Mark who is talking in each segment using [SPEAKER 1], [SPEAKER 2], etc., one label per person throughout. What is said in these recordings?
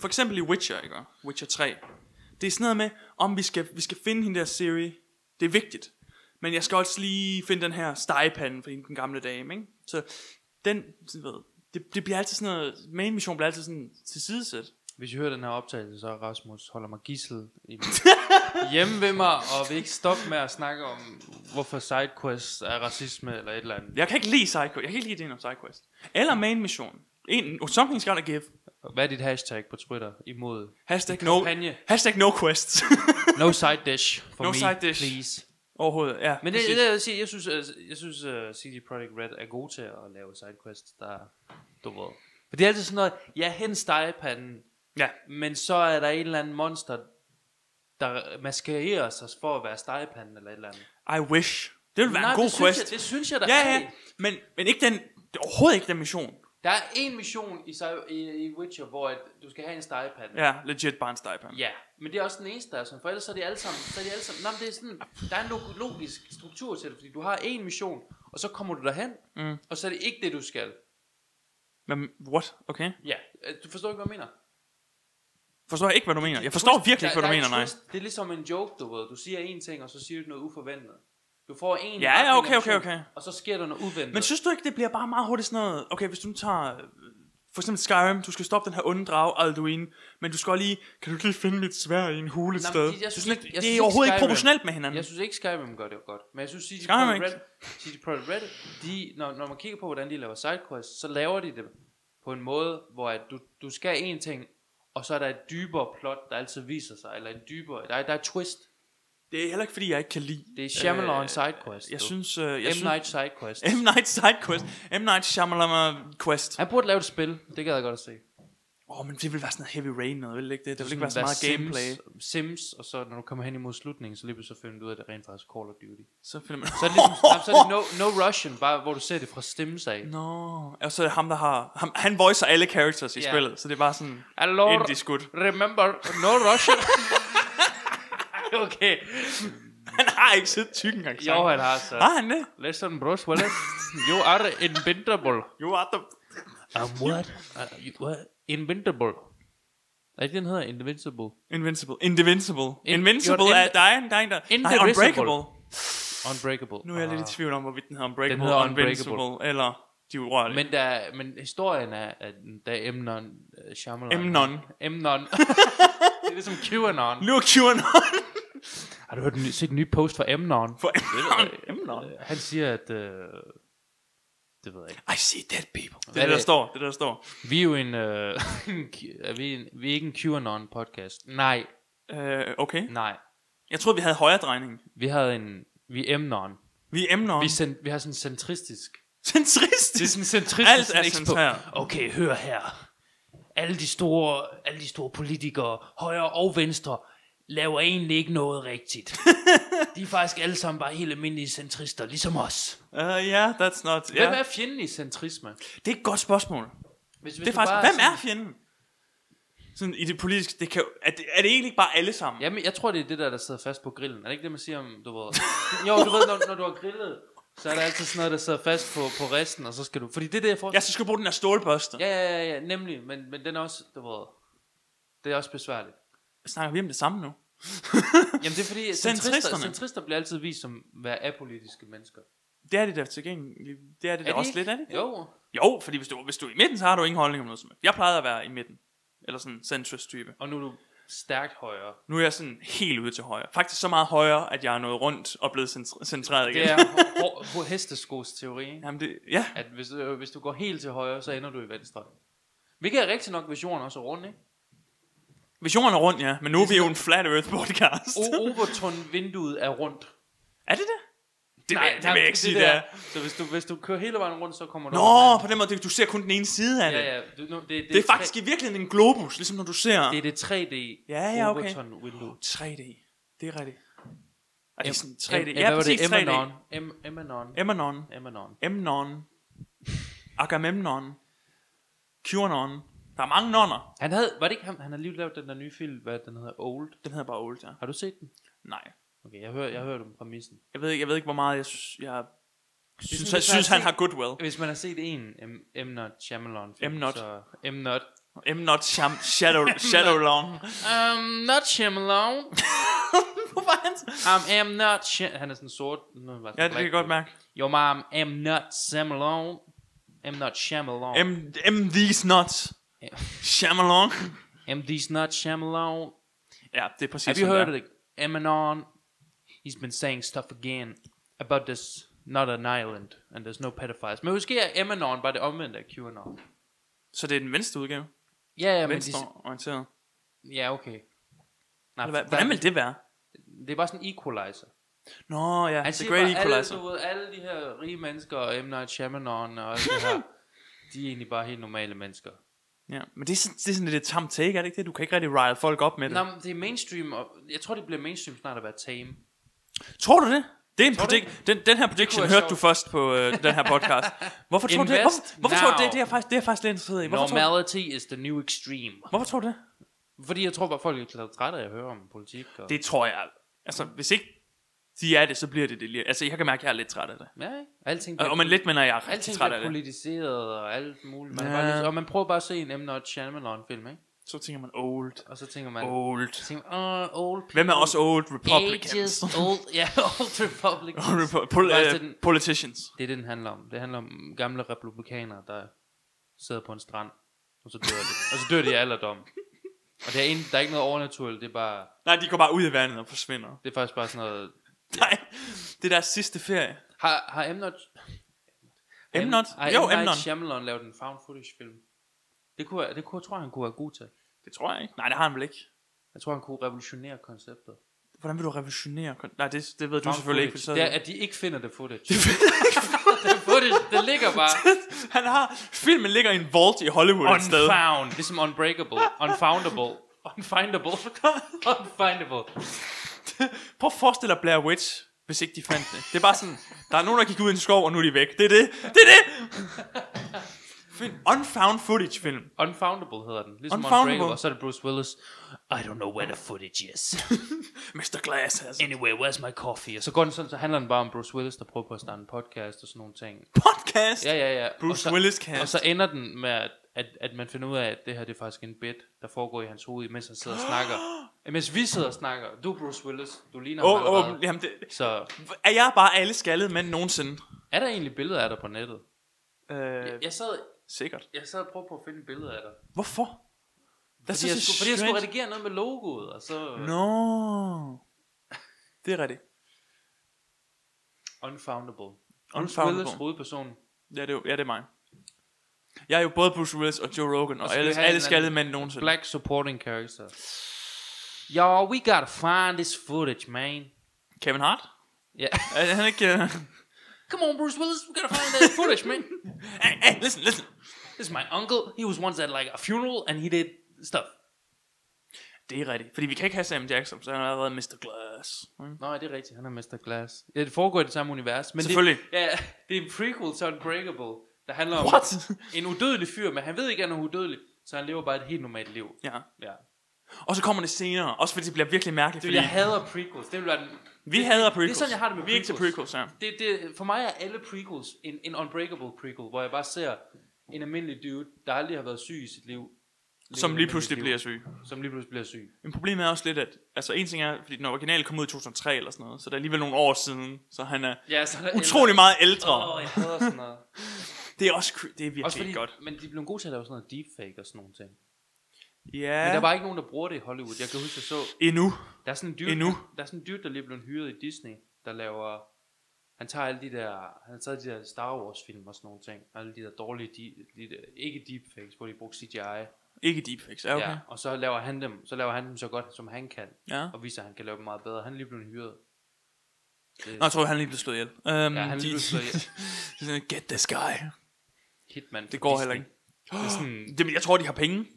[SPEAKER 1] For eksempel i Witcher, ikke? Witcher 3. Det er sådan noget med, om vi skal, vi skal finde hende der Siri. Det er vigtigt. Men jeg skal også lige finde den her stegepande for hende, den gamle dame, ikke? Så den, sådan, ved, det, det bliver altid sådan noget, main mission bliver altid sådan til sidesæt.
[SPEAKER 2] Hvis I hører den her optagelse, så er Rasmus holder mig gissel i hjemme ved mig, og vil ikke stoppe med at snakke om, hvorfor sidequests er racisme eller et eller andet.
[SPEAKER 1] Jeg kan ikke lide SideQuest. Jeg kan ikke lide det om SideQuest. Eller main mission. En, something's gotta give.
[SPEAKER 2] Hvad er dit hashtag på Twitter imod?
[SPEAKER 1] Hashtag
[SPEAKER 2] En
[SPEAKER 1] no,
[SPEAKER 2] kampagne.
[SPEAKER 1] hashtag no quests.
[SPEAKER 2] No side dish for
[SPEAKER 1] No
[SPEAKER 2] me,
[SPEAKER 1] side dish.
[SPEAKER 2] please.
[SPEAKER 1] Overhovedet, ja.
[SPEAKER 2] Men det,
[SPEAKER 1] præcis.
[SPEAKER 2] det, jeg, vil sige, jeg synes, øh, jeg synes uh, CD Projekt Red er god til at lave sidequests, der du ved. For det er altid sådan noget, ja, hen stegepanden,
[SPEAKER 1] Ja,
[SPEAKER 2] men så er der en eller anden monster, der maskerer sig for at være stegepanden eller et eller andet.
[SPEAKER 1] I wish. Det ville være en god
[SPEAKER 2] det
[SPEAKER 1] quest.
[SPEAKER 2] Synes jeg, det synes jeg, der
[SPEAKER 1] ja,
[SPEAKER 2] er.
[SPEAKER 1] ja. Men, men ikke den, det er overhovedet ikke den mission.
[SPEAKER 2] Der er en mission i, Cy- i, i Witcher, hvor at du skal have en stegepande.
[SPEAKER 1] Ja, legit bare en stejpand.
[SPEAKER 2] Ja, men det er også den eneste, der er sådan, for ellers så er de alle sammen, så er de alle sammen, nej, men det er sådan, der er en log- logisk struktur til det, fordi du har en mission, og så kommer du derhen,
[SPEAKER 1] Mm.
[SPEAKER 2] og så er det ikke det, du skal.
[SPEAKER 1] Men what? Okay.
[SPEAKER 2] Ja, øh, du forstår ikke, hvad jeg mener?
[SPEAKER 1] Forstår jeg ikke, hvad du mener. Jeg forstår virkelig ikke, hvad du
[SPEAKER 2] Der- der er
[SPEAKER 1] mener,
[SPEAKER 2] et
[SPEAKER 1] nej.
[SPEAKER 2] twist. Det er ligesom en joke, du ved. Du siger en ting, og så siger du noget uforventet. Du får en
[SPEAKER 1] Ja, ja,
[SPEAKER 2] retning af
[SPEAKER 1] okay, okay,
[SPEAKER 2] missionen,
[SPEAKER 1] okay.
[SPEAKER 2] Og så sker der noget uventet.
[SPEAKER 1] Men synes du ikke, det bliver bare meget hurtigt sådan noget... Okay, hvis du nu tager... øh, For eksempel Skyrim, du skal stoppe den her onde drage, Alduin, men du skal også lige... Kan du ikke lige finde mit svær i en hule et
[SPEAKER 2] Nej,
[SPEAKER 1] sted?
[SPEAKER 2] men det- jeg
[SPEAKER 1] Du
[SPEAKER 2] synes
[SPEAKER 1] sådan
[SPEAKER 2] ikke-
[SPEAKER 1] lidt-
[SPEAKER 2] jeg
[SPEAKER 1] det
[SPEAKER 2] synes
[SPEAKER 1] er
[SPEAKER 2] ikke
[SPEAKER 1] overhovedet ikke
[SPEAKER 2] Skyrim.
[SPEAKER 1] proportionelt med hinanden.
[SPEAKER 2] Jeg synes ikke, Skyrim gør det jo godt. Men jeg synes, CD
[SPEAKER 1] Skyrim
[SPEAKER 2] Projekt
[SPEAKER 1] ikke.
[SPEAKER 2] Red, CD Projekt Red de, når, når man kigger på, hvordan de laver sidequests, så laver de det på en måde, hvor at du, du skal en ting, og så er der et dybere plot, der altid viser sig, eller en dybere, der, er- der er et twist.
[SPEAKER 1] Det er heller ikke, fordi jeg ikke kan lide...
[SPEAKER 2] Det er Shyamalan
[SPEAKER 1] øh,
[SPEAKER 2] sidequest.
[SPEAKER 1] Jeg
[SPEAKER 2] du.
[SPEAKER 1] synes... øh, Jeg
[SPEAKER 2] M.
[SPEAKER 1] synes
[SPEAKER 2] Night sidequest.
[SPEAKER 1] M. Night sidequest. M. Night Shyamalan quest.
[SPEAKER 2] Han burde lave et spil, det gad jeg godt at se.
[SPEAKER 1] Åh, oh, men det vil være sådan noget heavy rain noget, vil det ikke det? Der vil ikke være så
[SPEAKER 2] Sådan,
[SPEAKER 1] meget
[SPEAKER 2] hvad
[SPEAKER 1] gameplay.
[SPEAKER 2] Sims, Sims, og så når du kommer hen imod slutningen, så lige pludselig så finder du ud af, at det rent faktisk er Call of Duty.
[SPEAKER 1] Så finder man...
[SPEAKER 2] Så er det ligesom, nej, så er det no, no Russian, bare hvor du ser det fra Sims af.
[SPEAKER 1] Nå, og så er det ham, der har... Ham, han voicer alle characters i
[SPEAKER 2] Ja.
[SPEAKER 1] spillet, så det er bare sådan...
[SPEAKER 2] Hello,
[SPEAKER 1] Indieskud.
[SPEAKER 2] remember, no Russian. okay.
[SPEAKER 1] Han har ikke siddet tykken accent.
[SPEAKER 2] Jo, han har så.
[SPEAKER 1] Har han det?
[SPEAKER 2] Listen, Bruce Willis, you are invincible.
[SPEAKER 1] You are the...
[SPEAKER 2] I'm what? Uh, you, what? Invincible. Er ikke den hedder Invincible?
[SPEAKER 1] Invincible. Invincible.
[SPEAKER 2] In-
[SPEAKER 1] Invincible
[SPEAKER 2] you're
[SPEAKER 1] er
[SPEAKER 2] in-
[SPEAKER 1] dig, en dig, der... Nej,
[SPEAKER 2] Indivisible.
[SPEAKER 1] Unbreakable.
[SPEAKER 2] Unbreakable.
[SPEAKER 1] Nu er jeg lidt i tvivl om, hvorvidt den hedder Unbreakable,
[SPEAKER 2] Ah. hedder
[SPEAKER 1] og Invincible, eller de urørlige. Men...
[SPEAKER 2] Men, der, men historien er, at der er Emnon uh, Shyamalan.
[SPEAKER 1] Emnon.
[SPEAKER 2] Emnon. det er ligesom QAnon.
[SPEAKER 1] Nu er QAnon
[SPEAKER 2] Har du hørt en ny, set en ny post fra Emnon?
[SPEAKER 1] for Emnon. Emnon.
[SPEAKER 2] Øh, Han siger, at... Øh, det ved jeg ikke.
[SPEAKER 1] I see dead people. Det
[SPEAKER 2] Hvad
[SPEAKER 1] er
[SPEAKER 2] er
[SPEAKER 1] det, der
[SPEAKER 2] det?
[SPEAKER 1] står. Det er der står.
[SPEAKER 2] Vi er jo en... Øh, er vi, en vi er ikke en QAnon-podcast. Nej,
[SPEAKER 1] Øh, okay.
[SPEAKER 2] nej.
[SPEAKER 1] Jeg troede, vi havde højre drejning.
[SPEAKER 2] Vi havde en... Vi er Emnon.
[SPEAKER 1] Vi er Emnon.
[SPEAKER 2] Vi,
[SPEAKER 1] Vi...
[SPEAKER 2] er cen, vi har sådan en centristisk...
[SPEAKER 1] Centristisk.
[SPEAKER 2] Det er sådan en centristisk...
[SPEAKER 1] Alt er
[SPEAKER 2] expo-
[SPEAKER 1] centreret.
[SPEAKER 2] Okay, hør her. Alle de store, alle de store politikere, højre og venstre, laver egentlig ikke noget rigtigt. De er faktisk alle sammen bare helt almindelige centrister, ligesom os.
[SPEAKER 1] Uh, yeah, that's not...
[SPEAKER 2] Hvem
[SPEAKER 1] Yeah.
[SPEAKER 2] er fjenden i centrisme? Hvis,
[SPEAKER 1] Det er et godt spørgsmål.
[SPEAKER 2] hvis
[SPEAKER 1] Det er
[SPEAKER 2] du
[SPEAKER 1] faktisk,
[SPEAKER 2] bare
[SPEAKER 1] hvem
[SPEAKER 2] sådan-
[SPEAKER 1] er fjenden? Sådan i det politiske, det kan, jo- er, det, er det egentlig ikke bare alle sammen?
[SPEAKER 2] Jamen, jeg tror, det er det der, der sidder fast på grillen. Er det ikke det, man siger om, du ved... Jo, du ved, når, når du har grillet, så er der altid sådan noget, der sidder fast på, på resten, og så skal du... Fordi det er det, jeg får...
[SPEAKER 1] Jeg så skal bruge den her stålbørste. Ja.
[SPEAKER 2] Ja, ja, ja, ja, nemlig. Men, men den er også, du ved... Det er også besværligt.
[SPEAKER 1] Snakker vi om det samme nu?
[SPEAKER 2] Jamen, det er fordi, centrister,
[SPEAKER 1] Centristerne.
[SPEAKER 2] centrister bliver altid vist som være apolitiske mennesker.
[SPEAKER 1] Det er det der til gengæld. Det er det der også lidt, er det?
[SPEAKER 2] Jo. jo.
[SPEAKER 1] Jo, fordi hvis du, hvis du er i midten, så har du ingen holdning om noget som helst. Jeg plejede at være i midten. Eller sådan en centrist type.
[SPEAKER 2] Og nu er du stærkt højere.
[SPEAKER 1] Nu er jeg sådan helt ude til højre. Faktisk så meget højre, at jeg er nået rundt og blevet centr- centreret igen.
[SPEAKER 2] Det er hår- hår- hår- hesteskos teori, ikke?
[SPEAKER 1] Jamen det, ja.
[SPEAKER 2] At hvis, øh, hvis du går helt til højre, så ender du i venstre. Hvilket er rigtigt nok, hvis jorden også er rund, ikke?
[SPEAKER 1] Hvis jorden er rundt, ja. Men nu er vi jo en flat earth podcast.
[SPEAKER 2] O- Overton-vinduet er rundt.
[SPEAKER 1] Er det det? Det, vil, det vil jeg ikke sige, det, er.
[SPEAKER 2] Så hvis du, hvis du kører hele vejen rundt, så kommer du... over
[SPEAKER 1] Nå, på den måde, det- du ser kun den ene side af
[SPEAKER 2] den
[SPEAKER 1] det.
[SPEAKER 2] anden. Ja, ja. Du, nu, det, det,
[SPEAKER 1] Det er faktisk i virkeligheden en globus, ligesom når du ser
[SPEAKER 2] Det er det 3D
[SPEAKER 1] Ja, ja, okay.
[SPEAKER 2] Overton vindue.
[SPEAKER 1] 3D. Det er rigtigt. Er det sådan 3D?
[SPEAKER 2] M- M-
[SPEAKER 1] Ja,
[SPEAKER 2] hvad var det?
[SPEAKER 1] præcis 3D.
[SPEAKER 2] Emanon. M- Emanon.
[SPEAKER 1] Emanon.
[SPEAKER 2] Emanon.
[SPEAKER 1] Emnon. Agamemnon. QAnon. Der er mange nonner.
[SPEAKER 2] Han havde, var det ikke ham, han har lige lavet den der nye film, hvad den hedder, Old.
[SPEAKER 1] Den hedder bare Old, ja.
[SPEAKER 2] Har du set den?
[SPEAKER 1] Nej.
[SPEAKER 2] Okay, jeg hører, jeg hører den præmissen.
[SPEAKER 1] Jeg ved, ikke, jeg ved ikke, hvor meget jeg, synes- jeg synes,
[SPEAKER 2] synes,
[SPEAKER 1] jeg
[SPEAKER 2] hvis man
[SPEAKER 1] synes han
[SPEAKER 2] har
[SPEAKER 1] har goodwill.
[SPEAKER 2] Hvis man har set en M. M. Not Shyamalan film,
[SPEAKER 1] M. Not.
[SPEAKER 2] så M. Not,
[SPEAKER 1] M. Not Sham, Shadow, Shadow Long.
[SPEAKER 2] I'm Um, not Shyamalan.
[SPEAKER 1] Hvorfor er han så-
[SPEAKER 2] I'm am not Shy- Han er sådan sort. Nå, var
[SPEAKER 1] Ja, det kan jeg godt mærke.
[SPEAKER 2] Your mom am not Shyamalan. Am not Shyamalan.
[SPEAKER 1] M, M. These Nuts.
[SPEAKER 2] Ja.
[SPEAKER 1] Shyamalan.
[SPEAKER 2] am these not Shyamalan.
[SPEAKER 1] Ja, det er præcis
[SPEAKER 2] Have you
[SPEAKER 1] sådan
[SPEAKER 2] heard
[SPEAKER 1] der.
[SPEAKER 2] of Emanon? He's been saying stuff again about this not an island and there's no pedophiles. Men måske er Emanon bare det omvendte af QAnon.
[SPEAKER 1] Så det er den venstre udgave?
[SPEAKER 2] Ja, ja, men de,
[SPEAKER 1] Venstreorienteret.
[SPEAKER 2] ja okay. Nej,
[SPEAKER 1] Eller hvad- Hvordan vil det være?
[SPEAKER 2] det er bare sådan en equalizer.
[SPEAKER 1] Nå ja,
[SPEAKER 2] Han
[SPEAKER 1] The
[SPEAKER 2] siger
[SPEAKER 1] Great
[SPEAKER 2] bare,
[SPEAKER 1] Equalizer.
[SPEAKER 2] Alle, du ved, alle de her rige mennesker og M. Night Shyamalan og alt det her, de er egentlig bare helt normale mennesker.
[SPEAKER 1] Ja, men det er, sådan, det er sådan lidt et tamt take, er det ikke det? Du kan ikke rigtig rile folk op med det.
[SPEAKER 2] Nå, men det er mainstream, og jeg tror, det bliver mainstream snart at være tame.
[SPEAKER 1] Tror du det? Det er en
[SPEAKER 2] Tror du
[SPEAKER 1] predict, den, den her prediction
[SPEAKER 2] være
[SPEAKER 1] hørte
[SPEAKER 2] sjovt.
[SPEAKER 1] du først på øh, den her podcast. Hvorfor tror du det?
[SPEAKER 2] Invest
[SPEAKER 1] Hvorfor, hvorfor tror du
[SPEAKER 2] now.
[SPEAKER 1] det? Det er jeg faktisk, det er jeg faktisk lidt interesseret i. Hvorfor, tror,
[SPEAKER 2] Normality is the new extreme.
[SPEAKER 1] du- hvorfor tror du det?
[SPEAKER 2] Fordi jeg tror bare, folk er blevet trætte af at høre om politik. Og...
[SPEAKER 1] Det tror jeg. Altså, hvis ikke de er det, så bliver det det lige. Altså, jeg kan mærke, at jeg er lidt træt af det.
[SPEAKER 2] Ja, ikke? alting
[SPEAKER 1] Og, og men lidt, men jeg er rigtig
[SPEAKER 2] alting
[SPEAKER 1] træt af
[SPEAKER 2] bliver
[SPEAKER 1] det.
[SPEAKER 2] politiseret og alt muligt. Man ja.
[SPEAKER 1] Ja.
[SPEAKER 2] bare lidt, og man prøver bare at se en M. Night Shyamalan film, ikke?
[SPEAKER 1] Så tænker man, old,
[SPEAKER 2] Og så tænker man, oh.
[SPEAKER 1] old.
[SPEAKER 2] tænker, man, oh, old people,
[SPEAKER 1] Hvem er også old republicans?
[SPEAKER 2] ages, old, ja, old republicans.
[SPEAKER 1] Repu- pol-
[SPEAKER 2] Bare sådan-
[SPEAKER 1] øh, politicians.
[SPEAKER 2] Det er det, den handler om. Det handler om gamle republikanere, der sidder på en strand, og så dør de. og så dør de i alderdom. Og det er en, der er ikke noget overnaturligt, det er bare,
[SPEAKER 1] Nej, de går bare ud i vandet og forsvinder.
[SPEAKER 2] det er faktisk bare sådan noget...
[SPEAKER 1] Nej, det er deres sidste ferie.
[SPEAKER 2] Har, har M. Not...
[SPEAKER 1] Emnot?
[SPEAKER 2] Har
[SPEAKER 1] Jo,
[SPEAKER 2] M. Night
[SPEAKER 1] Emnot.
[SPEAKER 2] Shyamalan lavet en found footage film? Det kunne, jeg- det kunne, jeg tror, han kunne være god til.
[SPEAKER 1] Det tror jeg ikke. Nej, det har han vel ikke.
[SPEAKER 2] Jeg tror, han kunne revolutionere konceptet.
[SPEAKER 1] Hvordan vil du revolutionere? kon- Nej, det, det ved du selvfølgelig ikke.
[SPEAKER 2] footage. Det er, at de ikke finder det footage. De finder ikke det footage. Det ligger bare
[SPEAKER 1] han har... Filmen ligger i en vault i Hollywood et sted.
[SPEAKER 2] unfound. Ligesom unbreakable. Unfoundable. Unfindable. Unfindable.
[SPEAKER 1] Prøv at forestille dig Blair Witch, hvis ikke de fandt det. Det er bare sådan, der er nogen, der gik ud i en skov, og nu er de væk. Det er det. Det er det. Film. Unfound footage film.
[SPEAKER 2] Unfoundable hedder den. Ligesom
[SPEAKER 1] Unfoundable.
[SPEAKER 2] Unbreakable. Og så er det Bruce Willis. I don't know where the footage is.
[SPEAKER 1] Mr. Glass altså. has en
[SPEAKER 2] Anyway, where's my coffee? Og så, går den sådan, så handler den bare om Bruce Willis, der prøver på at starte en podcast og sådan nogle ting.
[SPEAKER 1] podcast.
[SPEAKER 2] Ja, ja, ja.
[SPEAKER 1] Bruce
[SPEAKER 2] og så,
[SPEAKER 1] Willis
[SPEAKER 2] Og
[SPEAKER 1] cast.
[SPEAKER 2] så ender den med, at, at, at man finder ud af, at det her det er faktisk en bit, der foregår i hans hoved, mens han sidder og snakker. mens vi sidder og snakker. Du er Bruce Willis. Du ligner
[SPEAKER 1] Åh,
[SPEAKER 2] oh,
[SPEAKER 1] oh,
[SPEAKER 2] ham allerede.
[SPEAKER 1] oh, jamen, det,
[SPEAKER 2] Så
[SPEAKER 1] er jeg bare alle skaldede mænd nogensinde?
[SPEAKER 2] er der egentlig billeder af dig på nettet?
[SPEAKER 1] Øh,
[SPEAKER 2] Jeg sad,
[SPEAKER 1] sikkert.
[SPEAKER 2] jeg sad og prøvede på at finde et billede af dig.
[SPEAKER 1] Hvorfor? That's
[SPEAKER 2] Fordi, jeg
[SPEAKER 1] such a
[SPEAKER 2] skulle, fordi jeg skulle
[SPEAKER 1] strange-
[SPEAKER 2] redigere noget med logoet, og så no.
[SPEAKER 1] Nå. Det er rigtigt.
[SPEAKER 2] Unfoundable. Bruce
[SPEAKER 1] Unfoundable.
[SPEAKER 2] Willis, hovedpersonen.
[SPEAKER 1] Ja, det er, jo- ja, det er mig. Jeg er jo både Bruce Willis og Joe Rogan, og,
[SPEAKER 2] skal vi
[SPEAKER 1] alle,
[SPEAKER 2] have en
[SPEAKER 1] alle
[SPEAKER 2] eller
[SPEAKER 1] skaldede
[SPEAKER 2] anden
[SPEAKER 1] mænd nogensinde.
[SPEAKER 2] Black supporting character. Yo, we gotta find this footage, man.
[SPEAKER 1] Kevin Hart?
[SPEAKER 2] Yeah.
[SPEAKER 1] Er han ikke... Uh...
[SPEAKER 2] Come on, Bruce Willis, we gotta find that footage, man.
[SPEAKER 1] Hey, hey, listen, listen.
[SPEAKER 2] This is my uncle. He was once at like a funeral, and he did stuff.
[SPEAKER 1] Det er rigtigt. Fordi vi kan ikke have Sam Jackson, så han er allerede Mr. Glass. Mm.
[SPEAKER 2] Nej, det er rigtigt. Han er Mr. Glass. Ja, det foregår i det samme univers. Men
[SPEAKER 1] Selvfølgelig.
[SPEAKER 2] Det, ja, det er en prequel til Unbreakable, der handler om
[SPEAKER 1] What?
[SPEAKER 2] en udødelig fyr, men han ved ikke, at han er udødelig, så han lever bare et helt normalt liv.
[SPEAKER 1] Ja.
[SPEAKER 2] Ja.
[SPEAKER 1] Og så kommer det senere, også fordi det bliver virkelig mærkeligt,
[SPEAKER 2] Du,
[SPEAKER 1] fordi
[SPEAKER 2] jeg hader prequels. Det vil være den,
[SPEAKER 1] vi hader prequels.
[SPEAKER 2] Det er sådan, jeg har det med
[SPEAKER 1] Vi er ikke til
[SPEAKER 2] prequels.
[SPEAKER 1] prequels, ja.
[SPEAKER 2] det, det, for mig er alle prequels en, en unbreakable prequel, hvor jeg bare ser en almindelig dude, der aldrig har været syg i sit liv. leve
[SPEAKER 1] Som
[SPEAKER 2] et
[SPEAKER 1] lige
[SPEAKER 2] almindeligt
[SPEAKER 1] pludselig
[SPEAKER 2] liv,
[SPEAKER 1] bliver syg.
[SPEAKER 2] Som lige pludselig bliver syg.
[SPEAKER 1] Men problemet er også lidt, at... Altså, en ting er, fordi den originale kom ud i 2003 eller sådan noget, så det er alligevel nogle år siden, så han er
[SPEAKER 2] Ja, så er der
[SPEAKER 1] utrolig meget ældre.
[SPEAKER 2] Åh, oh, jeg hader sådan noget.
[SPEAKER 1] Det er også cre- det er virkelig
[SPEAKER 2] Også
[SPEAKER 1] ikke
[SPEAKER 2] fordi,
[SPEAKER 1] godt.
[SPEAKER 2] godt. men de blev gode til at lave sådan noget deepfake og sådan nogle ting. Ja.
[SPEAKER 1] Ja,
[SPEAKER 2] Men der var ikke nogen, der bruger det i Hollywood. Jeg kan huske, jeg så,
[SPEAKER 1] endnu.
[SPEAKER 2] der er sådan en dude,
[SPEAKER 1] Endnu.
[SPEAKER 2] der, er sådan en dude, der lige blev hyret i Disney, der laver, han tager alle de der, han har taget de der Star Wars film og sådan nogle ting, alle de der dårlige, de, de der, ikke deepfakes, hvor de brugte CGI, okay.
[SPEAKER 1] Ikke deepfakes, er okay.
[SPEAKER 2] ja, og så laver han dem, så laver han dem så godt, som han kan,
[SPEAKER 1] Ja.
[SPEAKER 2] og viser, at han kan lave dem meget bedre. Han er lige blevet hyret. Det,
[SPEAKER 1] Nå, jeg tror, han lige blev slået ihjel. Um,
[SPEAKER 2] Ja, han er lige blevet slået ihjel.
[SPEAKER 1] Get this guy.
[SPEAKER 2] Hitman
[SPEAKER 1] Det
[SPEAKER 2] for
[SPEAKER 1] går
[SPEAKER 2] Disney.
[SPEAKER 1] heller ikke.
[SPEAKER 2] Det er sådan,
[SPEAKER 1] Det, men jeg tror, de har penge.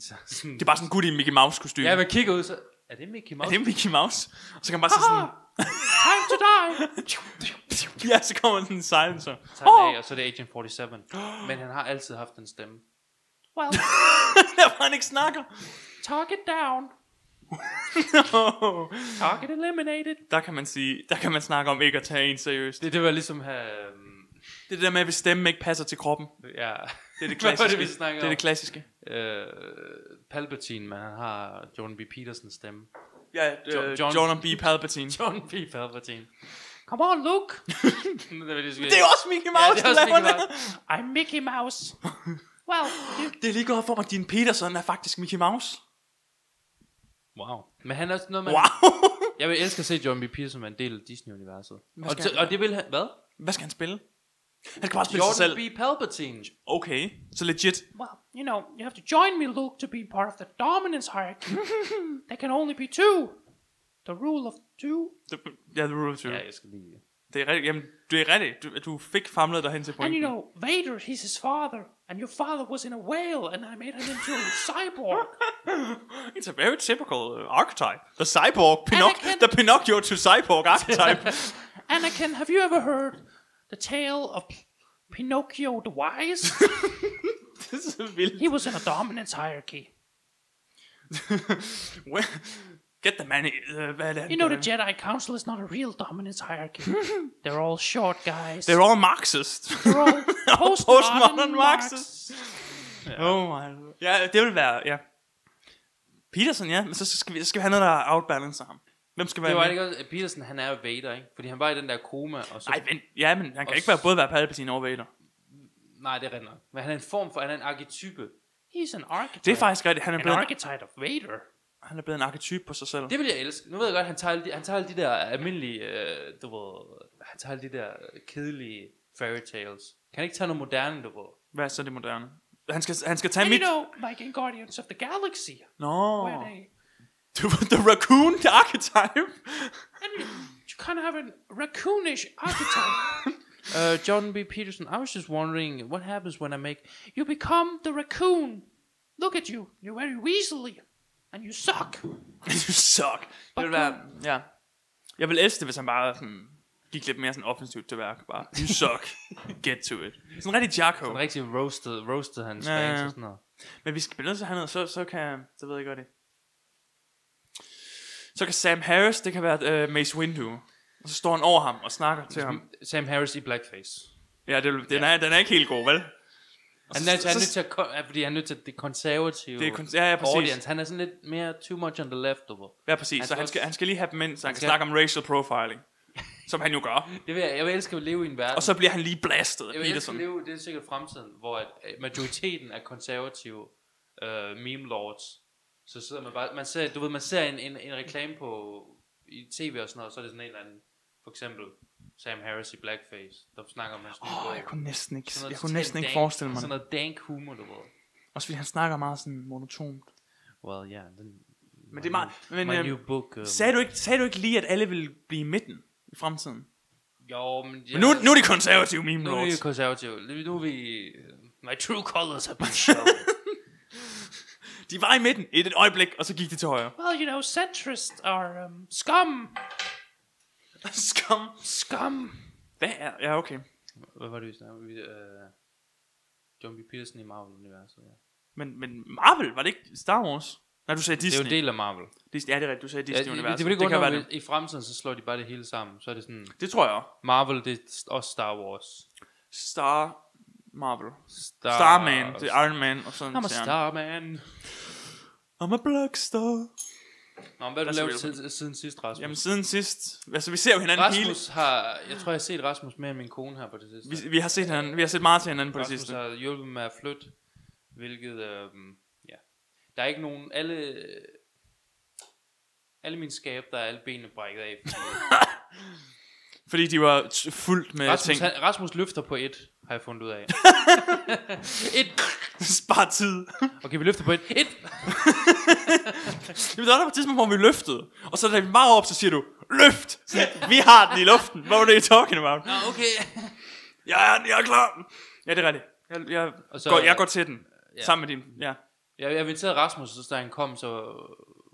[SPEAKER 2] så, sådan,
[SPEAKER 1] Det er bare sådan en gut i en Mickey Mouse kostume.
[SPEAKER 2] Ja, man kigger ud, så er det Mickey
[SPEAKER 1] Er
[SPEAKER 2] Mouse? Ah!
[SPEAKER 1] det Mickey Mouse? Og så kan man bare se sådan...
[SPEAKER 2] Time to die!
[SPEAKER 1] ja, så kommer sådan en silencer.
[SPEAKER 2] tager den
[SPEAKER 1] Åh!
[SPEAKER 2] af, og så er det Agent 47. Men han har altid haft en stemme.
[SPEAKER 1] Der var han ikke snakker.
[SPEAKER 2] Talk it down. Talk it eliminated.
[SPEAKER 1] der kan man sige, der kan man snakke om ikke at tage en seriøst. Det,
[SPEAKER 2] øh, Det, det var ligesom... Um,
[SPEAKER 1] det der med, hvis stemmen ikke passer til kroppen.
[SPEAKER 2] ja.
[SPEAKER 1] Det er det
[SPEAKER 2] Hvad var det,
[SPEAKER 1] klassiske.
[SPEAKER 2] vi snakkede
[SPEAKER 1] det er
[SPEAKER 2] om?
[SPEAKER 1] det klassiske.
[SPEAKER 2] Øh, Palpatine, men han har John B. Petersens stemme.
[SPEAKER 1] Ja, øh,
[SPEAKER 2] John-
[SPEAKER 1] John, John B. Palpatine.
[SPEAKER 2] John B. Palpatine. Come on, Luke!
[SPEAKER 1] Det er jo også Mickey Mouse,
[SPEAKER 2] Ja, det er
[SPEAKER 1] der
[SPEAKER 2] også
[SPEAKER 1] laver
[SPEAKER 2] Mickey
[SPEAKER 1] det.
[SPEAKER 2] Mouse. I'm Mickey Mouse. Wow.
[SPEAKER 1] Det er lige gået op for mig, at din Peterson er faktisk Mickey Mouse.
[SPEAKER 2] Wow. Men han er også noget, man...
[SPEAKER 1] Wow.
[SPEAKER 2] Jeg vil elske at se John B. Peterson være en del af Disney-universet.
[SPEAKER 1] Hvad
[SPEAKER 2] Og,
[SPEAKER 1] skal
[SPEAKER 2] så-
[SPEAKER 1] han?
[SPEAKER 2] og det vil han... Hvad?
[SPEAKER 1] Hvad skal han spille? Han kan bare spille sig
[SPEAKER 2] Jordan
[SPEAKER 1] selv.
[SPEAKER 2] B. Palpatine.
[SPEAKER 1] Okay, så legit.
[SPEAKER 3] Well, you know, you have to join me, Luke, to be part of the dominance hierarchy. there can only be two. The rule of two.
[SPEAKER 1] Det- Ja, the rule of two.
[SPEAKER 2] Ja, jeg skal lige...
[SPEAKER 1] Det er rigtigt. Jamen, det er rigtigt. Du, du fik famlet dig hen til
[SPEAKER 3] And you
[SPEAKER 1] pointen.
[SPEAKER 3] know, Vader, he's his father. And your father was in a whale, and I made him into a cyborg.
[SPEAKER 1] It's a very typical uh, archetype. The cyborg. Pinoc-
[SPEAKER 3] Anakin.
[SPEAKER 1] the Pinocchio to cyborg archetype.
[SPEAKER 3] Anakin, have you ever heard the tale of P- Pinocchio the Wise?
[SPEAKER 1] det er så vildt.
[SPEAKER 3] he was in a dominance hierarchy.
[SPEAKER 1] Well, Get the money. Uh, hvad er det?
[SPEAKER 3] You know, the Jedi Council is not a real dominance hierarchy. They're all short guys.
[SPEAKER 1] They're all Marxist.
[SPEAKER 3] They're all postmodern
[SPEAKER 1] postmodern
[SPEAKER 3] Marxists.
[SPEAKER 1] Oh my. Ja, det vil være, ja. Peterson, ja, men så skal vi, så skal vi have noget, der outbalancer ham. Hvem skal være
[SPEAKER 2] Det var
[SPEAKER 1] med?
[SPEAKER 2] ikke også... Peterson, han er jo Vader, ikke? Fordi han var i den der koma, og så...
[SPEAKER 1] Ej, vent. Ja, men han kan
[SPEAKER 2] Og
[SPEAKER 1] ikke være, både være Palpatine og Vader.
[SPEAKER 2] Nej, det er rigtigt nok. Men han er en form for... Han er en arketype.
[SPEAKER 3] He's an archetype.
[SPEAKER 1] Det er faktisk rigtigt. Han er,
[SPEAKER 3] an
[SPEAKER 1] blevet,
[SPEAKER 3] archetype of Vader.
[SPEAKER 1] han er blevet en arketyp på sig selv.
[SPEAKER 2] Det vil jeg elske. Nu ved jeg godt, han tager alle de, han tager alle de der almindelige, øh, du ved, han tager alle de der kedelige fairy tales. Kan han ikke tage noget moderne, du ved?
[SPEAKER 1] Hvad er så det moderne? Han skal, han skal tage
[SPEAKER 3] And
[SPEAKER 1] mit...
[SPEAKER 3] you know, like in Guardians of the Galaxy,
[SPEAKER 1] Nå.
[SPEAKER 3] where they
[SPEAKER 1] Du var the raccoon the archetype.
[SPEAKER 3] and you kind of have a raccoonish archetype.
[SPEAKER 2] Uh, John B. Peterson, I was just wondering, what happens when I make...
[SPEAKER 3] you become the raccoon. Look at you. You're very weaselly, and you suck.
[SPEAKER 1] you suck. Det vil være... Ja. Jeg vil elske det, hvis han bare sådan, gik lidt mere sådan offensivt til værk. Bare, you suck. Get to it. Sådan rigtig Jacko.
[SPEAKER 2] Han rigtig roasted, roasted hans
[SPEAKER 1] Ja,
[SPEAKER 2] ja,
[SPEAKER 1] ja,
[SPEAKER 2] fans
[SPEAKER 1] ja.
[SPEAKER 2] og sådan noget.
[SPEAKER 1] Men vi skal blive nødt til at have noget, så, så kan... Så ved jeg godt det. Så kan Sam Harris, det kan være uh, Mace Windu. Og så står han over ham og snakker til ham.
[SPEAKER 2] Sam Harris i blackface.
[SPEAKER 1] Ja, det, vil- den, er, den er ikke helt god, vel? Og
[SPEAKER 2] Han
[SPEAKER 1] så-
[SPEAKER 2] er, han er nødt
[SPEAKER 1] så-
[SPEAKER 2] til at, ko- ja, fordi han er nødt til det konservative
[SPEAKER 1] Det er kon- ja, ja, præcis.
[SPEAKER 2] audience. Han er sådan lidt mere too much on the left, du ved.
[SPEAKER 1] Ja, præcis.
[SPEAKER 2] Han
[SPEAKER 1] Så
[SPEAKER 2] skal
[SPEAKER 1] han skal,
[SPEAKER 2] også-
[SPEAKER 1] han skal lige have dem ind, så han kan
[SPEAKER 2] skal-
[SPEAKER 1] snakke om racial profiling. som han jo gør.
[SPEAKER 2] Det vil jeg, jeg vil elske at leve i en verden.
[SPEAKER 1] Og så bliver han lige blastet af
[SPEAKER 2] Jeg vil elske
[SPEAKER 1] Peterson.
[SPEAKER 2] at leve, det er sikkert fremtiden, hvor at øh, majoriteten af konservative øh, meme lords, så sidder man bare, man ser, du ved, man ser en, en, en reklame på i tv og sådan noget, så er det sådan en eller anden, for eksempel Sam Harris i blackface, der snakker om hans nye
[SPEAKER 1] Åh,
[SPEAKER 2] bog.
[SPEAKER 1] oh, jeg kunne næsten ikke,
[SPEAKER 2] Sådan noget
[SPEAKER 1] jeg kunne næsten
[SPEAKER 2] totalt
[SPEAKER 1] ikke
[SPEAKER 2] dank-
[SPEAKER 1] forestille mig
[SPEAKER 2] Sådan
[SPEAKER 1] det.
[SPEAKER 2] noget dank humor, du ved.
[SPEAKER 1] Også fordi han snakker meget sådan monotont.
[SPEAKER 2] Well, yeah. Then,
[SPEAKER 1] Men det er meget... Men,
[SPEAKER 2] my
[SPEAKER 1] øhm,
[SPEAKER 2] new book. Um,
[SPEAKER 1] sagde, du ikke, sagde du ikke lige, at alle ville blive i midten i fremtiden?
[SPEAKER 2] Jo, men... Jeg,
[SPEAKER 1] Men nu, nu er de konservative meme
[SPEAKER 2] nu er vi
[SPEAKER 1] lords.
[SPEAKER 2] konservative. Nu er vi... My true colors have been shown.
[SPEAKER 1] De var i midten i et øjeblik, og så gik de til højre.
[SPEAKER 3] Well, you know, centrists are um, scum.
[SPEAKER 1] Skam.
[SPEAKER 3] Scum.
[SPEAKER 1] Hvad er... Ja, okay.
[SPEAKER 2] Hvad var det, vi snakkede om? Vi, øh, John B. Peterson i Marvel-universet, ja.
[SPEAKER 1] Men, men Marvel, var det ikke Star Wars? Nej, du sagde
[SPEAKER 2] Det er
[SPEAKER 1] Disney.
[SPEAKER 2] jo en del af Marvel.
[SPEAKER 1] Disney- Ja, det er rigtigt. Du sagde
[SPEAKER 2] Ja, det,
[SPEAKER 1] Disney-universet.
[SPEAKER 2] det, det, det,
[SPEAKER 1] kan være
[SPEAKER 2] det,
[SPEAKER 1] det.
[SPEAKER 2] det, I fremtiden, så slår de bare det hele sammen. Så er det sådan,
[SPEAKER 1] Det tror jeg også.
[SPEAKER 2] Marvel, det er også Star Wars.
[SPEAKER 1] Star Marvel.
[SPEAKER 2] Star,
[SPEAKER 1] Starman, det er Iron Man og sådan
[SPEAKER 2] I'm a
[SPEAKER 1] siger han.
[SPEAKER 2] Starman.
[SPEAKER 1] I'm a black star.
[SPEAKER 2] Nå, men hvad har du
[SPEAKER 1] That's
[SPEAKER 2] lavet
[SPEAKER 1] real.
[SPEAKER 2] siden, siden sidst, Rasmus?
[SPEAKER 1] Jamen
[SPEAKER 2] Jamen,
[SPEAKER 1] siden sidst, altså vi ser jo hinanden
[SPEAKER 2] Rasmus har, jeg tror, jeg har set Rasmus mere end min kone her på det sidste.
[SPEAKER 1] hele. Vi, vi, har set hinanden, vi har set meget til hinanden på det
[SPEAKER 2] Rasmus
[SPEAKER 1] sidste.
[SPEAKER 2] har hjulpet med at flytte, hvilket, øh, ja. Der er ikke nogen, alle, alle mine skab, der er alle benene brækket af.
[SPEAKER 1] Fordi de var t- fuldt med
[SPEAKER 2] Rasmus,
[SPEAKER 1] ting.
[SPEAKER 2] han, Rasmus løfter på et, har jeg fundet ud af. et.
[SPEAKER 1] Spar tid.
[SPEAKER 2] Okay, vi løfter på et. Et.
[SPEAKER 1] Jamen, der var der på et tidspunkt, hvor vi løftede. Og så da vi var op, så siger du, løft! Så, vi har den i luften. Hvad var det, you talking about?
[SPEAKER 2] Nå, okay.
[SPEAKER 1] Ja, ja, jeg er klar. Ja, det er rigtigt. Jeg, jeg,
[SPEAKER 2] Og så-
[SPEAKER 1] så, går, jeg går til den. Ja. Sammen med din. Ja.
[SPEAKER 2] Jeg, jeg inviterede Rasmus, og så da han kom, så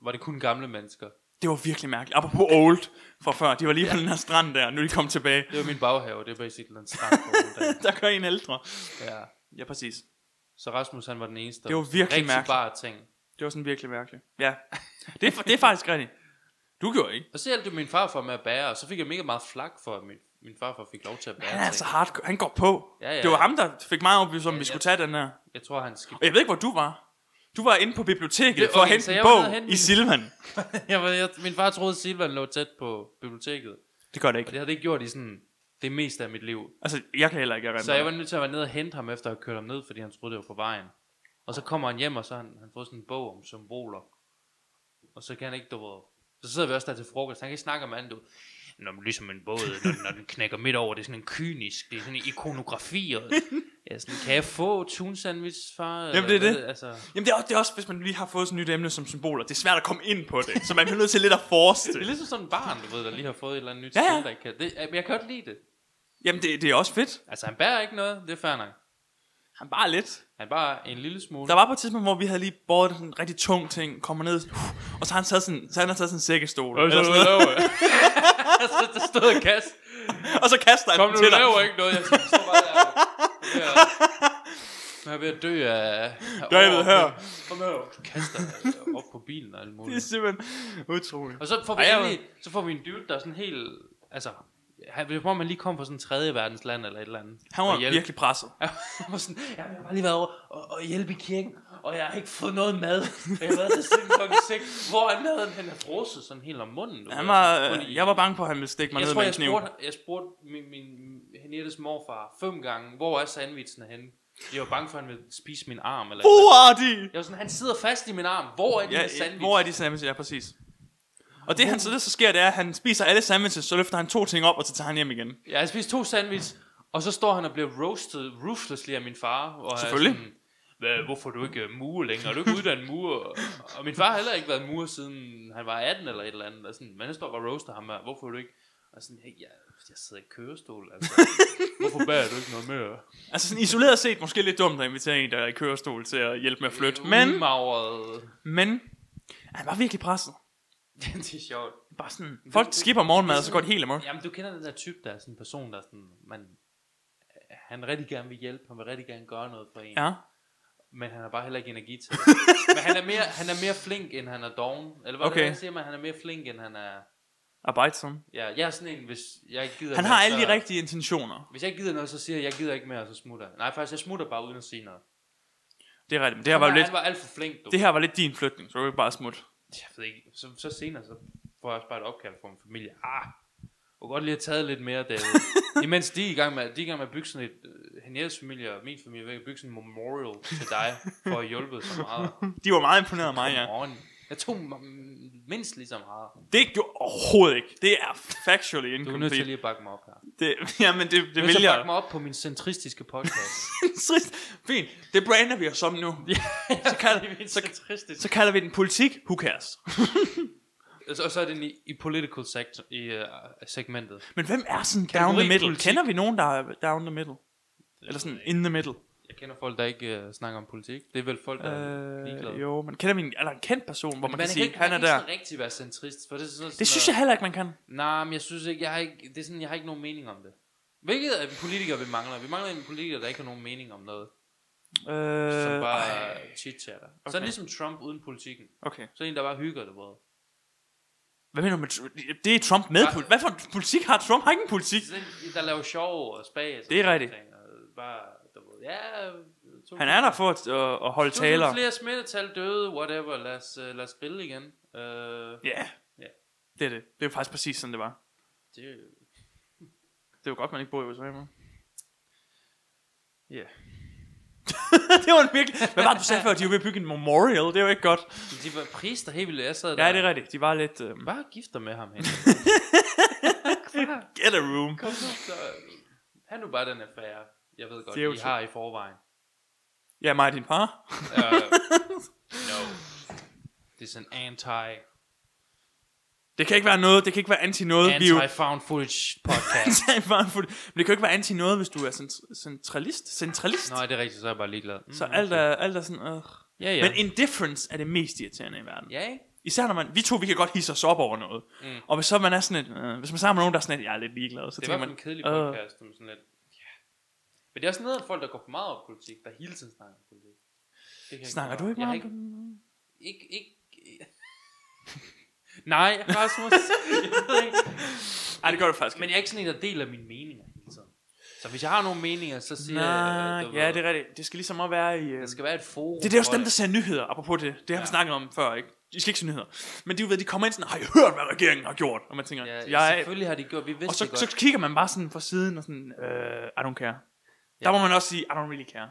[SPEAKER 2] var det kun gamle mennesker.
[SPEAKER 1] Det var virkelig mærkeligt. Apropos old fra før. De var lige på den her strand der. Nu er de kommet tilbage.
[SPEAKER 2] Det var min baghave, det er basically en strand på den dag.
[SPEAKER 1] Der kører en ældre.
[SPEAKER 2] ja.
[SPEAKER 1] Ja, præcis.
[SPEAKER 2] Så Rasmus, han var den eneste. der
[SPEAKER 1] Det var virkelig
[SPEAKER 2] rigtig
[SPEAKER 1] mærkeligt.
[SPEAKER 2] bare ting.
[SPEAKER 1] Det var sådan virkelig mærkeligt. Ja. Det er, det er faktisk rigtigt. Du gjorde ikke.
[SPEAKER 2] Og så hjalp det min far for med at bære, og så fik jeg mega meget flak for, at min, min farfar fik lov til at være.
[SPEAKER 1] Han er altså
[SPEAKER 2] til.
[SPEAKER 1] hardcore. Han går på.
[SPEAKER 2] Ja, ja,
[SPEAKER 1] det var
[SPEAKER 2] ja.
[SPEAKER 1] ham, der fik mig opvist, om vi
[SPEAKER 2] ja.
[SPEAKER 1] skulle tage den her.
[SPEAKER 2] Jeg tror, han skiftede.
[SPEAKER 1] Og jeg ved ikke, hvor du var. Du var inde på biblioteket
[SPEAKER 2] Det-
[SPEAKER 1] for at
[SPEAKER 2] okay,
[SPEAKER 1] hente
[SPEAKER 2] så
[SPEAKER 1] en
[SPEAKER 2] jeg var nede og
[SPEAKER 1] bog
[SPEAKER 2] hente
[SPEAKER 1] i
[SPEAKER 2] min-
[SPEAKER 1] Silvan.
[SPEAKER 2] jeg, ved- jeg, min far troede, at Silvan lå tæt på biblioteket.
[SPEAKER 1] Det gør det
[SPEAKER 2] Og
[SPEAKER 1] ikke.
[SPEAKER 2] det havde det ikke gjort i sådan det meste af mit liv.
[SPEAKER 1] Altså, jeg kan heller ikke erindre.
[SPEAKER 2] Så jeg var nødt til at være nede og hente ham, efter at have kørt ham ned, fordi han troede, det var på vejen. Og så kommer han hjem, og så har han, han fået sådan en bog om symboler. Og så kan han ikke, du ved, så sidder vi også der til frokost. Han kan ikke snakke om andet, du ved. Nå, men ligesom en båd, når, den- når den knækker midt over, det er sådan en kynisk, det er sådan en ikonografi. Og, ja, sådan, kan jeg få tun sandwich, far?
[SPEAKER 1] Jamen, det er
[SPEAKER 2] Eller
[SPEAKER 1] det.
[SPEAKER 2] hvad? Altså,
[SPEAKER 1] Jamen det er, også, det er også, hvis man lige har fået sådan et nyt emne som symboler. Det er svært at komme ind på det, så man bliver nødt til lidt at force
[SPEAKER 2] det er
[SPEAKER 1] det.
[SPEAKER 2] ligesom sådan en barn, du ved, der lige har fået et eller andet nyt
[SPEAKER 1] Ja,
[SPEAKER 2] ja,
[SPEAKER 1] ja.
[SPEAKER 2] ja. der ikke kan. Det, jeg, jeg kan godt lide det.
[SPEAKER 1] Jamen det, det er også fedt.
[SPEAKER 2] Altså, han bærer ikke noget, det er fair nok.
[SPEAKER 1] Han bare lidt.
[SPEAKER 2] Han er bare en lille smule.
[SPEAKER 1] Der var på et tidspunkt, hvor vi havde lige båret sådan en rigtig tung ting, kommer ned, og så har han taget sådan, så han har taget sådan en sækkestol. Eller sådan noget.
[SPEAKER 2] så Altså, der stod og kast.
[SPEAKER 1] Og så kaster han
[SPEAKER 2] Kom
[SPEAKER 1] den
[SPEAKER 2] nu,
[SPEAKER 1] til
[SPEAKER 2] du
[SPEAKER 1] dig.
[SPEAKER 2] laver ikke noget. Jeg står bare der. Jeg er ved at- Jeg er ved at dø af... af
[SPEAKER 1] David,
[SPEAKER 2] over-
[SPEAKER 1] her.
[SPEAKER 2] Kom her. Du kaster øh, op på bilen og alt
[SPEAKER 1] Det er
[SPEAKER 2] muligt.
[SPEAKER 1] simpelthen utroligt.
[SPEAKER 2] Og så får vi,
[SPEAKER 1] Ej, jeg
[SPEAKER 2] endelig, så får vi en dude, der er sådan helt... Altså, han, det er som om han lige kom fra sådan en tredje verdensland eller et eller andet.
[SPEAKER 1] Han var
[SPEAKER 2] Og hjælp.
[SPEAKER 1] virkelig presset.
[SPEAKER 2] Han var sådan, "Jamen, jeg har bare lige været over og, og hjælpe i kirken, og jeg har ikke fået noget mad. Og jeg har været der siden klokken 6, hvor han havde han havde frosset sådan helt om munden. du
[SPEAKER 1] Han
[SPEAKER 2] ved,
[SPEAKER 1] var,
[SPEAKER 2] sådan
[SPEAKER 1] øh,
[SPEAKER 2] ondt i-
[SPEAKER 1] jeg var bange på, at han ville stikke mig
[SPEAKER 2] jeg
[SPEAKER 1] ned
[SPEAKER 2] tror,
[SPEAKER 1] med en
[SPEAKER 2] jeg
[SPEAKER 1] kniv.
[SPEAKER 2] spurgte, jeg spurgte min, min Henriettes morfar fem gange, hvor er sandvitsen henne? Jeg var bange for, at han ville spise min arm. Eller et eller
[SPEAKER 1] Hvor
[SPEAKER 2] andet.
[SPEAKER 1] er de?
[SPEAKER 2] jeg var sådan, han sidder fast i min arm. Hvor er din ja,
[SPEAKER 1] Ja,
[SPEAKER 2] sandwich?
[SPEAKER 1] hvor er de sandwiches? Ja, præcis. Og det, han, så det så sker, det er, at han spiser alle sandwiches, så løfter han to ting op, og så tager han hjem igen.
[SPEAKER 2] Jeg har spist to sandwich, og så står han og bliver roasted ruthlessly af min far. Og er
[SPEAKER 1] Selvfølgelig.
[SPEAKER 2] Sådan, Hvad, hvorfor er du ikke øh, murer længere? Er du ikke uddannet murer? Og min far har heller ikke været murer, siden han var 18 eller et eller andet. Og sådan, men han står bare og roaster ham her. Hvorfor er du ikke... Og sådan, hey, jeg, jeg sidder i kørestol, altså. hvorfor bærer du ikke noget mere?
[SPEAKER 1] Altså sådan isoleret set, måske lidt dumt at invitere en, der er i kørestol til at hjælpe med at flytte. Men,
[SPEAKER 2] Udmagret.
[SPEAKER 1] men, han var virkelig presset.
[SPEAKER 2] det er sjovt.
[SPEAKER 1] Bare sådan, folk skipper morgenmad, og så går det helt amok.
[SPEAKER 2] Jamen, du kender den der type, der er sådan en person, der er sådan, man, han rigtig gerne vil hjælpe, han vil rigtig gerne gøre noget for en,
[SPEAKER 1] Ja.
[SPEAKER 2] men han har bare heller ikke energi til det. men han er, mere, han er mere flink, end han er doven. Eller hvad
[SPEAKER 1] Okay.
[SPEAKER 2] okay. det, siger man? Han er mere flink, end han er...
[SPEAKER 1] Arbejdsom.
[SPEAKER 2] Ja, jeg er sådan en, hvis jeg ikke gider
[SPEAKER 1] Han
[SPEAKER 2] mere,
[SPEAKER 1] har alle
[SPEAKER 2] så,
[SPEAKER 1] de rigtige intentioner.
[SPEAKER 2] Hvis jeg ikke gider noget, så siger jeg, jeg gider ikke mere, og så smutter jeg. Nej, faktisk, jeg smutter bare uden at sige noget.
[SPEAKER 1] Det er rigtigt. Men det her var jo
[SPEAKER 2] han,
[SPEAKER 1] lidt,
[SPEAKER 2] han var alt for flink, du.
[SPEAKER 1] det her var lidt din flytning, så du kan bare smutte.
[SPEAKER 2] jeg ved ikke, så, så senere, så får jeg også bare et opkald fra min familie. Ah, jeg kunne godt lige have taget lidt mere, David. Imens de er i gang med, de er i gang med at bygge sådan et, uh, Henriettes familie og min familie, vil bygge sådan en memorial til dig, for at have hjulpet så meget.
[SPEAKER 1] De var meget imponeret af mig, ja.
[SPEAKER 2] Morgen. Jeg tog m- mindst lige så meget.
[SPEAKER 1] Det er jo overhovedet ikke. Det er factually
[SPEAKER 2] Du er nødt til
[SPEAKER 1] incomplete.
[SPEAKER 2] lige at bakke mig op her. Du
[SPEAKER 1] Det, jamen, det, det
[SPEAKER 2] er nødt
[SPEAKER 1] vil
[SPEAKER 2] til at bakke
[SPEAKER 1] jeg.
[SPEAKER 2] mig op på min centristiske podcast.
[SPEAKER 1] Trist. Fint. Det brander vi os som nu.
[SPEAKER 2] så kalder vi så,
[SPEAKER 1] Så kalder vi den politik. Who cares?
[SPEAKER 2] så, og så er den i, i political sector, i uh, segmentet.
[SPEAKER 1] Men hvem er sådan down
[SPEAKER 2] Kategori
[SPEAKER 1] the middle?
[SPEAKER 2] politik.
[SPEAKER 1] Kender vi nogen, der er down the middle? Eller sådan in the middle?
[SPEAKER 2] Jeg kender folk, der ikke uh, snakker om politik. Det er vel folk, der er ligeglade.
[SPEAKER 1] Øh, jo, men kender vi en, eller en kendt person, hvor man,
[SPEAKER 2] Man,
[SPEAKER 1] kan
[SPEAKER 2] kan
[SPEAKER 1] sige,
[SPEAKER 2] ikke,
[SPEAKER 1] han er
[SPEAKER 2] man kan
[SPEAKER 1] der?
[SPEAKER 2] ikke sådan rigtig være centrist, for det er sådan noget,
[SPEAKER 1] Det synes jeg heller ikke, man kan.
[SPEAKER 2] Nej, men jeg synes ikke, jeg har ikke, det er sådan, jeg har ikke nogen mening om det. Hvilket af politikere vi mangler? Vi mangler en politiker, der ikke har nogen mening om noget, øh, som
[SPEAKER 1] Øh,
[SPEAKER 2] bare
[SPEAKER 1] ej,
[SPEAKER 2] chit-chatter. Okay.
[SPEAKER 1] Okay.
[SPEAKER 2] Sådan ligesom Trump uden politikken.
[SPEAKER 1] okay.
[SPEAKER 2] Så en, der bare hygger det, bror.
[SPEAKER 1] Hvad mener du med, tr- det er Trump med
[SPEAKER 2] Bare-
[SPEAKER 1] politik? Hvad for en politik har Trump? Har ikke en politik.
[SPEAKER 2] Sådan en, der laver sjov og spas. og
[SPEAKER 1] Det er
[SPEAKER 2] sådan
[SPEAKER 1] rigtigt.
[SPEAKER 2] ting, og Bare, du ved, ja, to-
[SPEAKER 1] Han er der for at, at, at holde
[SPEAKER 2] Taler.
[SPEAKER 1] taler.
[SPEAKER 2] flere smittetal døde, whatever. Lad os, uh, lad os spille igen. Uh,
[SPEAKER 1] Ja,
[SPEAKER 2] Ja.
[SPEAKER 1] det er det. Det er faktisk præcis sådan, det var.
[SPEAKER 2] det,
[SPEAKER 1] Det er jo godt, man ikke bor i USA, man. Ja. Yeah. det var en virkelig... Hvad var det, du sagde før? De var ved at bygge en memorial. Det er jo ikke godt.
[SPEAKER 2] de var prister helt vildt. Jeg sad
[SPEAKER 1] Ja,
[SPEAKER 2] der.
[SPEAKER 1] det er rigtigt. De var lidt... Øh,
[SPEAKER 2] Bare gifter med ham hen.
[SPEAKER 1] get a room.
[SPEAKER 2] Kom nu, så. Ha' nu bare den affære. Jeg ved godt,
[SPEAKER 1] Det er jo
[SPEAKER 2] I
[SPEAKER 1] så-
[SPEAKER 2] har i forvejen.
[SPEAKER 1] Ja, mig og din par.
[SPEAKER 2] Uh, no. Det er sådan anti,
[SPEAKER 1] Det kan ikke være noget. Det kan ikke være anti-noget. Vi er jo...
[SPEAKER 2] anti-found footage podcast.
[SPEAKER 1] Det er bare fuldt- Men det kan jo ikke være anti-noget, hvis du er cent- centralist. Centralist.
[SPEAKER 2] Nej, det er rigtigt, så er jeg bare ligeglad. Mm,
[SPEAKER 1] Så alt er, alt er sådan... Øh.
[SPEAKER 2] Ja, ja.
[SPEAKER 1] Men indifference er det mest irriterende i verden.
[SPEAKER 2] Ja, ikke?
[SPEAKER 1] Især når man... Vi to, vi kan godt hisse os op over noget. Mm. Og hvis så man er sådan et... Øh, hvis man sammen med nogen, der er sådan et... Jeg er lidt ligeglad. Så
[SPEAKER 2] Det
[SPEAKER 1] tænker
[SPEAKER 2] var
[SPEAKER 1] man...
[SPEAKER 2] en kedelig
[SPEAKER 1] "Øh."
[SPEAKER 2] podcast, som sådan lidt... Ja. Men det er også noget, at folk, der går for meget op i politik, der hele tiden snakker om politik. Det kan jeg
[SPEAKER 1] Snakker
[SPEAKER 2] godt-
[SPEAKER 1] du ikke
[SPEAKER 2] jeg har
[SPEAKER 1] meget om det?
[SPEAKER 2] ikke, ikke... Nej, Rasmus. jeg ved ikke.
[SPEAKER 1] Nej, det gør du faktisk
[SPEAKER 2] Men
[SPEAKER 1] ikke.
[SPEAKER 2] jeg er ikke sådan en, der deler mine meninger hele tiden. Så hvis jeg har nogle meninger, så siger jeg...
[SPEAKER 1] Nej,
[SPEAKER 2] øh, du
[SPEAKER 1] ja,
[SPEAKER 2] ved,
[SPEAKER 1] det er rigtigt. Det skal ligesom også være i... øh,
[SPEAKER 2] Der skal være et forum.
[SPEAKER 1] Det er det også
[SPEAKER 2] for
[SPEAKER 1] dem, der ser nyheder, apropos det. Det har vi
[SPEAKER 2] Ja.
[SPEAKER 1] snakket om før, ikke? De skal ikke se nyheder. Men de, ved, de kommer ind sådan, har I hørt, hvad regeringen har gjort? Og man tænker,
[SPEAKER 2] Ja,
[SPEAKER 1] jeg...
[SPEAKER 2] selvfølgelig har de gjort, vi vidste
[SPEAKER 1] Og så,
[SPEAKER 2] det godt.
[SPEAKER 1] så kigger man bare sådan fra siden og sådan, øh, I don't care. Der
[SPEAKER 2] Ja.
[SPEAKER 1] må man også sige, I don't really care.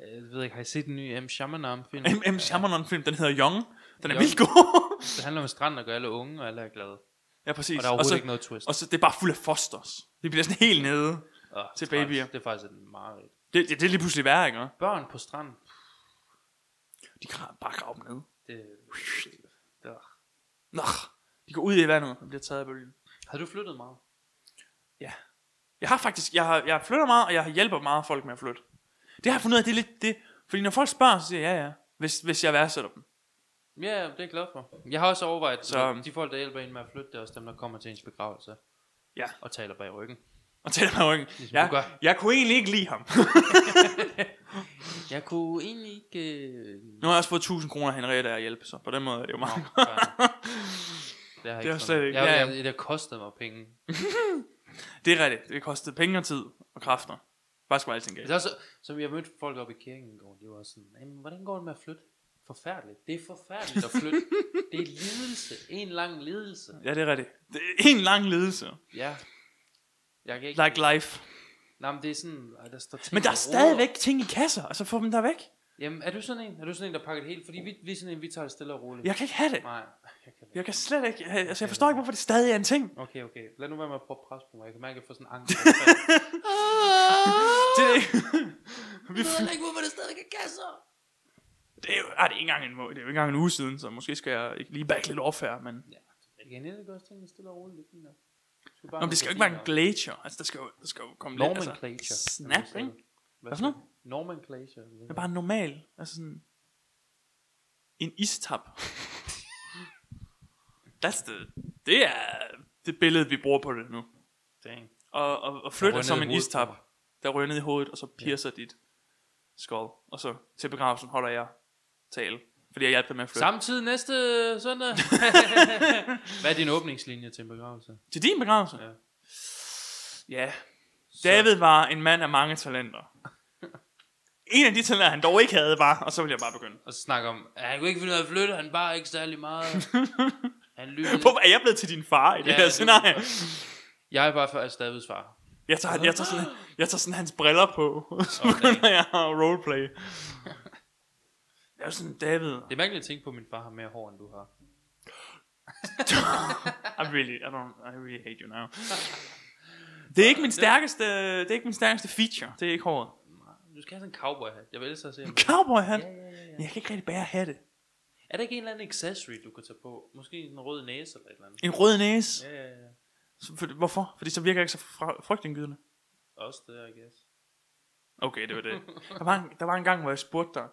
[SPEAKER 2] Jeg ved ikke, har I set den nye M. Shyamalan-film?
[SPEAKER 1] M. M. Shyamalan-film, den hedder Young. Den er
[SPEAKER 2] Young.
[SPEAKER 1] vildt god.
[SPEAKER 2] Det handler om stranden og gør alle unge, og alle er glade.
[SPEAKER 1] ja, præcis.
[SPEAKER 2] Og der er
[SPEAKER 1] så,
[SPEAKER 2] overhovedet ikke noget twist.
[SPEAKER 1] og så, det er bare fuld af fosters. Det bliver sådan helt nede.
[SPEAKER 2] Åh,
[SPEAKER 1] til
[SPEAKER 2] træls.
[SPEAKER 1] babyer.
[SPEAKER 2] Det er faktisk et meget
[SPEAKER 1] Det, det, det er lige pludselig værre, ikke?
[SPEAKER 2] Børn på stranden.
[SPEAKER 1] De kan bare grave dem ned.
[SPEAKER 2] Det, det var.
[SPEAKER 1] Nå, de går ud i vandet og bliver taget af bølgen.
[SPEAKER 2] Har du flyttet meget?
[SPEAKER 1] Jeg har faktisk, jeg, har, jeg flytter meget, og jeg hjælper meget folk med at flytte. Det har jeg fundet ud af, det er lidt det. Fordi når folk spørger, så siger jeg ja, ja. Hvis, hvis jeg værdsætter dem.
[SPEAKER 2] Ja, det er jeg glad for. Jeg har også overvejet,
[SPEAKER 1] Så-
[SPEAKER 2] så... de folk, der hjælper en med at flytte, det er også dem, der kommer til ens begravelse.
[SPEAKER 1] Ja.
[SPEAKER 2] Og taler bag ryggen.
[SPEAKER 1] Og tæller mig ryggen.
[SPEAKER 2] Ligesom du
[SPEAKER 1] Jeg,
[SPEAKER 2] gør.
[SPEAKER 1] jeg kunne egentlig ikke lide ham.
[SPEAKER 2] Jeg kunne egentlig ikke... øh,
[SPEAKER 1] Nu har jeg også fået 1000 kroner af Henriette af at hjælpe, så på den måde er det jo meget.
[SPEAKER 2] Nå, fair. Det har jeg
[SPEAKER 1] Det er
[SPEAKER 2] ikke
[SPEAKER 1] slet
[SPEAKER 2] sådan.
[SPEAKER 1] ikke-
[SPEAKER 2] Jeg,
[SPEAKER 1] ja, ja.
[SPEAKER 2] jeg, jeg, det kostede mig penge.
[SPEAKER 1] Det er rigtigt. Det kostede penge og tid og kræfter. Faktisk var alting
[SPEAKER 2] Men
[SPEAKER 1] galt.
[SPEAKER 2] Det er også, som jeg mødte folk op i kirken i går, de var sådan, Jamen, hvordan går det med at flytte? Forfærdeligt. Det er forfærdeligt at flytte. det er lidelse. En lang lidelse.
[SPEAKER 1] Ja, det er rigtigt. Det er en lang ledelse.
[SPEAKER 2] Ja. Jeg kan ikke...
[SPEAKER 1] Like life.
[SPEAKER 2] Nej, men det er sådan, at der står ting
[SPEAKER 1] Men der
[SPEAKER 2] og
[SPEAKER 1] er
[SPEAKER 2] roder.
[SPEAKER 1] stadigvæk ting i kasser, og så få dem der væk.
[SPEAKER 2] Jamen, er du sådan en? Er du sådan en, der pakker det helt? Fordi vi, vi er sådan en, vi tager det stille og roligt.
[SPEAKER 1] Jeg kan ikke have det.
[SPEAKER 2] Nej, jeg kan det ikke.
[SPEAKER 1] Jeg kan slet ikke. Altså, jeg forstår ikke, hvorfor det stadig er en ting.
[SPEAKER 2] Okay, okay. Lad nu være med at prøve at presse på mig. Jeg kan mærke, at jeg får sådan en angst.
[SPEAKER 1] Det er Vi fly-
[SPEAKER 2] ikke, hvorfor det stadig er kasser.
[SPEAKER 1] det er jo, ej, det er ikke engang en, må- det er jo ikke engang en uge siden, så måske skal jeg ikke lige back lidt off her, men...
[SPEAKER 2] Ja, jeg kan ikke gøre tingene stille og roligt. Det er fint nok. Du skal
[SPEAKER 1] Nå,
[SPEAKER 2] bare
[SPEAKER 1] men
[SPEAKER 2] have
[SPEAKER 1] det skal jo
[SPEAKER 2] nogle
[SPEAKER 1] ikke være en
[SPEAKER 2] rutiner.
[SPEAKER 1] glacier. Altså, der skal jo, der skal jo komme lidt...
[SPEAKER 2] Nomenclature.
[SPEAKER 1] Altså, snap, ikke?
[SPEAKER 2] Hvad
[SPEAKER 1] for noget?
[SPEAKER 2] Nomenclature.
[SPEAKER 1] Det er bare normal. Altså sådan... En istap. That's the... Det er det billede, vi bruger på det nu.
[SPEAKER 2] Dang.
[SPEAKER 1] Og, og, og
[SPEAKER 2] Der
[SPEAKER 1] flytter
[SPEAKER 2] røg
[SPEAKER 1] som
[SPEAKER 2] ned i
[SPEAKER 1] en
[SPEAKER 2] hovedet
[SPEAKER 1] istap,
[SPEAKER 2] på mig.
[SPEAKER 1] der rører ned i hovedet, og så piercer ja. dit skål. Og så til begravelsen holder jeg tale. Fordi jeg hjalp dig med at flytte.
[SPEAKER 2] Samtidig næste søndag. Hvad er din åbningslinje til en begravelse?
[SPEAKER 1] Til din begravelse?
[SPEAKER 2] Ja.
[SPEAKER 1] Ja. David var en mand af mange talenter. En af de talenter, han dog ikke havde, var, og så vil jeg bare begynde.
[SPEAKER 2] Og så snakker om, at han kunne ikke finde ud af at flytte, han bare ikke særlig meget. han lyttede.
[SPEAKER 1] Hvorfor er jeg blevet til din far i det
[SPEAKER 2] Ja,
[SPEAKER 1] ja, her
[SPEAKER 2] det-
[SPEAKER 1] scenarie?
[SPEAKER 2] Jeg er bare for altså Davids far.
[SPEAKER 1] Jeg tager, jeg, tager sådan, jeg tager sådan hans briller på, og så
[SPEAKER 2] Okay.
[SPEAKER 1] begynder jeg at roleplay. Jeg er sådan, David,
[SPEAKER 2] Det er mærkeligt at tænke på, at min far har mere hår, end du har.
[SPEAKER 1] I really, I don't, I really hate you now. Det er ikke min stærkeste, det er ikke min stærkeste feature. Det er ikke håret.
[SPEAKER 2] Du skal have sådan en cowboy hat. Jeg vil ellers have se ham.
[SPEAKER 1] Cowboy hat.
[SPEAKER 2] Ja, ja, ja, ja.
[SPEAKER 1] Jeg kan ikke rigtig bære hatte.
[SPEAKER 2] Er der ikke en eller anden accessory, du kan tage på? Måske en rød næse eller et eller andet?
[SPEAKER 1] En rød næse.
[SPEAKER 2] Ja, ja, ja.
[SPEAKER 1] Så for- Hvorfor? Fordi så virker jeg ikke så fra- frygtindgydende.
[SPEAKER 2] Også det, I guess.
[SPEAKER 1] Okay, det var det. Der var en, der var en gang, hvor jeg spurgte dig,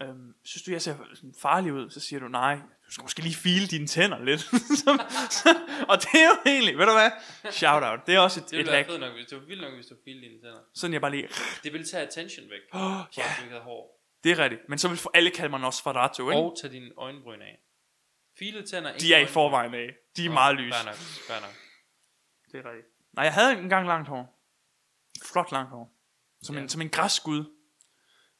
[SPEAKER 1] øhm, synes du, jeg ser sådan farlig ud? Så siger du, nej, du skal måske lige file dine tænder lidt. Så- så- og det er jo egentlig, ved du hvad? Shout out. Det er også et,
[SPEAKER 2] Det
[SPEAKER 1] et
[SPEAKER 2] ville være
[SPEAKER 1] lag.
[SPEAKER 2] fedt nok, hvis det var vildt nok, hvis du fildte dine tænder.
[SPEAKER 1] Sådan jeg bare lige,
[SPEAKER 2] Det ville tage attention væk. Åh,
[SPEAKER 1] oh, ja,
[SPEAKER 2] Du ikke havde hår.
[SPEAKER 1] det er rigtigt. Men så vil for alle kalde mig Nosferatu, ikke?
[SPEAKER 2] Og tage dine øjenbryn af. File tænder.
[SPEAKER 1] De er i forvejen af. De er meget lys.
[SPEAKER 2] Fair nok, fair nok.
[SPEAKER 1] Det er rigtigt. Nej, jeg havde engang langt hår. Flot langt hår. Som,
[SPEAKER 2] Ja.
[SPEAKER 1] en, som en græskud.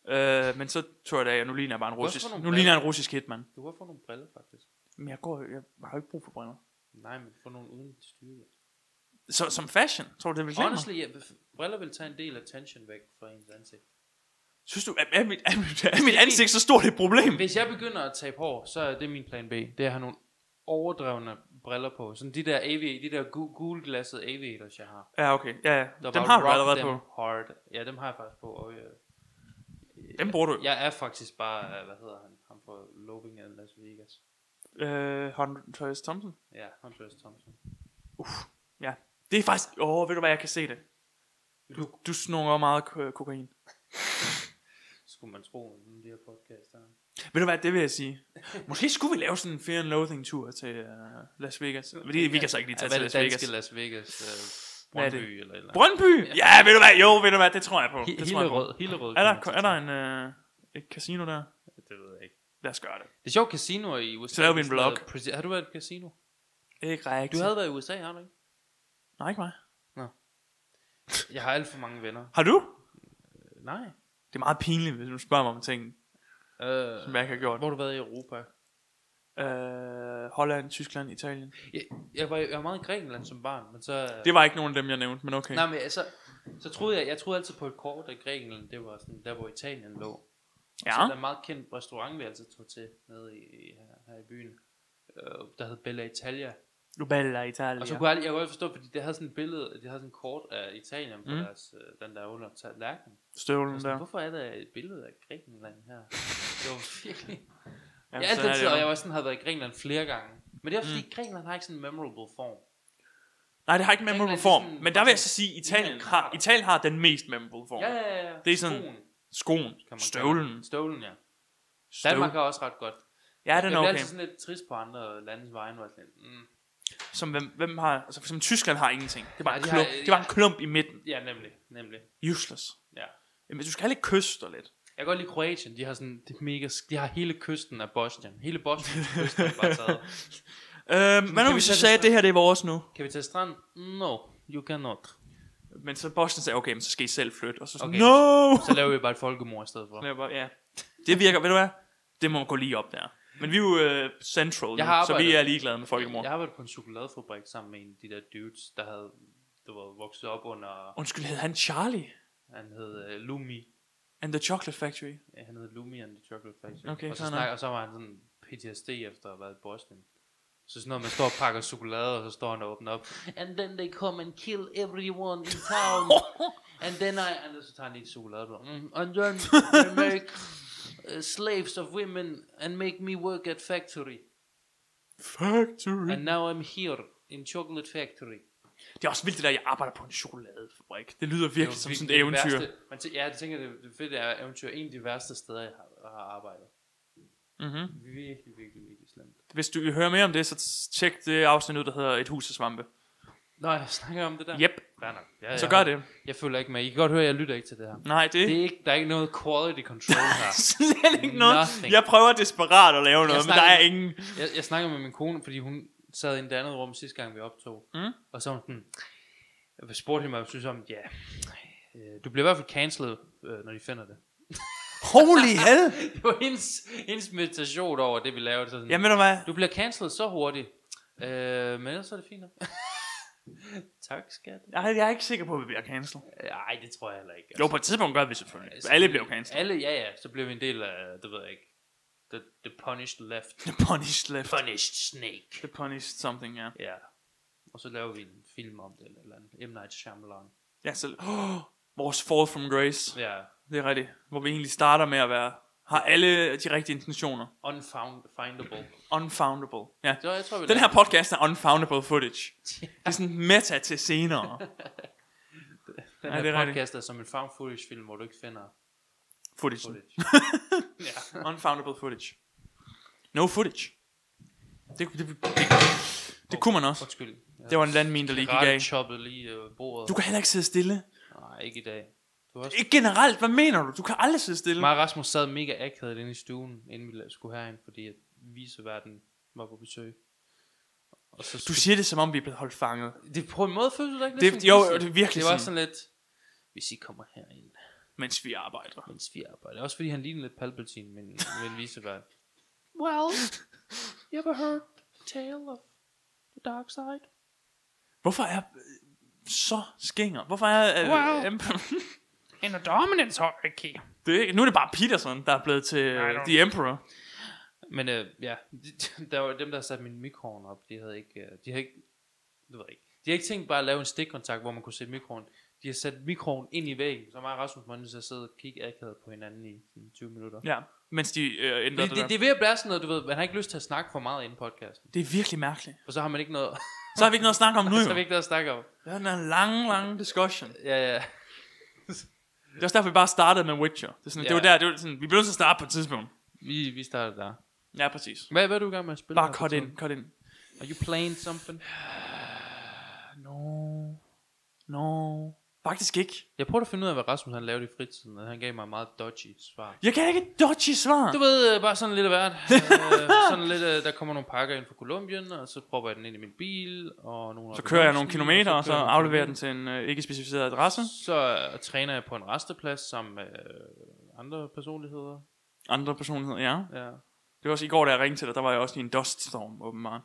[SPEAKER 1] Øh, men så tog jeg det af, og nu ligner jeg bare en
[SPEAKER 2] Hvorfor
[SPEAKER 1] russisk,
[SPEAKER 2] nogle
[SPEAKER 1] nu ligner jeg en russisk hitman.
[SPEAKER 2] Du har fået nogle briller, faktisk.
[SPEAKER 1] Men jeg, går, jeg har jo ikke brug for briller.
[SPEAKER 2] Nej, men få nogle uden styrke.
[SPEAKER 1] Så, som fashion, tror du, det vil klæde mig?
[SPEAKER 2] Honestly, ja, briller vil tage en del attention væk fra ens ansigt.
[SPEAKER 1] Synes du, er, er, mit, er, mit, er mit ansigt så stort et problem?
[SPEAKER 2] Hvis jeg begynder at tabe hår, så er det min plan B. Det er at have nogle overdrevne briller på. Sådan de der AV, de der gu- gulglassede aviators, jeg har.
[SPEAKER 1] Ja, okay. Ja, ja.
[SPEAKER 2] Der
[SPEAKER 1] Dem
[SPEAKER 2] bare
[SPEAKER 1] har du
[SPEAKER 2] rock
[SPEAKER 1] allerede
[SPEAKER 2] them
[SPEAKER 1] på.
[SPEAKER 2] Hard. Ja, dem har jeg faktisk på. Og, øh,
[SPEAKER 1] Dem bruger du.
[SPEAKER 2] jeg er faktisk bare, øh, hvad hedder han, ham fra Loving af Las Vegas.
[SPEAKER 1] Øh, Hunter S. Thompson.
[SPEAKER 2] Ja, Hunter S. Thompson.
[SPEAKER 1] Ja. Det er faktisk... Åh, oh, ved du hvad, jeg kan se det.
[SPEAKER 2] Du,
[SPEAKER 1] Du snorer meget ko- kokain.
[SPEAKER 2] skulle man tro, om de her podcast her.
[SPEAKER 1] Ved du hvad, det vil jeg sige. Måske skulle vi lave sådan en Fear and Loathing tur til uh, Las Vegas. Fordi vi kan så ikke lige tage
[SPEAKER 2] Hvad
[SPEAKER 1] til
[SPEAKER 2] er det
[SPEAKER 1] Las Vegas.
[SPEAKER 2] danske Las Vegas? Øh,
[SPEAKER 1] Hvad er det?
[SPEAKER 2] Brøndby eller et eller andet?
[SPEAKER 1] Brøndby! Ja. ved du hvad, jo, ved du hvad, det tror jeg på. Det tror jeg på.
[SPEAKER 2] Hillerød. Hillerød.
[SPEAKER 1] Er der, er der en, øh, et casino der?
[SPEAKER 2] Det ved jeg ikke.
[SPEAKER 1] Lad os gøre det.
[SPEAKER 2] Det er sjovt, casinoer i USA.
[SPEAKER 1] Så laver vi en
[SPEAKER 2] Sådan noget
[SPEAKER 1] vlog.
[SPEAKER 2] præsi- Har du været i et casino?
[SPEAKER 1] Ikke rigtigt.
[SPEAKER 2] Du havde været i USA, har du ikke?
[SPEAKER 1] Nej, ikke mig.
[SPEAKER 2] Jeg har alt for mange venner.
[SPEAKER 1] Har du?
[SPEAKER 2] Nej.
[SPEAKER 1] Det er meget pinligt, hvis du spørger mig om ting,
[SPEAKER 2] Øh,
[SPEAKER 1] som jeg ikke har gjort.
[SPEAKER 2] hvor har du været i Europa?
[SPEAKER 1] Øh, Holland, Tyskland, Italien.
[SPEAKER 2] Jeg, jeg, var, jeg var meget i Grækenland som barn, men så...
[SPEAKER 1] Det var ikke nogen af dem, jeg nævnte, men okay.
[SPEAKER 2] Nej, men så, så troede jeg, jeg troede altid på et kort, at Grækenland, det var sådan, der hvor Italien lå. Så der er
[SPEAKER 1] ja.
[SPEAKER 2] en meget kendt restaurant, vi altid tog til nede i, i- her, her i byen, øh, der hed Bella Italia.
[SPEAKER 1] Du baller Italien.
[SPEAKER 2] Og så kunne jeg, aldrig- jeg kunne aldrig forstå, fordi det havde sådan et billede, de havde sådan et kort af Italien på
[SPEAKER 1] Mm.
[SPEAKER 2] mm. deres, øh, den der under tallerken.
[SPEAKER 1] Støvlen
[SPEAKER 2] Og Sådan,
[SPEAKER 1] der.
[SPEAKER 2] hvorfor er der et billede af Grækenland her? Det var virkelig... Ja,
[SPEAKER 1] Jamen,
[SPEAKER 2] jeg
[SPEAKER 1] sådan er
[SPEAKER 2] altid
[SPEAKER 1] det
[SPEAKER 2] tid, og
[SPEAKER 1] jo. Mm.
[SPEAKER 2] jeg var sådan, havde været i Grækenland flere gange. Men det er også fordi, Grækenland har ikke sådan en memorable form.
[SPEAKER 1] Nej, det har ikke memorable
[SPEAKER 2] Grækenland er
[SPEAKER 1] form.
[SPEAKER 2] sådan-
[SPEAKER 1] Men der vil jeg så sige, Italien
[SPEAKER 2] Ligner en
[SPEAKER 1] har,
[SPEAKER 2] krater.
[SPEAKER 1] Italien har den mest memorable form.
[SPEAKER 2] Ja, ja, ja.
[SPEAKER 1] Det er sådan-
[SPEAKER 2] Skoen,
[SPEAKER 1] Skoen,
[SPEAKER 2] kan man kalde
[SPEAKER 1] støvlen.
[SPEAKER 2] det. Støvlen, ja.
[SPEAKER 1] Støvlen.
[SPEAKER 2] Danmark er også ret godt.
[SPEAKER 1] Ja, den
[SPEAKER 2] jeg
[SPEAKER 1] er
[SPEAKER 2] bliver
[SPEAKER 1] okay.
[SPEAKER 2] altid sådan lidt trist på andre landes vegne. Var sådan, lidt, mm.
[SPEAKER 1] Som, hvem, hvem har, altså, for eksempel Tyskland har ingenting. Det er bare,
[SPEAKER 2] Nej,
[SPEAKER 1] en,
[SPEAKER 2] de
[SPEAKER 1] klump,
[SPEAKER 2] har-
[SPEAKER 1] det er bare en klump i midten.
[SPEAKER 2] Ja, nemlig. nemlig.
[SPEAKER 1] Useless.
[SPEAKER 2] Ja.
[SPEAKER 1] Jamen, du skal heller ikke kysse dig lidt. Øhm,
[SPEAKER 2] Jeg kan godt lide Kroatien. De har, sådan, det er mega, sk- de har hele kysten af Bosnien. Hele Bosnien kysten er bare taget.
[SPEAKER 1] Øhm, hvad nu
[SPEAKER 2] vi
[SPEAKER 1] hvis
[SPEAKER 2] tage
[SPEAKER 1] jeg
[SPEAKER 2] det
[SPEAKER 1] sagde, at
[SPEAKER 2] fra-
[SPEAKER 1] det her det er vores nu?
[SPEAKER 2] Kan vi tage strand? No, you cannot.
[SPEAKER 1] Men så Boston sagde, okay, men så skal I selv flytte. Og så sådan, okay.
[SPEAKER 2] Okay.
[SPEAKER 1] no!
[SPEAKER 2] Så laver vi bare et folkemord i stedet for.
[SPEAKER 1] Og jeg bare, Ja. Det virker, ved du hvad? Det må gå lige op der. Men vi er jo øh, central,
[SPEAKER 2] Jeg har
[SPEAKER 1] nu, så vi
[SPEAKER 2] arbejdet-
[SPEAKER 1] er ligeglade med folkemord.
[SPEAKER 2] Jeg arbejdede på en chokoladefabrik sammen med en af de der dudes, der havde du ved, vokset op under...
[SPEAKER 1] Undskyld, hed han Charlie
[SPEAKER 2] Han hed øh, Lumi.
[SPEAKER 1] and the Chocolate Factory?
[SPEAKER 2] Ja, han hed Lumi and the Chocolate Factory.
[SPEAKER 1] Okay,
[SPEAKER 2] og, så
[SPEAKER 1] fair
[SPEAKER 2] snak,
[SPEAKER 1] nok.
[SPEAKER 2] og så var han sådan PTSD efter at have været i Boston. Så sådan noget, man står og pakker chokolade, og så står han og åbner op. And then they come and kill everyone in town. and then I... And så tager han lige et chokolade. og- Mm, and then they make uh, slaves of women and make me work at factory.
[SPEAKER 1] Factory.
[SPEAKER 2] And now I'm here in chocolate factory.
[SPEAKER 1] Det er også vildt det der, jeg arbejder på en chokoladefabrik. Det lyder virkelig som sådan et
[SPEAKER 2] virkelig det
[SPEAKER 1] eventyr.
[SPEAKER 2] Værste, man tæ- ja, jeg tænker, det, det fede er eventyr. En af de værste steder, jeg har, har arbejdet.
[SPEAKER 1] Mm-hmm.
[SPEAKER 2] Virkelig, virkelig, virkelig slemt.
[SPEAKER 1] Hvis du vil høre mere om det, så tjek det afsnit ud, der hedder Et hus af svampe.
[SPEAKER 2] Nå, jeg snakker om det der.
[SPEAKER 1] Yep,
[SPEAKER 2] Fair nok. Ja,
[SPEAKER 1] så
[SPEAKER 2] jeg-
[SPEAKER 1] gør det.
[SPEAKER 2] Jeg følger ikke med. I kan godt høre, at jeg lytter ikke til det her.
[SPEAKER 1] Nej, det,
[SPEAKER 2] Det
[SPEAKER 1] det
[SPEAKER 2] er ikke, der er ikke noget quality control her.
[SPEAKER 1] slet ikke noget.
[SPEAKER 2] Nothing.
[SPEAKER 1] Jeg prøver desperat at lave noget, men der
[SPEAKER 2] snakker
[SPEAKER 1] er
[SPEAKER 2] med-
[SPEAKER 1] ingen...
[SPEAKER 2] Jeg, jeg snakker med min kone, fordi hun sad i en andet rum sidste gang, vi optog.
[SPEAKER 1] Mm.
[SPEAKER 2] Og så var hun sådan, jeg spurgte hende, hvad hun synes om, ja, øh, du bliver i hvert fald cancelled, øh, når de finder det.
[SPEAKER 1] Holy hell!
[SPEAKER 2] Det var hendes, hendes meditation over det, vi lavede. Så sådan,
[SPEAKER 1] Jamen ved du hvad?
[SPEAKER 2] Du bliver cancelled så hurtigt. Øh, men ellers er det fint nok. tak, skat.
[SPEAKER 1] Jeg jeg er ikke sikker på, at vi bliver cancelled.
[SPEAKER 2] Nej, det tror jeg heller ikke.
[SPEAKER 1] Jo, på et tidspunkt gør vi selvfølgelig.
[SPEAKER 2] Altså,
[SPEAKER 1] Alle bliver cancelled.
[SPEAKER 2] Alle, ja, ja. Så bliver vi en del af, det ved jeg ikke. The, the punished left.
[SPEAKER 1] The punished left.
[SPEAKER 2] Punished snake.
[SPEAKER 1] The punished something, ja.
[SPEAKER 2] Ja. Og så laver vi en film om det, eller, et eller andet. M. Night Shyamalan.
[SPEAKER 1] Ja, så... Oh, vores fall from grace.
[SPEAKER 2] Ja.
[SPEAKER 1] Det er rigtigt. Hvor vi egentlig starter med at være... Har alle de rigtige intentioner.
[SPEAKER 2] Unfindable.
[SPEAKER 1] Unfoundable. Ja.
[SPEAKER 2] Så jeg tror, vi
[SPEAKER 1] Den her
[SPEAKER 2] laver-
[SPEAKER 1] podcast er unfoundable footage. Det er sådan meta til senere.
[SPEAKER 2] den
[SPEAKER 1] Ja,
[SPEAKER 2] her
[SPEAKER 1] det er rigtigt.
[SPEAKER 2] podcast er som en found footage film, hvor du ikke finder
[SPEAKER 1] Footage.
[SPEAKER 2] footage.
[SPEAKER 1] Unfoundable footage. No footage. Det, det, det, det kunne man også.
[SPEAKER 2] Undskyld. Jeg
[SPEAKER 1] Det var en landmine, der lige gik af.
[SPEAKER 2] karate-choppede lige øh, bordet.
[SPEAKER 1] Du kan heller ikke sidde stille.
[SPEAKER 2] Nej, ikke i dag. Du har også
[SPEAKER 1] Ikke generelt, hvad mener du? Du kan aldrig sidde stille.
[SPEAKER 2] Mig og Rasmus sad mega akavet inde i stuen, inden vi la- skulle herind, fordi at viseverden var på besøg. Og så
[SPEAKER 1] Du siger det, som om vi er blevet holdt fanget.
[SPEAKER 2] det på en måde føles det ikke
[SPEAKER 1] Det-
[SPEAKER 2] lidt som
[SPEAKER 1] jo,
[SPEAKER 2] gissel?
[SPEAKER 1] det er virkelig
[SPEAKER 2] Det var
[SPEAKER 1] sådan.
[SPEAKER 2] sådan lidt, hvis I kommer herind,
[SPEAKER 1] Mens vi arbejder.
[SPEAKER 2] mens vi arbejder. Også fordi han lignede lidt Palpatine, men, men viseverden.
[SPEAKER 3] Well, you ever heard the tale of the dark side?
[SPEAKER 1] Hvorfor er øh, så skinger? Hvorfor er... Øh,
[SPEAKER 3] Wow.
[SPEAKER 1] Emp-
[SPEAKER 3] In a dominance hierarchy,
[SPEAKER 1] det er, ikke- nu er det bare Peterson, der er blevet til øh,
[SPEAKER 3] don't-
[SPEAKER 1] The Emperor.
[SPEAKER 2] Men øh, ja, de- der var dem, der satte min mikroovn op, de havde ikke, øh, de havde ikke, det ved jeg ikke, de havde ikke tænkt bare at lave en stikkontakt, hvor man kunne sætte mikroovn. De har sat mikroovn ind i væggen, så mig og Rasmus måtte nødt til at sidde og kigge akavet på hinanden i sådan 20 minutter.
[SPEAKER 1] Ja, mens de øh, ændrer
[SPEAKER 2] Det,
[SPEAKER 1] det,
[SPEAKER 2] det, det er ved at blive sådan noget, du ved, man har ikke lyst til at snakke for meget inden podcasten.
[SPEAKER 1] det, er virkelig mærkeligt.
[SPEAKER 2] For så har man ikke noget,
[SPEAKER 1] Så har vi ikke noget at snakke om nu,
[SPEAKER 2] så har vi
[SPEAKER 1] jo.
[SPEAKER 2] ikke noget at snakke om.
[SPEAKER 1] Det er en lang, lang discussion.
[SPEAKER 2] Ja, ja.
[SPEAKER 1] Det er også derfor, vi bare startede med Witcher. Det, er sådan, det
[SPEAKER 2] Ja.
[SPEAKER 1] var der, det var sådan, vi blev nødt til at starte på et tidspunkt.
[SPEAKER 2] Vi, vi starter der.
[SPEAKER 1] Ja, præcis.
[SPEAKER 2] Hvad, hvad er du i gang med at spille?
[SPEAKER 1] Bare
[SPEAKER 2] her for
[SPEAKER 1] cut
[SPEAKER 2] tiden?
[SPEAKER 1] ind, cut ind.
[SPEAKER 2] Are you playing something?
[SPEAKER 1] No. No. Faktisk ikke.
[SPEAKER 2] Jeg prøvede at finde ud af, hvad Rasmus han lavede i fritiden, og han gav mig et meget dodgy svar.
[SPEAKER 1] Jeg kan ikke et dodgy svar.
[SPEAKER 2] Du ved, øh, bare sådan lidt af hvert. øh, sådan lidt, øh, der kommer nogle pakker ind fra Colombien, og så propper jeg den ind i min bil, og nogle
[SPEAKER 1] Så kører jeg nogle
[SPEAKER 2] ambulancer,
[SPEAKER 1] kilometer, og så
[SPEAKER 2] kører jeg nogle
[SPEAKER 1] afleverer den
[SPEAKER 2] kilometer.
[SPEAKER 1] til en øh, ikke specificeret adresse.
[SPEAKER 2] Så øh, træner jeg på en resteplads sammen med øh, andre personligheder.
[SPEAKER 1] Andre personligheder, ja.
[SPEAKER 2] Ja.
[SPEAKER 1] Det var også i går, da jeg ringte til dig, der var jeg også i en duststorm, åbenbart.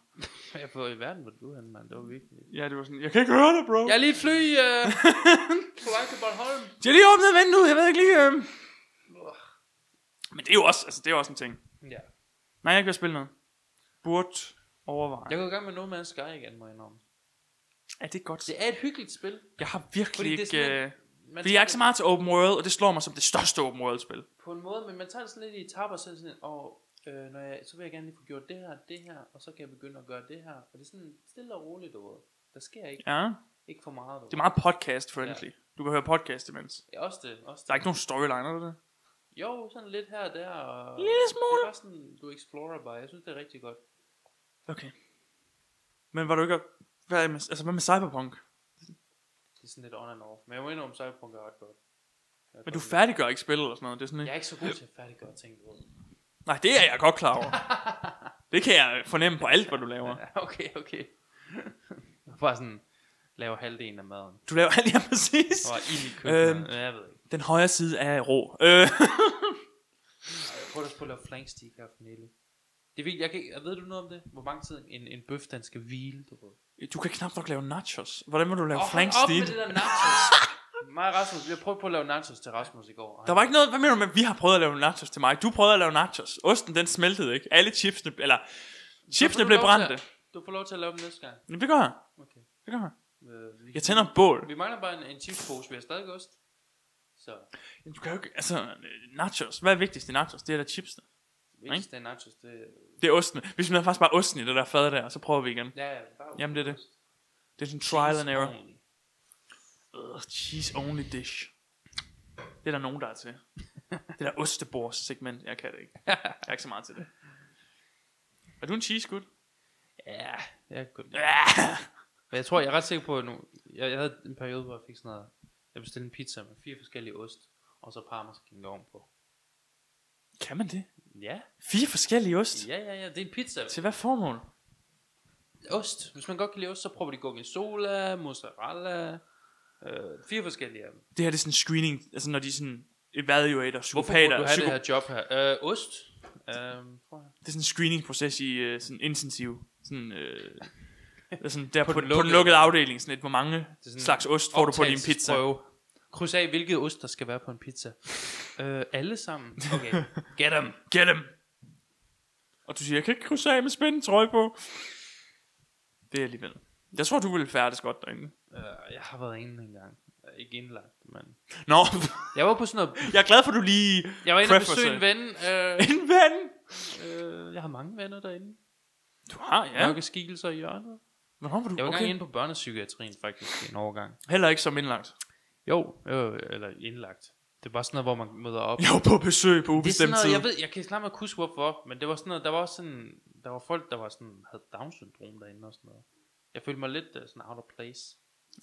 [SPEAKER 2] Jeg på i verden, hvor du er henne, mand. Det var virkelig.
[SPEAKER 1] Ja, det var sådan, jeg kan ikke høre dig, bro.
[SPEAKER 2] Jeg er lige et fly øh, på vej til Bornholm.
[SPEAKER 1] De har lige åbnet vinduet, jeg ved ikke lige... Øh... Men det er jo også, altså, det er jo også en ting.
[SPEAKER 2] Ja.
[SPEAKER 1] Nej, jeg kan ikke spille noget. Burde overveje.
[SPEAKER 2] Jeg går i gang med No Man's Sky igen, må jeg indrømme.
[SPEAKER 1] Er det godt?
[SPEAKER 2] Det er et hyggeligt spil.
[SPEAKER 1] Jeg har
[SPEAKER 2] Fordi
[SPEAKER 1] virkelig
[SPEAKER 2] det er
[SPEAKER 1] ikke...
[SPEAKER 2] sådan
[SPEAKER 1] Øh...
[SPEAKER 2] Man
[SPEAKER 1] Fordi jeg er ikke så meget til open world, og det slår mig som det største open world-spil.
[SPEAKER 2] På en måde, men man tager det sådan lidt i etaper, så er det sådan, lidt, og øh, når jeg, så vil jeg gerne lige få gjort det her, det her, og så kan jeg begynde at gøre det her. Og det er sådan stille og roligt, du ved. Der sker ikke,
[SPEAKER 1] Ja,
[SPEAKER 2] ikke for meget, du
[SPEAKER 1] det
[SPEAKER 2] ved.
[SPEAKER 1] er meget podcast-friendly. Du kan høre podcast imens.
[SPEAKER 2] Ja, også det, også
[SPEAKER 1] Der er
[SPEAKER 2] det.
[SPEAKER 1] ikke nogen storyline, er der det?
[SPEAKER 2] Jo, sådan lidt her og der, og
[SPEAKER 1] Lille
[SPEAKER 2] det
[SPEAKER 1] smule.
[SPEAKER 2] er bare sådan, du explorer bare. Jeg synes, det er rigtig godt.
[SPEAKER 1] Okay. Men var du ikke... Hvad er med, altså, hvad med Cyberpunk?
[SPEAKER 2] Det er sådan lidt on and off. Men jeg må indrømme, Cyberpunk er ret godt. Jeg
[SPEAKER 1] Men
[SPEAKER 2] er godt
[SPEAKER 1] du
[SPEAKER 2] med.
[SPEAKER 1] færdiggør ikke spillet eller sådan noget. Det er sådan,
[SPEAKER 2] Jeg
[SPEAKER 1] ikke?
[SPEAKER 2] er ikke så god til at færdiggøre ting, du ved.
[SPEAKER 1] Nej, det er jeg godt klar over. det kan jeg øh, fornemme på alt, hvad du laver.
[SPEAKER 2] Ja, Okay, okay. Jeg var bare sådan, laver halvdelen af maden.
[SPEAKER 1] Du laver alt, ja, præcis.
[SPEAKER 2] Og ild i køkkenet.
[SPEAKER 1] Øhm.
[SPEAKER 2] Øhm. Ja, jeg ved ikke.
[SPEAKER 1] Den højre side er rå. Øh,
[SPEAKER 2] Jeg prøver at spille flankstik her for Nelly. Det er vigtigt, jeg kan ikke, ved du noget om det? Hvor mange tid en, en bøf, den skal hvile, du ved.
[SPEAKER 1] du kan knap nok lave nachos. Hvordan må du lave
[SPEAKER 2] Åh,
[SPEAKER 1] oh,
[SPEAKER 2] hold
[SPEAKER 1] flank
[SPEAKER 2] op med
[SPEAKER 1] steak?
[SPEAKER 2] det der nachos. Mig og Rasmus, jeg prøvede på at lave nachos til Rasmus i går.
[SPEAKER 1] Der var ikke noget, hvad mener du med, at vi har prøvet at lave nachos til mig? Du prøvede at lave nachos. Osten, den smeltede ikke. Alle chipsene, eller chipsene blev brændte.
[SPEAKER 2] Du får lov til at lave dem næste gang.
[SPEAKER 1] Jamen, det gør jeg.
[SPEAKER 2] Okay.
[SPEAKER 1] Det gør jeg.
[SPEAKER 2] Øh, vi,
[SPEAKER 1] Jeg tænder et bål.
[SPEAKER 2] Vi mangler bare en, en chipspose, vi har stadig ost. Så,
[SPEAKER 1] Jamen, Du kan jo ikke, altså, øh, nachos. Hvad er vigtigst i nachos? Det er da chipsene.
[SPEAKER 2] vigtigst er nachos, det
[SPEAKER 1] Det er osten. Vi smider faktisk bare osten i det der fad der, og så prøver vi igen.
[SPEAKER 2] Ja, ja, bare
[SPEAKER 1] Jamen, det er det. Det er sådan trial and error. Ugh, cheese only dish. Det er der nogen, der er til. Det der ostebords segment, jeg kan det ikke. Jeg er ikke så meget til det. Er du en cheese gut?
[SPEAKER 2] Ja, jeg kunne
[SPEAKER 1] Ja.
[SPEAKER 2] Men jeg tror, jeg er ret sikker på, at nu, jeg, jeg havde en periode, hvor jeg fik sådan noget, jeg bestilte en pizza med fire forskellige ost, og så parmesan ovenpå.
[SPEAKER 1] Kan man det?
[SPEAKER 2] Ja,
[SPEAKER 1] Fire forskellige ost?
[SPEAKER 2] ja, ja, ja, det er en pizza.
[SPEAKER 1] Til hvad formål?
[SPEAKER 2] Ost. Hvis man godt kan lide ost, så prøver de gorgonzola, mozzarella, øh, fire forskellige af dem.
[SPEAKER 1] Det her det er sådan en screening, altså når de er sådan evaluator,
[SPEAKER 2] Hvorfor burde
[SPEAKER 1] psykopater,
[SPEAKER 2] du have
[SPEAKER 1] psyko-
[SPEAKER 2] det her job her? Øh, ost. Øhm, prøv her.
[SPEAKER 1] det er sådan en screening-proces i øh, sådan intensiv, sådan, øh, sådan der på, på,
[SPEAKER 2] den
[SPEAKER 1] den på den
[SPEAKER 2] lukkede-
[SPEAKER 1] lukkede afdeling, sådan et, hvor mange
[SPEAKER 2] er sådan
[SPEAKER 1] slags ost får du på din pizza?
[SPEAKER 2] Optagelsesprøve. Kryds af, hvilket ost, der skal være på en pizza. Øh, alle sammen. Okay, get them.
[SPEAKER 1] Get him! Og du siger, jeg kan ikke krydse af med spændende trøje på. Det er alligevel. Jeg tror, du ville færdes godt derinde.
[SPEAKER 2] Øh, jeg har været inde engang. Ikke indlagt, men...
[SPEAKER 1] Nå,
[SPEAKER 2] Jeg var på sådan noget
[SPEAKER 1] jeg er glad for, at du lige
[SPEAKER 2] Jeg var inde og
[SPEAKER 1] preferenced.
[SPEAKER 2] besøge en ven. Øh,
[SPEAKER 1] En ven!
[SPEAKER 2] øh, jeg har mange venner derinde.
[SPEAKER 1] Du har,
[SPEAKER 2] Ja.
[SPEAKER 1] ja.
[SPEAKER 2] Mørke skikkelser i hjørnet.
[SPEAKER 1] Hvornår var
[SPEAKER 2] Jeg
[SPEAKER 1] du?
[SPEAKER 2] var okay. gang
[SPEAKER 1] Okay.
[SPEAKER 2] inde på børnepsykiatrien faktisk i en overgang.
[SPEAKER 1] Heller ikke som indlagt.
[SPEAKER 2] Jo, øh, eller indlagt. Det var sådan noget, hvor man møder op.
[SPEAKER 1] Jeg var på besøg på
[SPEAKER 2] det er sådan
[SPEAKER 1] ubestemt
[SPEAKER 2] noget,
[SPEAKER 1] tid.
[SPEAKER 2] jeg ved, jeg kan snart ikke huske hvorfor, men det var sådan noget, der var også sådan, der var folk, der var sådan, havde Down-syndrom derinde og sådan noget. Jeg følte mig lidt uh, sådan out of place.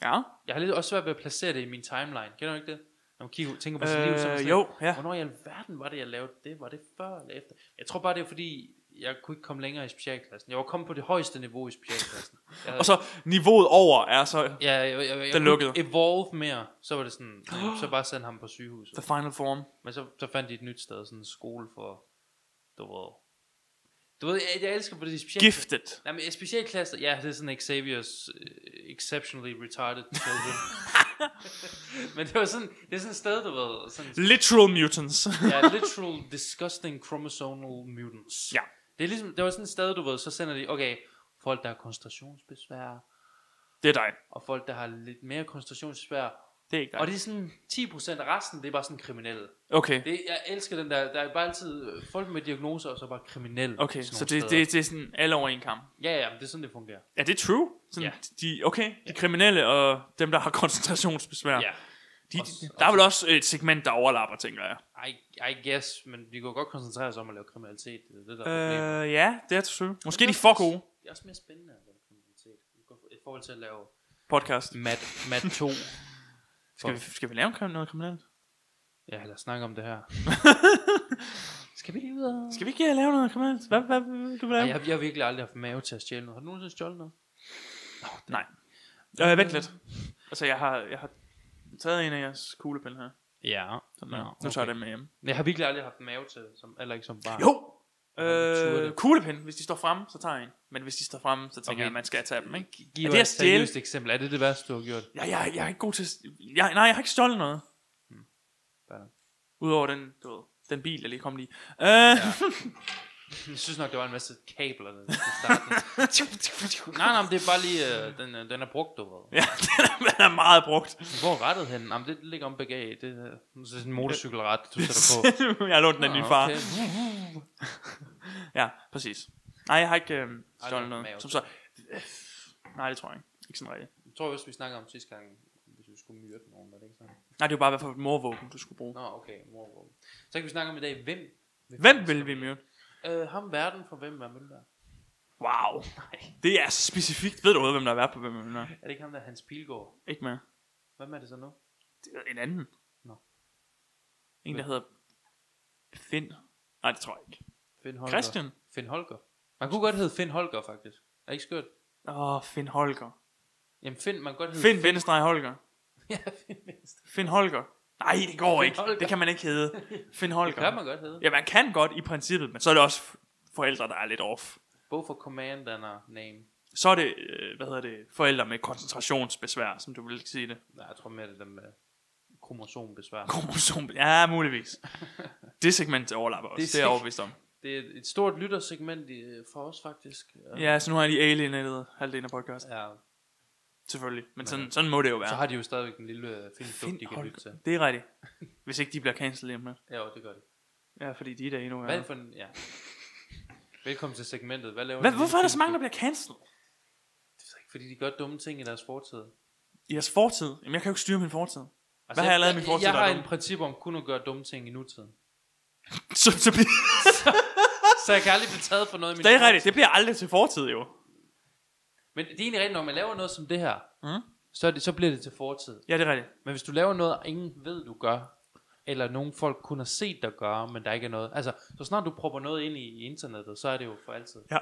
[SPEAKER 1] Ja.
[SPEAKER 2] Jeg har lidt også svært ved at placere det i min timeline. Kender du ikke det? Når man kigger, tænker på sit liv, så er man
[SPEAKER 1] Øh,
[SPEAKER 2] sådan,
[SPEAKER 1] jo, ja.
[SPEAKER 2] Hvornår i alverden var det, jeg lavede det? Var det før eller efter? Jeg tror bare, det er fordi, jeg kunne ikke komme længere i specialklassen. Jeg var kommet på det højeste niveau i specialklassen. Jeg havde,
[SPEAKER 1] Og så niveauet over er så
[SPEAKER 2] ja, jeg, jeg, jeg, jeg kunne
[SPEAKER 1] lukkede.
[SPEAKER 2] ikke evolve mere. Så var det sådan, så bare sendte ham på sygehuset.
[SPEAKER 1] the final form.
[SPEAKER 2] Men så, så fandt de et nyt sted, sådan en skole for, du ved... Du ved, jeg, jeg elsker på det specielle...
[SPEAKER 1] Gifted.
[SPEAKER 2] Nej, men specialklasser, ja, det er sådan Xavier's uh, exceptionally retarded children. men det var sådan, det er sådan et sted, du ved, sådan,
[SPEAKER 1] Literal mutants.
[SPEAKER 2] ja, literal disgusting chromosomal mutants.
[SPEAKER 1] Ja.
[SPEAKER 2] Det, er ligesom, det var sådan et sted, du ved, så sender de, okay, folk, der har koncentrationsbesvær,
[SPEAKER 1] det er dig.
[SPEAKER 2] og folk, der har lidt mere koncentrationsbesvær,
[SPEAKER 1] Det er ikke dig.
[SPEAKER 2] og det er sådan 10% af resten, det er bare sådan kriminelle.
[SPEAKER 1] Okay.
[SPEAKER 2] Det, jeg elsker den der, der er bare altid øh, folk med diagnoser, og så bare kriminelle.
[SPEAKER 1] Okay,
[SPEAKER 2] sådan
[SPEAKER 1] så
[SPEAKER 2] nogle
[SPEAKER 1] det,
[SPEAKER 2] steder.
[SPEAKER 1] det, det er sådan alle over en kamp.
[SPEAKER 2] Ja, ja, men det er sådan, det fungerer.
[SPEAKER 1] Er det true? Sådan,
[SPEAKER 2] Ja.
[SPEAKER 1] de, okay, de kriminelle og dem, der har koncentrationsbesvær.
[SPEAKER 2] Ja.
[SPEAKER 1] De,
[SPEAKER 2] Og s-
[SPEAKER 1] de, der er vel også et segment, der overlapper, tænker jeg.
[SPEAKER 2] I, I guess, men vi kunne godt koncentrere os om at lave kriminalitet. Det er det, der er problemet.
[SPEAKER 1] Øh, ja, det er true. Måske
[SPEAKER 2] Det
[SPEAKER 1] de
[SPEAKER 2] er
[SPEAKER 1] er for
[SPEAKER 2] også-
[SPEAKER 1] gode
[SPEAKER 2] Det er også mere spændende at lave kriminalitet. I forhold til at lave
[SPEAKER 1] podcast.
[SPEAKER 2] Mat, mat 2.
[SPEAKER 1] Skal vi, skal vi lave en krim- noget kriminelt?
[SPEAKER 2] Ja, lad os snakke om det her. Skal vi lige ud og...
[SPEAKER 1] Skal vi ikke øh, lave noget kriminelt? Hvad, hvad vil du lave?
[SPEAKER 2] Ej, jeg, jeg har virkelig aldrig haft mave til at stjæle noget. Har du nogensinde stjålet noget?
[SPEAKER 1] Nej. Øh, vent lidt. Altså, jeg har, jeg har taget en af jeres kuglepinde her.
[SPEAKER 2] Ja.
[SPEAKER 1] Sådan der. Nu tager jeg den med hjem.
[SPEAKER 2] Jeg har virkelig aldrig haft mave til, som, eller ikke som barn.
[SPEAKER 1] Jo!
[SPEAKER 2] Hvor betyder
[SPEAKER 1] Øh,
[SPEAKER 2] det?
[SPEAKER 1] kuglepind, hvis de står fremme, så tager jeg en. Men hvis de står fremme, så tænker
[SPEAKER 2] Okay.
[SPEAKER 1] okay. jeg, at man skal tage dem, ikke? er
[SPEAKER 2] Giv mig
[SPEAKER 1] det
[SPEAKER 2] et
[SPEAKER 1] at stjæle?
[SPEAKER 2] seriøst eksempel. Er det det værste, du har gjort?
[SPEAKER 1] Jeg, jeg, jeg er ikke god til... at- Jeg, nej, jeg har ikke stjålet noget.
[SPEAKER 2] fair nok.
[SPEAKER 1] Hmm. Udover den, du ved, den bil, jeg lige kom lige. Øh, ja.
[SPEAKER 2] Jeg synes nok, det var en masse kabler. der skulle starte. nej, nej, men det er bare lige... Øh, den, øh, den er brugt, du ved.
[SPEAKER 1] ja, den er, den er meget brugt.
[SPEAKER 2] Hvor er rettet henne? Jamen, det ligger om begge af. Det, øh, det er sådan en motorcykelret, du sætter på.
[SPEAKER 1] jeg har lånt den af din
[SPEAKER 2] Ah,
[SPEAKER 1] far.
[SPEAKER 2] okay.
[SPEAKER 1] Ja, præcis. Nej, jeg har ikke øh,
[SPEAKER 2] Aldrig
[SPEAKER 1] stjålet
[SPEAKER 2] mave.
[SPEAKER 1] noget. Som så... Øh, Nej, det tror jeg ikke. Ikke sådan rigtigt.
[SPEAKER 2] Jeg tror også, vi snakkede om sidste gang, hvis vi skulle myrde nogen, var det ikke sådan?
[SPEAKER 1] Nej, det var bare, hvad for et morvåben, du skulle bruge.
[SPEAKER 2] Nå, okay, mor. Så kan vi snakke om i dag, hvem?
[SPEAKER 1] Hvem vil vi myrde?
[SPEAKER 2] Øh, ham verden for hvem var Mølberg?
[SPEAKER 1] Wow. Det er så specifikt. Ved du overhovedet, hvem der er vært på hvem man er?
[SPEAKER 2] Er det ikke ham der, Hans Pilgaard?
[SPEAKER 1] Ikke mere.
[SPEAKER 2] Hvem er det så nu?
[SPEAKER 1] Det er En anden.
[SPEAKER 2] Nå.
[SPEAKER 1] En, der hedder Finn. Nej, det tror jeg ikke.
[SPEAKER 2] Finn Holger.
[SPEAKER 1] Christian.
[SPEAKER 2] Finn Holger. Man kunne godt hedde Finn Holger, faktisk. Er det ikke skørt?
[SPEAKER 1] Åh, oh, Finn Holger.
[SPEAKER 2] Jamen Finn, man kan godt hedde...
[SPEAKER 1] Finn Vennestreg Holger.
[SPEAKER 2] ja, Finn Venstre.
[SPEAKER 1] Finn Holger. Nej, det går
[SPEAKER 2] Finn
[SPEAKER 1] ikke.
[SPEAKER 2] Holger.
[SPEAKER 1] Det kan man ikke hedde. Finn
[SPEAKER 2] Det kan
[SPEAKER 1] Holger.
[SPEAKER 2] man godt hedde.
[SPEAKER 1] Ja, man kan godt i princippet, men så er det også f- forældre, der er lidt off.
[SPEAKER 2] Both for command and a name.
[SPEAKER 1] Så er det, øh, hvad hedder det, forældre med koncentrationsbesvær, som du vil sige det.
[SPEAKER 2] Nej, jeg tror mere, det er dem med kromosombesvær.
[SPEAKER 1] Kromosom. Ja, muligvis. Det segment overlapper også.
[SPEAKER 2] Det er
[SPEAKER 1] Det, det er jeg overbevist om.
[SPEAKER 2] Det er et stort lyttersegment i, øh, for os, faktisk.
[SPEAKER 1] Ja, så nu har jeg lige alienated halvdelen af podcasten.
[SPEAKER 2] ja.
[SPEAKER 1] Selvfølgelig. Men sådan, sådan må det jo
[SPEAKER 2] Så
[SPEAKER 1] være.
[SPEAKER 2] har de jo stadigvæk en lille øh, filmklub,
[SPEAKER 1] Finn
[SPEAKER 2] de kan lytte til.
[SPEAKER 1] Holger. Det er rigtigt. Hvis ikke de bliver cancelled lige om lidt.
[SPEAKER 2] Ja, jo, det gør de.
[SPEAKER 1] Ja, fordi de er der endnu.
[SPEAKER 2] Hvad er
[SPEAKER 1] Hvad,
[SPEAKER 2] det for en... Ja. Velkommen til segmentet. Hvad laver
[SPEAKER 1] Hvad,
[SPEAKER 2] du?
[SPEAKER 1] hvorfor er der så mange, der bliver cancelled?
[SPEAKER 2] Fordi de gør dumme ting i deres fortid. Hvad
[SPEAKER 1] I jeres fortid? Jamen, jeg kan jo ikke styre min fortid. har jeg lavet i min fortid,
[SPEAKER 2] Altså, Jeg,
[SPEAKER 1] der
[SPEAKER 2] jeg
[SPEAKER 1] er
[SPEAKER 2] har
[SPEAKER 1] dumt?
[SPEAKER 2] et princip om kun at gøre dumme ting i nutiden.
[SPEAKER 1] Så, så bliver...
[SPEAKER 2] Så jeg kan aldrig blive taget for noget i min
[SPEAKER 1] Det er
[SPEAKER 2] fortid.
[SPEAKER 1] rigtigt. Det bliver aldrig til fortid, jo.
[SPEAKER 2] Men det er egentlig rigtigt, når man laver noget som det her,
[SPEAKER 1] Mm.
[SPEAKER 2] så, er det, så bliver det til fortid.
[SPEAKER 1] Ja, det er rigtigt.
[SPEAKER 2] Men hvis du laver noget, ingen ved, du gør, eller nogen folk kun har set dig gøre, men der ikke er noget. Altså, så snart du propper noget ind i, i internettet, så er det jo for altid.
[SPEAKER 1] Ja.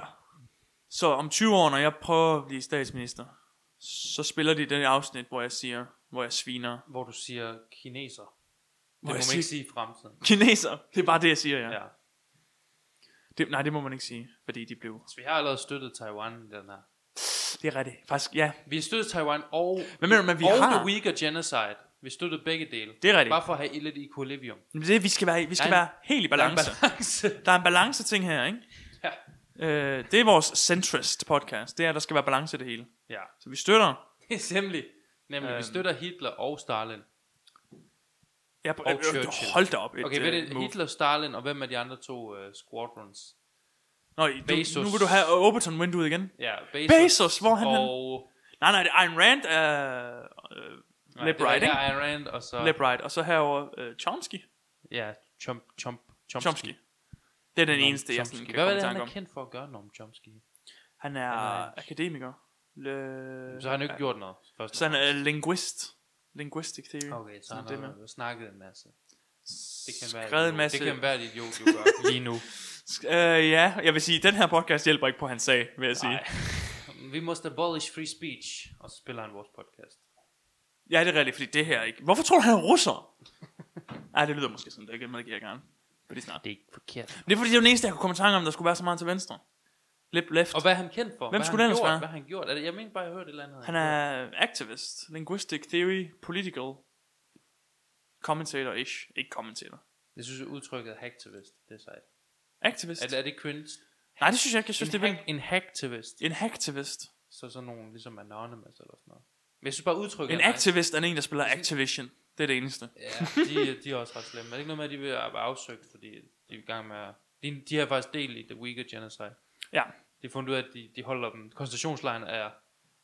[SPEAKER 1] Så om 20 år, når jeg prøver at blive statsminister, så spiller de den afsnit, hvor jeg siger, hvor jeg sviner.
[SPEAKER 2] Hvor du siger kineser. Det
[SPEAKER 1] Hvor
[SPEAKER 2] må
[SPEAKER 1] jeg
[SPEAKER 2] man
[SPEAKER 1] siger-
[SPEAKER 2] ikke sige i fremtiden.
[SPEAKER 1] Kineser. Det er bare det, jeg siger, ja. ja.
[SPEAKER 2] Ja.
[SPEAKER 1] Det, nej, det må man ikke sige, fordi de blev...
[SPEAKER 2] Så Altså, vi har allerede støttet Taiwan i den her.
[SPEAKER 1] Det er rigtigt. Faktisk, ja.
[SPEAKER 2] Vi har støttet Taiwan og,
[SPEAKER 1] Hvad mener du med, vi
[SPEAKER 2] og
[SPEAKER 1] har?
[SPEAKER 2] The Uyghur Genocide. Vi støttede begge dele.
[SPEAKER 1] Det er rigtigt.
[SPEAKER 2] Bare for at have lidt equilibrium.
[SPEAKER 1] Men Det, er det, vi skal være, i- vi skal
[SPEAKER 2] Der er en-
[SPEAKER 1] være helt i
[SPEAKER 2] Der er en
[SPEAKER 1] balance.
[SPEAKER 2] balance.
[SPEAKER 1] Der er en balance ting her, ikke?
[SPEAKER 2] ja.
[SPEAKER 1] Øh, det er vores centrist podcast. Det er, at der skal være balance i det hele.
[SPEAKER 2] ja.
[SPEAKER 1] Så vi støtter...
[SPEAKER 2] Det er nemlig. Nemlig, øhm.
[SPEAKER 1] Øhm.
[SPEAKER 2] vi støtter Hitler og Stalin.
[SPEAKER 1] Ja, på,
[SPEAKER 2] Og
[SPEAKER 1] øh, øh,
[SPEAKER 2] Churchill.
[SPEAKER 1] hold da op. Et,
[SPEAKER 2] Okay, hvad er
[SPEAKER 1] øh,
[SPEAKER 2] det?
[SPEAKER 1] move.
[SPEAKER 2] Hitler, Stalin, og hvem er de andre to uh, squadrons?
[SPEAKER 1] Nå, i- du,
[SPEAKER 2] Bezos.
[SPEAKER 1] nu vil du have Overton-vinduet igen.
[SPEAKER 2] Ja, Bezos.
[SPEAKER 1] Bezos, hvor er han henne?
[SPEAKER 2] og...
[SPEAKER 1] Nej, nej, det er Ayn Rand, øh, øh,
[SPEAKER 2] Nej,
[SPEAKER 1] Lep
[SPEAKER 2] det var
[SPEAKER 1] Right, ikke?
[SPEAKER 2] her Ayn Rand, og så...
[SPEAKER 1] Lep Right, og så herover øh, Chomsky.
[SPEAKER 2] Ja, Chomp, Chomp, Chomsky.
[SPEAKER 1] Chomsky. Det er den
[SPEAKER 2] Noam
[SPEAKER 1] eneste, jeg sådan
[SPEAKER 2] Chomsky.
[SPEAKER 1] kan
[SPEAKER 2] Hvad
[SPEAKER 1] komme i
[SPEAKER 2] er det, han
[SPEAKER 1] tanke
[SPEAKER 2] er
[SPEAKER 1] om.
[SPEAKER 2] kendt for at gøre, Noam Chomsky?
[SPEAKER 1] Han er
[SPEAKER 2] Han er-
[SPEAKER 1] akademiker. Le...
[SPEAKER 2] Så har han jo ikke gjort noget. Først
[SPEAKER 1] Så
[SPEAKER 2] og
[SPEAKER 1] han er linguist. Linguistic theory.
[SPEAKER 2] fremmest. Okay, så
[SPEAKER 1] Sådan
[SPEAKER 2] han
[SPEAKER 1] det
[SPEAKER 2] har
[SPEAKER 1] med.
[SPEAKER 2] jo snakket en masse. Det kan være
[SPEAKER 1] Skrevet en masse...
[SPEAKER 2] Det kan være et idiot, du gør lige nu.
[SPEAKER 1] Sk- øh, ja, jeg vil sige, den her podcast hjælper ikke på hans sag, vil jeg sige.
[SPEAKER 2] Nej. Vi must abolish free speech. Og så spiller han vores podcast.
[SPEAKER 1] Ja, det er rigtigt, fordi det her ikke... Hvorfor tror du, han er russer? Ej, det lyder måske sådan, det medgiver jeg gerne. Fordi snart.
[SPEAKER 2] Det er ikke forkert.
[SPEAKER 1] Men det er fordi, det er den eneste, jeg kunne komme i tanke om, der skulle være så meget til venstre. Lip left.
[SPEAKER 2] Og hvad er han kendt for?
[SPEAKER 1] Hvem
[SPEAKER 2] hvad
[SPEAKER 1] skulle
[SPEAKER 2] han
[SPEAKER 1] det ellers
[SPEAKER 2] gjort?
[SPEAKER 1] være?
[SPEAKER 2] Hvad har han gjort? Er det, jeg mener bare, jeg hørte et eller andet.
[SPEAKER 1] Han er activist, linguistic theory, political commentator-ish. Ikke commentator.
[SPEAKER 2] Jeg synes, udtrykket hacktivist, det er sejt.
[SPEAKER 1] Activist?
[SPEAKER 2] Er, det- er det cringe?
[SPEAKER 1] Nej, det synes jeg ikke. Jeg synes,
[SPEAKER 2] en,
[SPEAKER 1] det er
[SPEAKER 2] hack, en hacktivist.
[SPEAKER 1] vildt. En hacktivist.
[SPEAKER 2] Så sådan nogen ligesom Anonymous eller sådan noget. Men jeg synes bare, udtrykket
[SPEAKER 1] En
[SPEAKER 2] er nice.
[SPEAKER 1] activist er en, der spiller Activision. Det er det eneste.
[SPEAKER 2] Ja, de, de er også ret slemme. Er det ikke noget med, at de vil være afsøgt, fordi de er i gang med at... De, de har faktisk del i The Uyghur Genocide.
[SPEAKER 1] Ja.
[SPEAKER 2] De har fundet ud af, at de, de holder dem... Koncentrationslejren er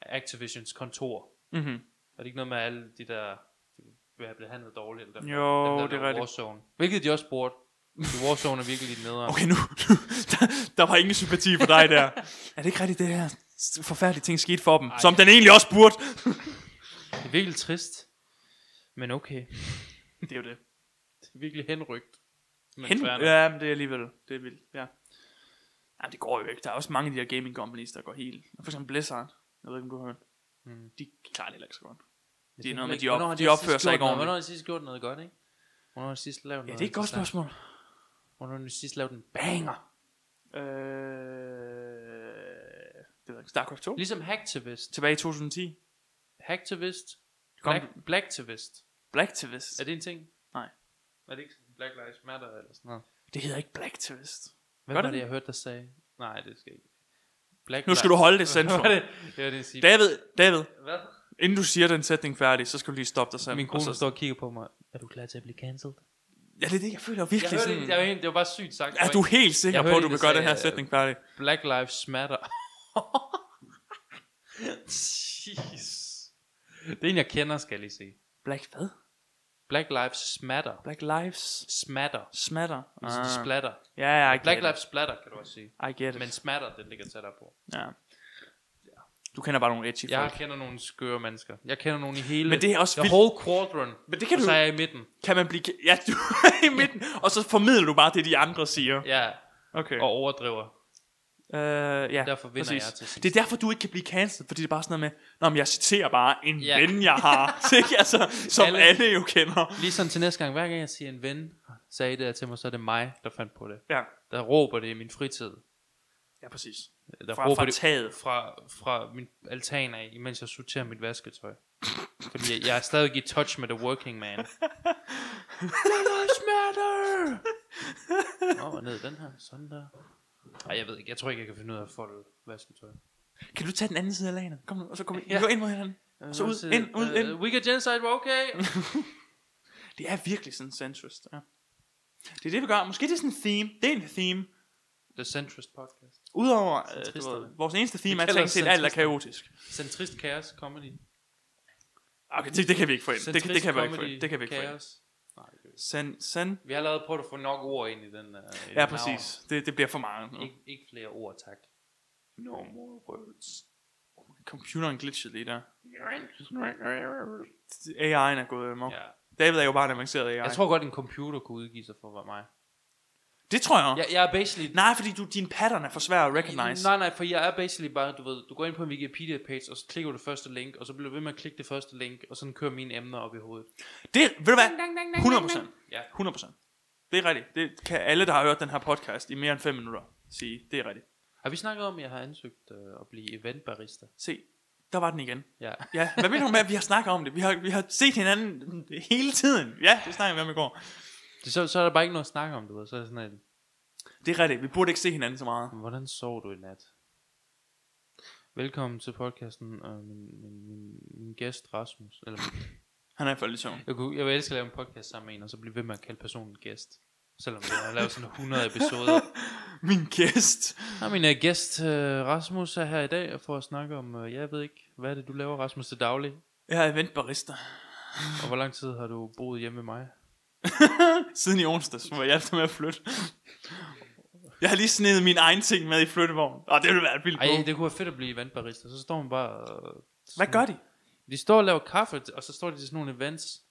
[SPEAKER 2] er Activisions kontor.
[SPEAKER 1] Mm-hmm.
[SPEAKER 2] Er det ikke noget med at alle de der... De bliver behandlet dårligt, eller dem,
[SPEAKER 1] Jo,
[SPEAKER 2] dem, der
[SPEAKER 1] det er
[SPEAKER 2] laver
[SPEAKER 1] rigtigt.
[SPEAKER 2] Warzone. Hvilket de også bruger. De Warzone er virkelig lidt nederen.
[SPEAKER 1] Okay, nu. nu der, der var ingen sympati for dig der. er det ikke rigtigt, det her forfærdelige ting skete for dem? Ej. Som den egentlig også burde.
[SPEAKER 2] Det er virkelig trist. Men okay.
[SPEAKER 1] Det er jo det.
[SPEAKER 2] Det er virkelig henrygt. Men
[SPEAKER 1] Hen,
[SPEAKER 2] fair nok.
[SPEAKER 1] ja, men det er alligevel, det er vildt, ja. Jamen, det går jo ikke. Der er også mange af de her gaming companies, der går helt. For eksempel Blizzard. Jeg ved ikke, om du har hørt.
[SPEAKER 2] Mm.
[SPEAKER 1] De klarer det heller ikke så godt.
[SPEAKER 2] Men
[SPEAKER 1] Det er
[SPEAKER 2] kan
[SPEAKER 1] noget
[SPEAKER 2] man
[SPEAKER 1] med,
[SPEAKER 2] ikke-
[SPEAKER 1] de op-
[SPEAKER 2] hvornår har
[SPEAKER 1] de
[SPEAKER 2] sidst
[SPEAKER 1] opfører sig ikke
[SPEAKER 2] gjort noget-
[SPEAKER 1] ordentligt.
[SPEAKER 2] Hvornår har de sidst gjort noget godt, ikke? Hvornår har de sidst
[SPEAKER 1] Ja,
[SPEAKER 2] lavet noget
[SPEAKER 1] det er et godt
[SPEAKER 2] interessant?
[SPEAKER 1] spørgsmål.
[SPEAKER 2] Hvornår har de sidst lavet en banger?
[SPEAKER 1] Øh, det ved jeg ikke. StarCraft 2.
[SPEAKER 2] Ligesom Hacktivist.
[SPEAKER 1] Tilbage i 2010.
[SPEAKER 2] Hacktivist.
[SPEAKER 1] Kom.
[SPEAKER 2] Black, Blacktivist.
[SPEAKER 1] Blacktivist.
[SPEAKER 2] Er det en ting?
[SPEAKER 1] Nej.
[SPEAKER 2] Er det ikke sådan Black Lives Matter eller sådan noget?
[SPEAKER 1] Det hedder ikke Blacktivist.
[SPEAKER 2] Hvad
[SPEAKER 1] Gør
[SPEAKER 2] var
[SPEAKER 1] det det?
[SPEAKER 2] det, jeg hørte dig sige? Nej, det skal ikke. Black
[SPEAKER 1] Nu skal du holde det
[SPEAKER 2] Hvad var
[SPEAKER 1] centrum.
[SPEAKER 2] det? Det var det, jeg siger.
[SPEAKER 1] David, David,
[SPEAKER 2] Hvad?
[SPEAKER 1] inden du siger den sætning færdig, så skal du lige stoppe dig selv.
[SPEAKER 2] Min kone
[SPEAKER 1] Og så,
[SPEAKER 2] står og kigger på mig. Er du klar til at blive cancelled?
[SPEAKER 1] Ja, det er det, jeg føler
[SPEAKER 2] Jeg
[SPEAKER 1] virkelig
[SPEAKER 2] hørte
[SPEAKER 1] sådan...
[SPEAKER 2] det, jeg var helt, det var bare sygt sagt.
[SPEAKER 1] er du helt sikker
[SPEAKER 2] Jeg
[SPEAKER 1] på,
[SPEAKER 2] hørte
[SPEAKER 1] at du
[SPEAKER 2] en,
[SPEAKER 1] vil
[SPEAKER 2] der
[SPEAKER 1] gøre den her
[SPEAKER 2] sagde, øh,
[SPEAKER 1] sætning færdig?
[SPEAKER 2] Black Lives Matter. Jeez. Det er en, jeg kender, skal jeg lige sige.
[SPEAKER 1] Black hvad?
[SPEAKER 2] Black Lives Matter.
[SPEAKER 1] Black Lives
[SPEAKER 2] Smatter.
[SPEAKER 1] smatter.
[SPEAKER 2] Ah.
[SPEAKER 1] Ah.
[SPEAKER 2] Splatter.
[SPEAKER 1] Ja, ja, I get
[SPEAKER 2] Black
[SPEAKER 1] it.
[SPEAKER 2] Lives Splatter, kan du også sige.
[SPEAKER 1] I get it.
[SPEAKER 2] Men smatter, den ligger tættere på.
[SPEAKER 1] Ja. Du kender bare nogle edgy folk.
[SPEAKER 2] Jeg kender nogle skøre mennesker. Jeg kender nogle i hele...
[SPEAKER 1] Men det er også
[SPEAKER 2] The
[SPEAKER 1] vildt.
[SPEAKER 2] whole quadrant.
[SPEAKER 1] Men det kan
[SPEAKER 2] og
[SPEAKER 1] du-
[SPEAKER 2] så er jeg i midten.
[SPEAKER 1] Kan man blive... Ja, du er i midten, og så formidler du bare det, de andre siger.
[SPEAKER 2] Ja,
[SPEAKER 1] Okay.
[SPEAKER 2] og overdriver.
[SPEAKER 1] Øh, ja,
[SPEAKER 2] Derfor vinder jeg til sidst.
[SPEAKER 1] Det er derfor, du ikke kan blive cancelled, fordi det er bare sådan noget med, Nå, men jeg citerer bare en
[SPEAKER 2] Ja.
[SPEAKER 1] ven, jeg har, ikke? Altså, som alle.
[SPEAKER 2] Alle-
[SPEAKER 1] alle jo kender.
[SPEAKER 2] Lige sådan til næste gang, hver gang jeg siger en ven, sagde det her til mig, så er det mig, der fandt på det.
[SPEAKER 1] Ja,
[SPEAKER 2] Der råber det i min fritid.
[SPEAKER 1] ja præcis.
[SPEAKER 2] Der
[SPEAKER 1] Fra,
[SPEAKER 2] råber
[SPEAKER 1] fra
[SPEAKER 2] det
[SPEAKER 1] taget.
[SPEAKER 2] fra, fra min altan af, imens jeg sorterer mit vasketøj. Fordi jeg, jeg er stadig i touch med the working man.
[SPEAKER 1] Smatter!
[SPEAKER 2] Nå, og ned i den her, sådan der. Ej, jeg ved ikke, jeg tror ikke, jeg kan finde ud af at folde vasketøj.
[SPEAKER 1] Kan du tage den anden side af lagene? Kom nu, og så kom vi
[SPEAKER 2] Ja.
[SPEAKER 1] ja. ind mod hinanden. Så ud, ind, ud,
[SPEAKER 2] Øh,
[SPEAKER 1] ind.
[SPEAKER 2] We got genocide, we're okay.
[SPEAKER 1] Det er virkelig sådan centrist, ja. Det er det, vi gør. Måske det er sådan en theme. Det er en theme.
[SPEAKER 2] the centrist podcast.
[SPEAKER 1] Udover øh, du
[SPEAKER 2] Centristerne.
[SPEAKER 1] ved, vores eneste theme
[SPEAKER 2] Vi
[SPEAKER 1] er
[SPEAKER 2] kalder
[SPEAKER 1] tænkt
[SPEAKER 2] os
[SPEAKER 1] set alt er
[SPEAKER 2] centrister.
[SPEAKER 1] kaotisk.
[SPEAKER 2] Centrist chaos comedy.
[SPEAKER 1] Okay, det, det kan vi ikke få ind. Det, det,
[SPEAKER 2] Centrist
[SPEAKER 1] kan vi ikke få
[SPEAKER 2] comedy,
[SPEAKER 1] ind. Det kan vi ikke få ind.
[SPEAKER 2] chaos. Nej, det kan vi ikke.
[SPEAKER 1] Sen, sen,
[SPEAKER 2] Vi har allerede prøvet at få nok ord ind i den. Uh, i
[SPEAKER 1] ja,
[SPEAKER 2] den
[SPEAKER 1] præcis. Det, det bliver for meget.
[SPEAKER 2] navn. Ikke, ikke flere ord, tak.
[SPEAKER 1] No more words. Computeren glitchede lige der. AI'en er gået amok.
[SPEAKER 2] Ja.
[SPEAKER 1] David er jo bare en avanceret AI.
[SPEAKER 2] Jeg tror godt, en computer kunne udgive sig for mig.
[SPEAKER 1] det tror jeg.
[SPEAKER 2] Jeg, jeg er basically
[SPEAKER 1] Nej, fordi du, din pattern er for svær at recognize.
[SPEAKER 2] Nej, nej, for jeg er basically bare, du ved, du går ind på en Wikipedia-page, og så klikker du det første link, og så bliver du ved med at klikke det første link, og sådan kører mine emner op i hovedet.
[SPEAKER 1] Det, ved du hvad? 100%.
[SPEAKER 2] Ja.
[SPEAKER 1] 100%. Det er rigtigt. Det kan alle, der har hørt den her podcast i mere end 5 minutter, sige. Det er rigtigt.
[SPEAKER 2] Har vi snakket om, at jeg har ansøgt øh, at blive eventbarista?
[SPEAKER 1] Se, der var den igen.
[SPEAKER 2] Ja.
[SPEAKER 1] Ja, hvad mener du med, at vi har snakket om det? Vi har, vi har set hinanden hele tiden. Ja, det snakkede vi om i går.
[SPEAKER 2] Det, så, så er der bare ikke noget at snakke om, du ved. Så er det sådan, at,
[SPEAKER 1] Det er rigtigt. Vi burde ikke se hinanden så meget.
[SPEAKER 2] hvordan sov du i nat? Velkommen til podcasten, og min, min, min, min gæst Rasmus. Eller,
[SPEAKER 1] Han er faldet i søvn.
[SPEAKER 2] jeg, kunne, jeg vil elske at lave en podcast sammen med en, og så blive ved med at kalde personen gæst. Selvom jeg har lavet sådan 100 episoder.
[SPEAKER 1] Min gæst.
[SPEAKER 2] Og min øh, gæst øh, Rasmus er her i dag for at snakke om, øh, jeg ved ikke, hvad er det du laver Rasmus til daglig?
[SPEAKER 1] Jeg er eventbarista.
[SPEAKER 2] Og hvor lang tid har du boet hjemme med mig?
[SPEAKER 1] Siden i onsdags, hvor jeg hjalp med at flytte. Jeg har lige snedet min egen ting med i flyttevognen. Og det ville være et vildt
[SPEAKER 2] Ej,
[SPEAKER 1] bog.
[SPEAKER 2] det kunne være fedt at blive eventbarista. Så står man bare... Øh,
[SPEAKER 1] Hvad gør de?
[SPEAKER 2] de står og laver kaffe, og så står de til sådan nogle events.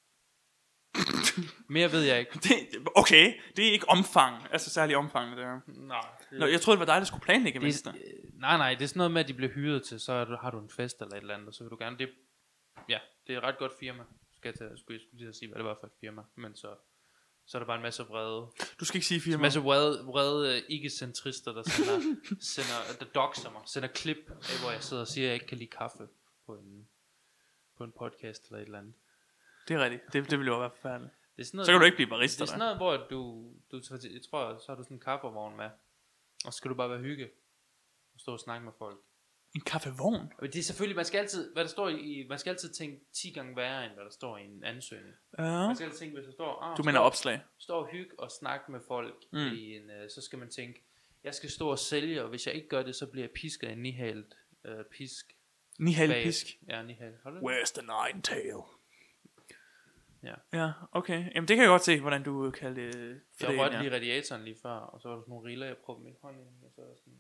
[SPEAKER 2] Mere ved jeg ikke.
[SPEAKER 1] Det, okay, det er ikke omfang. Altså særlig omfang, det der.
[SPEAKER 2] Nej.
[SPEAKER 1] Nå, jeg troede, det var dig, der skulle planlægge
[SPEAKER 2] det,
[SPEAKER 1] mindster.
[SPEAKER 2] øh, nej, nej, det er sådan noget med, at de bliver hyret til, så er du, har du en fest eller et eller andet, og så vil du gerne... Det, ja, det er et ret godt firma. Skal jeg, tage, skulle jeg skulle lige til at sige, hvad det var for et firma. Men så, så er der bare en masse vrede
[SPEAKER 1] Du skal ikke sige
[SPEAKER 2] En
[SPEAKER 1] firma.
[SPEAKER 2] masse vrede, vrede øh, ikke-centrister, der sender, sender, der doxer mig, sender klip af, hvor jeg sidder og siger, at jeg ikke kan lide kaffe på en, på en podcast eller et eller andet.
[SPEAKER 1] Det er rigtigt. Det, det ville jo være forfærdeligt.
[SPEAKER 2] Det er sådan noget,
[SPEAKER 1] Så kan du ikke blive
[SPEAKER 2] det er
[SPEAKER 1] barista,
[SPEAKER 2] sådan
[SPEAKER 1] der.
[SPEAKER 2] noget, hvor du, du tager til- jeg tror, så har du sådan en kaffevogn med, og så skal du bare være hygge og stå og snakke med folk.
[SPEAKER 1] En kaffevogn?
[SPEAKER 2] Men det er selvfølgelig, man skal altid, hvad der står i, man skal altid tænke 10 gange værre, end hvad der står i en ansøgning.
[SPEAKER 1] Ja.
[SPEAKER 2] Man skal altid tænke, hvis der står, ah,
[SPEAKER 1] Du
[SPEAKER 2] så
[SPEAKER 1] mener
[SPEAKER 2] står-
[SPEAKER 1] opslag.
[SPEAKER 2] stå og hygge og snakke med folk
[SPEAKER 1] Mm.
[SPEAKER 2] mm. i en, øh, så skal man tænke, jeg skal stå og sælge, og hvis jeg ikke gør det, så bliver jeg pisket af en nihalt øh, pisk.
[SPEAKER 1] Nihal
[SPEAKER 2] bag-
[SPEAKER 1] pisk.
[SPEAKER 2] Ja, nihalt. Hold det?
[SPEAKER 1] Where's the nine tail?
[SPEAKER 2] Ja.
[SPEAKER 1] Ja, okay. Jamen, det kan jeg godt se, hvordan du kan det.
[SPEAKER 2] Jeg rørte lige radiatoren lige før, og så var der sådan nogle riller, jeg prøvede min hånd ind, i, og så var jeg sådan,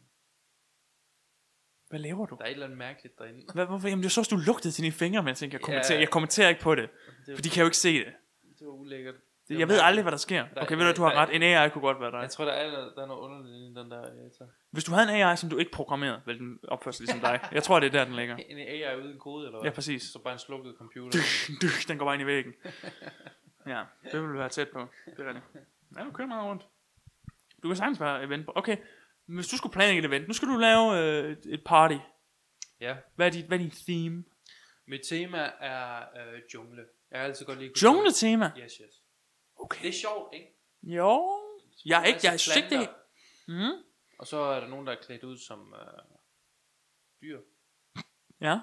[SPEAKER 1] Hvad laver du?
[SPEAKER 2] Der er et eller andet mærkeligt derinde.
[SPEAKER 1] Hvad, hvorfor? Jamen, det var så, at du lugtede til dine fingre, mens jeg tænkte, jeg kommenterer.
[SPEAKER 2] Ja.
[SPEAKER 1] Jeg kommenterer ikke på det,
[SPEAKER 2] Det
[SPEAKER 1] for de kan jo ikke se det.
[SPEAKER 2] Det var ulækkert. Det var
[SPEAKER 1] Jeg ved
[SPEAKER 2] mærkeligt.
[SPEAKER 1] aldrig, hvad der sker. Okay, ved du, du har
[SPEAKER 2] der-
[SPEAKER 1] ret. En AI kunne godt være dig.
[SPEAKER 2] Jeg tror, der er, noget- der er noget underligt inde i den der elevator.
[SPEAKER 1] Hvis du havde en AI, som du ikke programmerede, ville den opføre sig ligesom dig. Jeg tror, det er der, den ligger.
[SPEAKER 2] En AI uden kode, eller hvad?
[SPEAKER 1] Ja, præcis.
[SPEAKER 2] Så bare en slukket computer.
[SPEAKER 1] Dyk, den går bare ind i væggen. Ja, det vil du være tæt på. Det er rigtigt. Ja, du kører meget rundt. Du kan sagtens være event. Okay, men hvis du skulle planlægge et event, nu skal du lave øh, et- et party.
[SPEAKER 2] ja.
[SPEAKER 1] Hvad er dit, hvad er dit theme?
[SPEAKER 2] Mit tema er øh, jungle. Jeg har altid godt lide...
[SPEAKER 1] Jungle-tema?
[SPEAKER 2] Yes, yes. Det
[SPEAKER 1] Okay.
[SPEAKER 2] er sjovt, ikke?
[SPEAKER 1] Jo. Jeg er ikke, jeg synes ikke det.
[SPEAKER 2] Planter.
[SPEAKER 1] Mm.
[SPEAKER 2] Og så er der nogen, der er klædt ud som øh, dyr.
[SPEAKER 1] Ja.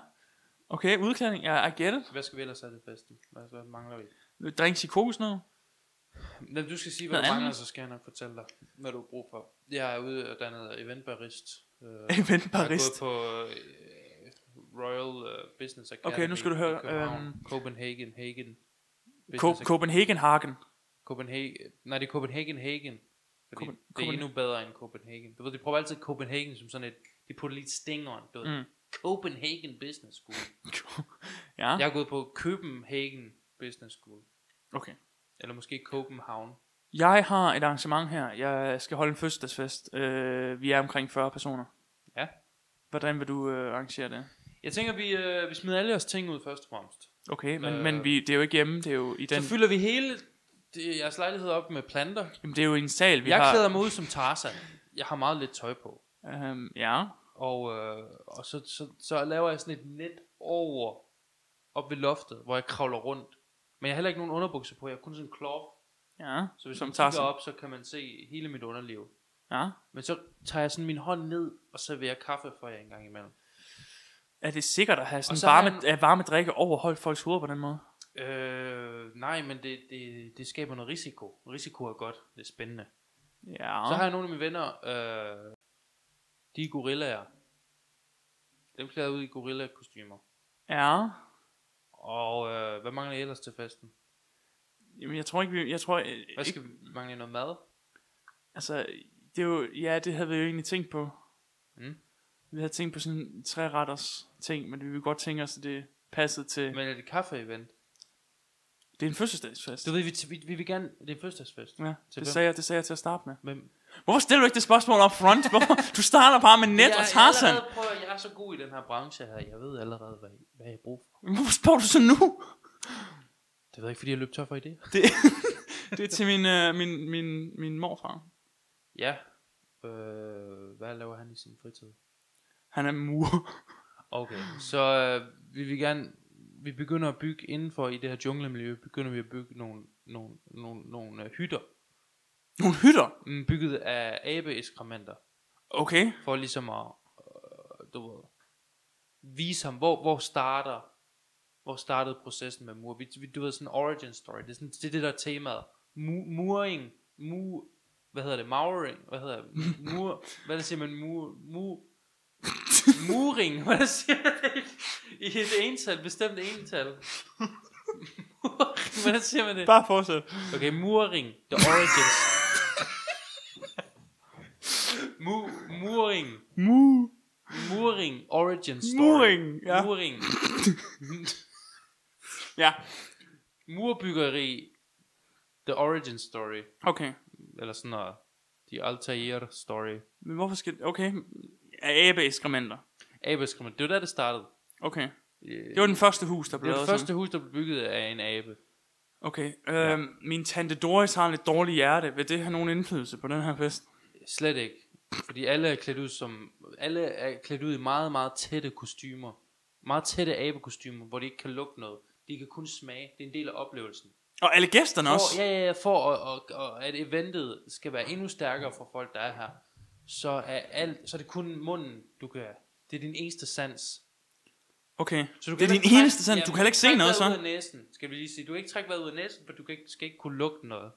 [SPEAKER 1] Okay, udklædning. Ja, I get it.
[SPEAKER 2] Hvad skal vi ellers have til festen? Hvad, hvad mangler vi?
[SPEAKER 1] Drinks i kokosnød.
[SPEAKER 2] Nå, du skal sige, hvad
[SPEAKER 1] Noget
[SPEAKER 2] du
[SPEAKER 1] andet?
[SPEAKER 2] mangler, så skal jeg nok fortælle dig, hvad du har brug for. Jeg er uddannet eventbarist. Øh,
[SPEAKER 1] Eventbarist.
[SPEAKER 2] Jeg har gået på øh, Royal øh, Business Academy
[SPEAKER 1] Okay, nu skal du
[SPEAKER 2] i
[SPEAKER 1] høre,
[SPEAKER 2] København.
[SPEAKER 1] øhm,
[SPEAKER 2] Copenhagen, Hagen.
[SPEAKER 1] Ko-
[SPEAKER 2] Business Ac-
[SPEAKER 1] Copenhagen Hagen.
[SPEAKER 2] Copenhagen. Nej, det er Copenhagen, Hagen. Fordi
[SPEAKER 1] Copen-
[SPEAKER 2] det er
[SPEAKER 1] Copen-
[SPEAKER 2] endnu bedre end Copenhagen. Du ved, de prøver altid Copenhagen som sådan et... De putter lige et sting on. Du ved.
[SPEAKER 1] Mm.
[SPEAKER 2] Copenhagen Business School.
[SPEAKER 1] ja,
[SPEAKER 2] Jeg er gået på Copenhagen Business School.
[SPEAKER 1] okay.
[SPEAKER 2] Eller måske Copenhavn.
[SPEAKER 1] Jeg har et arrangement her. Jeg skal holde en fødselsdagsfest. Øh, vi er omkring 40 personer.
[SPEAKER 2] Ja.
[SPEAKER 1] Hvordan vil du øh, arrangere det?
[SPEAKER 2] Jeg tænker, vi, øh, vi smider alle vores ting ud først og fremmest.
[SPEAKER 1] Okay, men, øh,
[SPEAKER 2] Øh.
[SPEAKER 1] men vi, det er jo ikke hjemme. Det er jo i den,
[SPEAKER 2] Den... Så fylder vi hele det, jeres lejlighed op med planter.
[SPEAKER 1] jamen, det er jo i en sal, vi
[SPEAKER 2] jeg
[SPEAKER 1] har.
[SPEAKER 2] klæder mig ud som Tarzan. Jeg har meget lidt tøj på.
[SPEAKER 1] Øhm, ja.
[SPEAKER 2] Og, øh, og så, så, så laver jeg sådan et net over, op ved loftet, hvor jeg kravler rundt. Men jeg har heller ikke nogen underbukser på, jeg har kun sådan en klov.
[SPEAKER 1] Ja,
[SPEAKER 2] Så hvis
[SPEAKER 1] som
[SPEAKER 2] man
[SPEAKER 1] tager
[SPEAKER 2] kigger
[SPEAKER 1] sig.
[SPEAKER 2] op, så kan man se hele mit underliv.
[SPEAKER 1] Ja.
[SPEAKER 2] Men så tager jeg sådan min hånd ned, og serverer kaffe for jer en gang imellem.
[SPEAKER 1] Er det sikkert at have sådan
[SPEAKER 2] så
[SPEAKER 1] så
[SPEAKER 2] har
[SPEAKER 1] varme, han... varme drikke overholdt folks hoveder på den måde?
[SPEAKER 2] Øh, nej, men det, det, det skaber noget risiko. Risiko er godt. Det er spændende.
[SPEAKER 1] Ja.
[SPEAKER 2] Så har jeg nogle af mine venner, øh, de er gorillaer. Dem klæder jeg ud i gorilla-kostymer.
[SPEAKER 1] Ja.
[SPEAKER 2] Og øh, hvad mangler jeg ellers til festen?
[SPEAKER 1] Jamen, jeg tror ikke, vi... Jeg tror, øh,
[SPEAKER 2] Hvad
[SPEAKER 1] ikke,
[SPEAKER 2] skal vi mangle jeg noget mad?
[SPEAKER 1] altså, det er jo... Ja, det havde vi jo egentlig tænkt på.
[SPEAKER 2] Mm.
[SPEAKER 1] Vi havde tænkt på sådan en træretters ting, men vi ville godt tænke os, at det passede til...
[SPEAKER 2] Men er det kaffe-event?
[SPEAKER 1] Det er en fødselsdagsfest.
[SPEAKER 2] Du ved, vi, vi, vi vil gerne... Det er en fødselsdagsfest.
[SPEAKER 1] Ja,
[SPEAKER 2] Til
[SPEAKER 1] det
[SPEAKER 2] hvem?
[SPEAKER 1] sagde, jeg, det sagde jeg til at starte med.
[SPEAKER 2] Men
[SPEAKER 1] Hvorfor stiller du ikke det spørgsmål op front? Hvorfor? Du starter bare med net
[SPEAKER 2] jeg,
[SPEAKER 1] og
[SPEAKER 2] er
[SPEAKER 1] Tarzan.
[SPEAKER 2] allerede, prøv, at- jeg er så god i den her branche her. Jeg ved allerede, hvad, hvad jeg bruger for.
[SPEAKER 1] Hvorfor spørger du så nu?
[SPEAKER 2] Det ved jeg ikke, fordi jeg løb tør for idéer.
[SPEAKER 1] Det, det er til min, øh, min, min, min morfar.
[SPEAKER 2] Ja. Øh, hvad laver han i sin fritid?
[SPEAKER 1] Han er mur.
[SPEAKER 2] Okay, så øh, vi vil gerne, vi begynder at bygge indenfor i det her junglemiljø, begynder vi at bygge nogle, nogle, nogle, nogle øh, hytter,
[SPEAKER 1] Nogle hytter.
[SPEAKER 2] mm, bygget af abeeskrementer,
[SPEAKER 1] Okay.
[SPEAKER 2] for ligesom at, øh, du ved, vise ham, hvor, hvor starter, hvor startede processen med mur. Vi, vi, du ved, sådan en origin story, det er, sådan, det, er det der er temaet. Mu, muring, mu, hvad hedder det, mauring, hvad hedder det, mur, hvad der siger man, mur, mur, Muring, hvad siger det? I et ental, bestemt ental. Muring, Hvordan siger man det?
[SPEAKER 1] Bare fortsæt.
[SPEAKER 2] Okay, Muring, The Origins. Mu, muring,
[SPEAKER 1] Mu.
[SPEAKER 2] Muring, Origin Story.
[SPEAKER 1] Muring, ja.
[SPEAKER 2] Muring,
[SPEAKER 1] Ja.
[SPEAKER 2] murbyggeri, The Origin Story,
[SPEAKER 1] Okay.
[SPEAKER 2] eller sådan noget. The Altair Story.
[SPEAKER 1] Men hvorfor skal... Okay. Abe-eskrementer.
[SPEAKER 2] Abeskrummet, det var der, det startede. Øh,
[SPEAKER 1] Okay.
[SPEAKER 2] Det
[SPEAKER 1] Det var den første hus, der
[SPEAKER 2] det,
[SPEAKER 1] blev
[SPEAKER 2] var det
[SPEAKER 1] lavet
[SPEAKER 2] første
[SPEAKER 1] sådan.
[SPEAKER 2] hus, der blev bygget af en abe.
[SPEAKER 1] Okay. Øhm, Min tante Doris har en lidt dårlig hjerte. Vil det have nogen indflydelse på den her fest?
[SPEAKER 2] Slet ikke. Fordi alle er klædt ud som alle er klædt ud i meget, meget tætte kostymer. Meget tætte abekostymer, hvor de ikke kan lugte noget. De kan kun smage. Det er en del af oplevelsen.
[SPEAKER 1] Og alle gæsterne også.
[SPEAKER 2] For, ja, ja, ja, for og, og, og, at eventet skal være endnu stærkere for folk, der er her, så er, alt, så er det kun munden, du kan... Det er din eneste sans.
[SPEAKER 1] Okay.
[SPEAKER 2] Så
[SPEAKER 1] Så
[SPEAKER 2] du
[SPEAKER 1] du det er
[SPEAKER 2] kan
[SPEAKER 1] din
[SPEAKER 2] heller ikke
[SPEAKER 1] eneste
[SPEAKER 2] trække-
[SPEAKER 1] sand.
[SPEAKER 2] ja,
[SPEAKER 1] du kan heller ikke se
[SPEAKER 2] trække
[SPEAKER 1] noget
[SPEAKER 2] vejret Ud
[SPEAKER 1] så.
[SPEAKER 2] af næsen, skal vi lige sige. Du kan ikke trække vejret ud af næsen, for du kan ikke, skal ikke kunne lugte noget.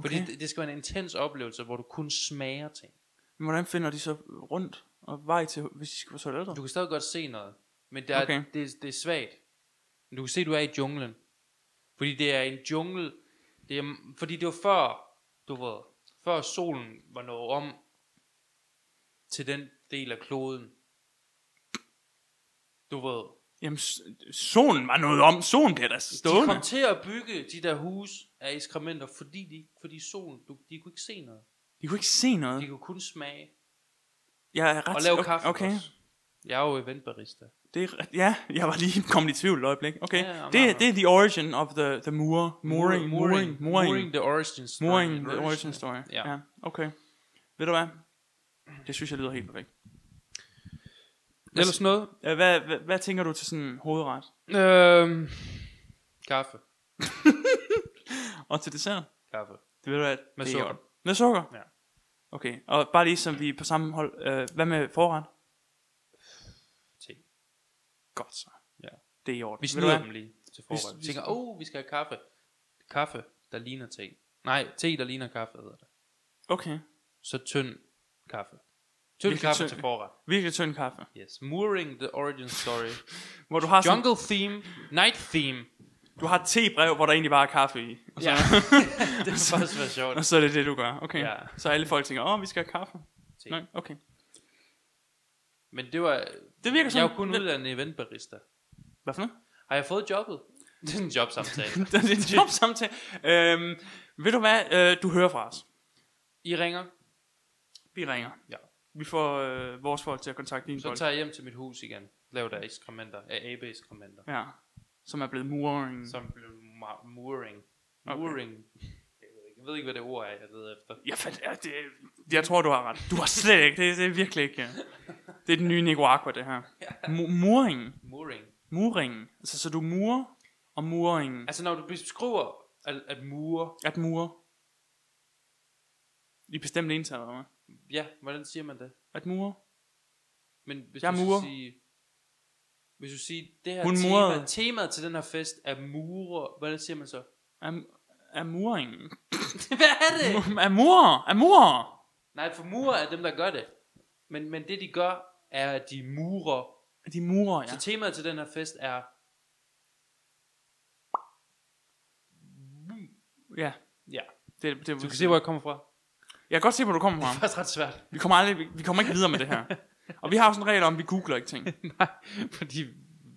[SPEAKER 2] Fordi
[SPEAKER 1] Okay.
[SPEAKER 2] det, det skal være en intens oplevelse, hvor du kun smager ting.
[SPEAKER 1] Men hvordan finder de så rundt og vej til, hvis de skal på toilettet?
[SPEAKER 2] Du kan stadig godt se noget, men der okay.
[SPEAKER 1] Okay.
[SPEAKER 2] er, det, det er svagt. Men Du kan se, du er i junglen. Fordi det er en jungle. Det er, fordi det var før, du ved, før solen var nået om til den del af kloden. Du ved.
[SPEAKER 1] Jamen, s- solen var noget om. Solen bliver da
[SPEAKER 2] De
[SPEAKER 1] stående.
[SPEAKER 2] kom til at bygge de der huse af ekskrementer, fordi, de, fordi solen, du, de kunne ikke se noget.
[SPEAKER 1] De kunne ikke se
[SPEAKER 2] De
[SPEAKER 1] noget.
[SPEAKER 2] kunne kun smage
[SPEAKER 1] Jeg er ret
[SPEAKER 2] og lave
[SPEAKER 1] okay,
[SPEAKER 2] kaffe
[SPEAKER 1] Okay.
[SPEAKER 2] også. Jeg er jo eventbarista.
[SPEAKER 1] Det er, ret- ja, jeg var lige kommet i tvivl et øjeblik. Okay.
[SPEAKER 2] Ja, ja, nej,
[SPEAKER 1] det,
[SPEAKER 2] nej.
[SPEAKER 1] det er the origin of the, the moor. Mooring.
[SPEAKER 2] Mooring.
[SPEAKER 1] Mooring. Mooring.
[SPEAKER 2] the origin story.
[SPEAKER 1] Mooring. The origin story.
[SPEAKER 2] Ja.
[SPEAKER 1] Ja. ja. Okay. Ved du hvad? Det synes jeg lyder helt perfekt.
[SPEAKER 2] Ellers noget?
[SPEAKER 1] Øh, Hvad, hvad, hvad tænker du til sådan en hovedret?
[SPEAKER 2] Øhm, kaffe.
[SPEAKER 1] Og til dessert?
[SPEAKER 2] Kaffe.
[SPEAKER 1] Det ved du at
[SPEAKER 2] Med
[SPEAKER 1] det er
[SPEAKER 2] sukker.
[SPEAKER 1] i orden. Med sukker?
[SPEAKER 2] Ja.
[SPEAKER 1] Okay, og bare lige som vi er på samme hold. Øh, hvad med forret?
[SPEAKER 2] Te.
[SPEAKER 1] Godt så.
[SPEAKER 2] Ja.
[SPEAKER 1] Det er i orden.
[SPEAKER 2] Vi
[SPEAKER 1] Ved du
[SPEAKER 2] snyder
[SPEAKER 1] hvad?
[SPEAKER 2] dem lige til
[SPEAKER 1] Vi-
[SPEAKER 2] forret. Vi
[SPEAKER 1] vi-
[SPEAKER 2] tænker, åh, oh, vi skal have kaffe. Kaffe, der ligner te. Nej, te, der ligner kaffe, hedder det.
[SPEAKER 1] Okay.
[SPEAKER 2] Så tynd kaffe. Tynd
[SPEAKER 1] Virkelig
[SPEAKER 2] kaffe
[SPEAKER 1] tynd.
[SPEAKER 2] til forret.
[SPEAKER 1] Virkelig tynd kaffe.
[SPEAKER 2] Yes. Mooring the origin story.
[SPEAKER 1] Hvor du har, sådan,
[SPEAKER 2] Jungle theme. Night theme.
[SPEAKER 1] du har et tebrev, hvor der egentlig bare er kaffe i. Og så,
[SPEAKER 2] Ja. det er faktisk være sjovt.
[SPEAKER 1] og så er det det, du gør. Okay.
[SPEAKER 2] Ja.
[SPEAKER 1] Så alle folk tænker, åh, vi skal have kaffe.
[SPEAKER 2] Te.
[SPEAKER 1] Nej, okay.
[SPEAKER 2] Men det var...
[SPEAKER 1] Det virker
[SPEAKER 2] Jeg er
[SPEAKER 1] sådan
[SPEAKER 2] jo kun
[SPEAKER 1] lidt-
[SPEAKER 2] uddannet eventbarista.
[SPEAKER 1] Hvad for noget?
[SPEAKER 2] Har jeg fået jobbet? Det er en jobsamtale.
[SPEAKER 1] det er en job samtale. Øhm, ved du hvad? Øh, du hører fra os.
[SPEAKER 2] I ringer.
[SPEAKER 1] Vi ringer.
[SPEAKER 2] Ja.
[SPEAKER 1] Vi får øh, vores folk til at kontakte dine
[SPEAKER 2] Så
[SPEAKER 1] folk.
[SPEAKER 2] tager jeg hjem til mit hus igen. Laver der ekskrementer. Af AB-ekskrementer.
[SPEAKER 1] Ja. Som er blevet mooring.
[SPEAKER 2] Som blev ma- mooring.
[SPEAKER 1] Okay.
[SPEAKER 2] Mooring. Jeg ved, ikke, jeg ved ikke, hvad det ord er, jeg leder efter.
[SPEAKER 1] Jeg, fandt, ja, det, jeg tror, du har ret. Du har slet ikke. Det, det er virkelig ikke. ja. Det er den nye Nicaragua, det her. Mu- Muringen.
[SPEAKER 2] Mooring.
[SPEAKER 1] Muringen. Altså, så du murer og muringen.
[SPEAKER 2] Altså, når du beskriver at, at mure,
[SPEAKER 1] At mure. I bestemt ental, eller hvad?
[SPEAKER 2] ja, hvordan siger man det?
[SPEAKER 1] At mure.
[SPEAKER 2] Men hvis
[SPEAKER 1] Jeg
[SPEAKER 2] du skal
[SPEAKER 1] murer.
[SPEAKER 2] sige, hvis du siger, det her
[SPEAKER 1] Hun
[SPEAKER 2] tema,
[SPEAKER 1] murede.
[SPEAKER 2] temaet til den her fest er mure, hvordan siger man så?
[SPEAKER 1] At, at muringen.
[SPEAKER 2] hvad er det?
[SPEAKER 1] At mure. At mure.
[SPEAKER 2] Nej, for murer er dem, der gør det. Men, men det, de gør, er, at de murer.
[SPEAKER 1] At de murer,
[SPEAKER 2] Ja.
[SPEAKER 1] ja.
[SPEAKER 2] Så temaet til den her fest er,
[SPEAKER 1] Ja.
[SPEAKER 2] ja,
[SPEAKER 1] Det, det,
[SPEAKER 2] du kan se, hvor jeg kommer fra.
[SPEAKER 1] Jeg kan godt se, hvor du kommer
[SPEAKER 2] Det er
[SPEAKER 1] fra.
[SPEAKER 2] faktisk ret svært.
[SPEAKER 1] Vi kommer, aldrig, vi, vi kommer ikke videre med det her. Og vi har jo sådan en regel om, at vi googler ikke ting.
[SPEAKER 2] Nej, fordi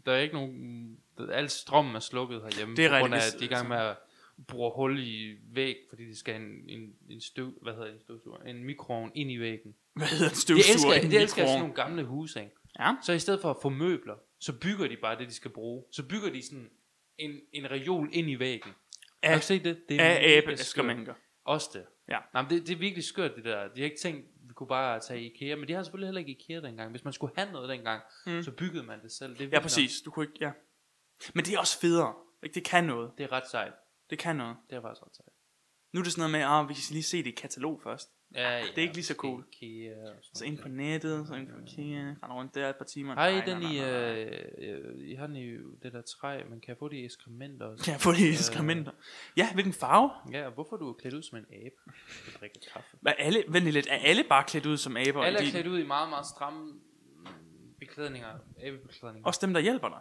[SPEAKER 2] der er ikke nogen... Al strømmen er slukket herhjemme.
[SPEAKER 1] Det er
[SPEAKER 2] på grund af,
[SPEAKER 1] rigtigt.
[SPEAKER 2] at de er i gang med at bruge hul i væg, fordi de skal have en, en, en støv... Hvad hedder det, en støvsuger? En mikroovn ind i væggen.
[SPEAKER 1] Hvad hedder en
[SPEAKER 2] Det
[SPEAKER 1] støvsuger?
[SPEAKER 2] elsker,
[SPEAKER 1] i en
[SPEAKER 2] det elsker jeg sådan
[SPEAKER 1] mikroovn?
[SPEAKER 2] nogle gamle huse, ikke?
[SPEAKER 1] Ja.
[SPEAKER 2] Så i stedet for at få møbler, så bygger de bare det, de skal bruge. Så bygger de sådan en, en reol ind i væggen.
[SPEAKER 1] Af-
[SPEAKER 2] Har du set det? det
[SPEAKER 1] Af
[SPEAKER 2] mega skørt.
[SPEAKER 1] æbleeskrementer.
[SPEAKER 2] Også det.
[SPEAKER 1] Ja.
[SPEAKER 2] Nej, men det, det er virkelig skørt, det der. De har ikke tænkt, vi kunne bare tage IKEA, men de har selvfølgelig heller ikke IKEA dengang. Hvis man skulle have noget dengang, mm. så byggede man det selv. Det er vildt
[SPEAKER 1] Ja,
[SPEAKER 2] nok.
[SPEAKER 1] præcis. Du kunne ikke, ja. Men det er også federe. Ikke? Det kan noget.
[SPEAKER 2] Det er ret sejt.
[SPEAKER 1] Det kan noget.
[SPEAKER 2] Det er faktisk ret sejt.
[SPEAKER 1] Nu er det sådan noget med, at vi kan lige se det i katalog først.
[SPEAKER 2] Ja, ja,
[SPEAKER 1] Ah, Det er ikke lige så cool.
[SPEAKER 2] IKEA og sådan
[SPEAKER 1] Så ind på nettet, så ind på IKEA, render rundt der et par timer.
[SPEAKER 2] Har I
[SPEAKER 1] Nej,
[SPEAKER 2] den
[SPEAKER 1] nej,
[SPEAKER 2] i,
[SPEAKER 1] nej, nej.
[SPEAKER 2] øh, øh, I har den i det der træ, man kan få det i ekskrementer også.
[SPEAKER 1] Kan jeg få de skrementer? Ja, hvilken farve?
[SPEAKER 2] Ja, og hvorfor er du klædt ud som en abe? Jeg drikker kaffe.
[SPEAKER 1] Er alle, vent lige lidt, er alle bare klædt ud som aber?
[SPEAKER 2] Alle
[SPEAKER 1] De-
[SPEAKER 2] er klædt ud i meget, meget stramme mm, beklædninger, abebeklædninger.
[SPEAKER 1] Også dem, der hjælper dig.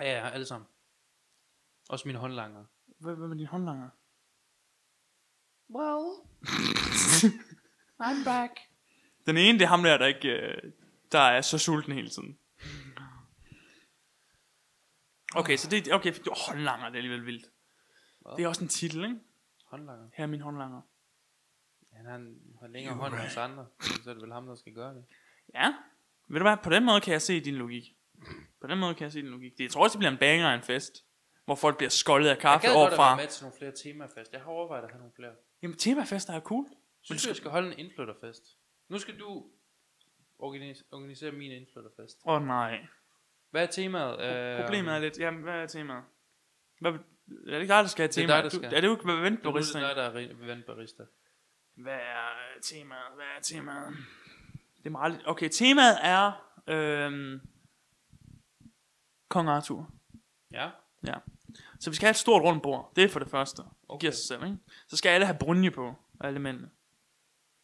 [SPEAKER 2] Ja, ja, alle sammen. Også mine håndlanger.
[SPEAKER 1] Hvad hvad med dine håndlanger?
[SPEAKER 3] Well, I'm back.
[SPEAKER 1] Den ene, det er ham der, der ikke, øh, der er så sulten hele tiden. Okay, så det, okay, for- åh, håndlanger, det er alligevel vildt. Det er også en titel, ikke?
[SPEAKER 2] Håndlanger?
[SPEAKER 1] Her er min håndlanger.
[SPEAKER 2] Han har en har længere hånd end os andre, så er det vel ham, der skal gøre det.
[SPEAKER 1] Ja. Ved du hvad, på den måde kan jeg se din logik. På den måde kan jeg se din logik. Det, jeg tror også, det bliver en banger af en fest. Hvor folk bliver skoldet af
[SPEAKER 2] Jeg
[SPEAKER 1] kaffe
[SPEAKER 2] gad godt at være
[SPEAKER 1] overfra.
[SPEAKER 2] med til nogle flere temafest. Jeg har overvejet at have nogle flere.
[SPEAKER 1] Jamen, temafester er cool.
[SPEAKER 2] Synes du, jeg skal holde en indflytterfest? Nu skal du organis- organisere min indflytterfest.
[SPEAKER 1] Åh oh, nej.
[SPEAKER 2] Hvad er temaet? Øh,
[SPEAKER 1] Problemet er lidt, jamen, hvad er temaet? Hvad, er det ikke dig, der skal have
[SPEAKER 2] er
[SPEAKER 1] tema?
[SPEAKER 2] dig, der
[SPEAKER 1] Du-
[SPEAKER 2] skal.
[SPEAKER 1] Er det jo ikke, hvad vent,
[SPEAKER 2] du
[SPEAKER 1] du
[SPEAKER 2] er det dig, der er ri- vand barista.
[SPEAKER 1] Hvad er øh, temaet? Hvad er temaet? Det er meget lidt. Okay, temaet er... Øhm, Kong Arthur.
[SPEAKER 2] Ja,
[SPEAKER 1] Ja. Så vi skal have et stort rundt bord. Det er for det første. Det
[SPEAKER 2] Okay.
[SPEAKER 1] giver sig selv, ikke? Så skal alle have brunje på. Alle mændene.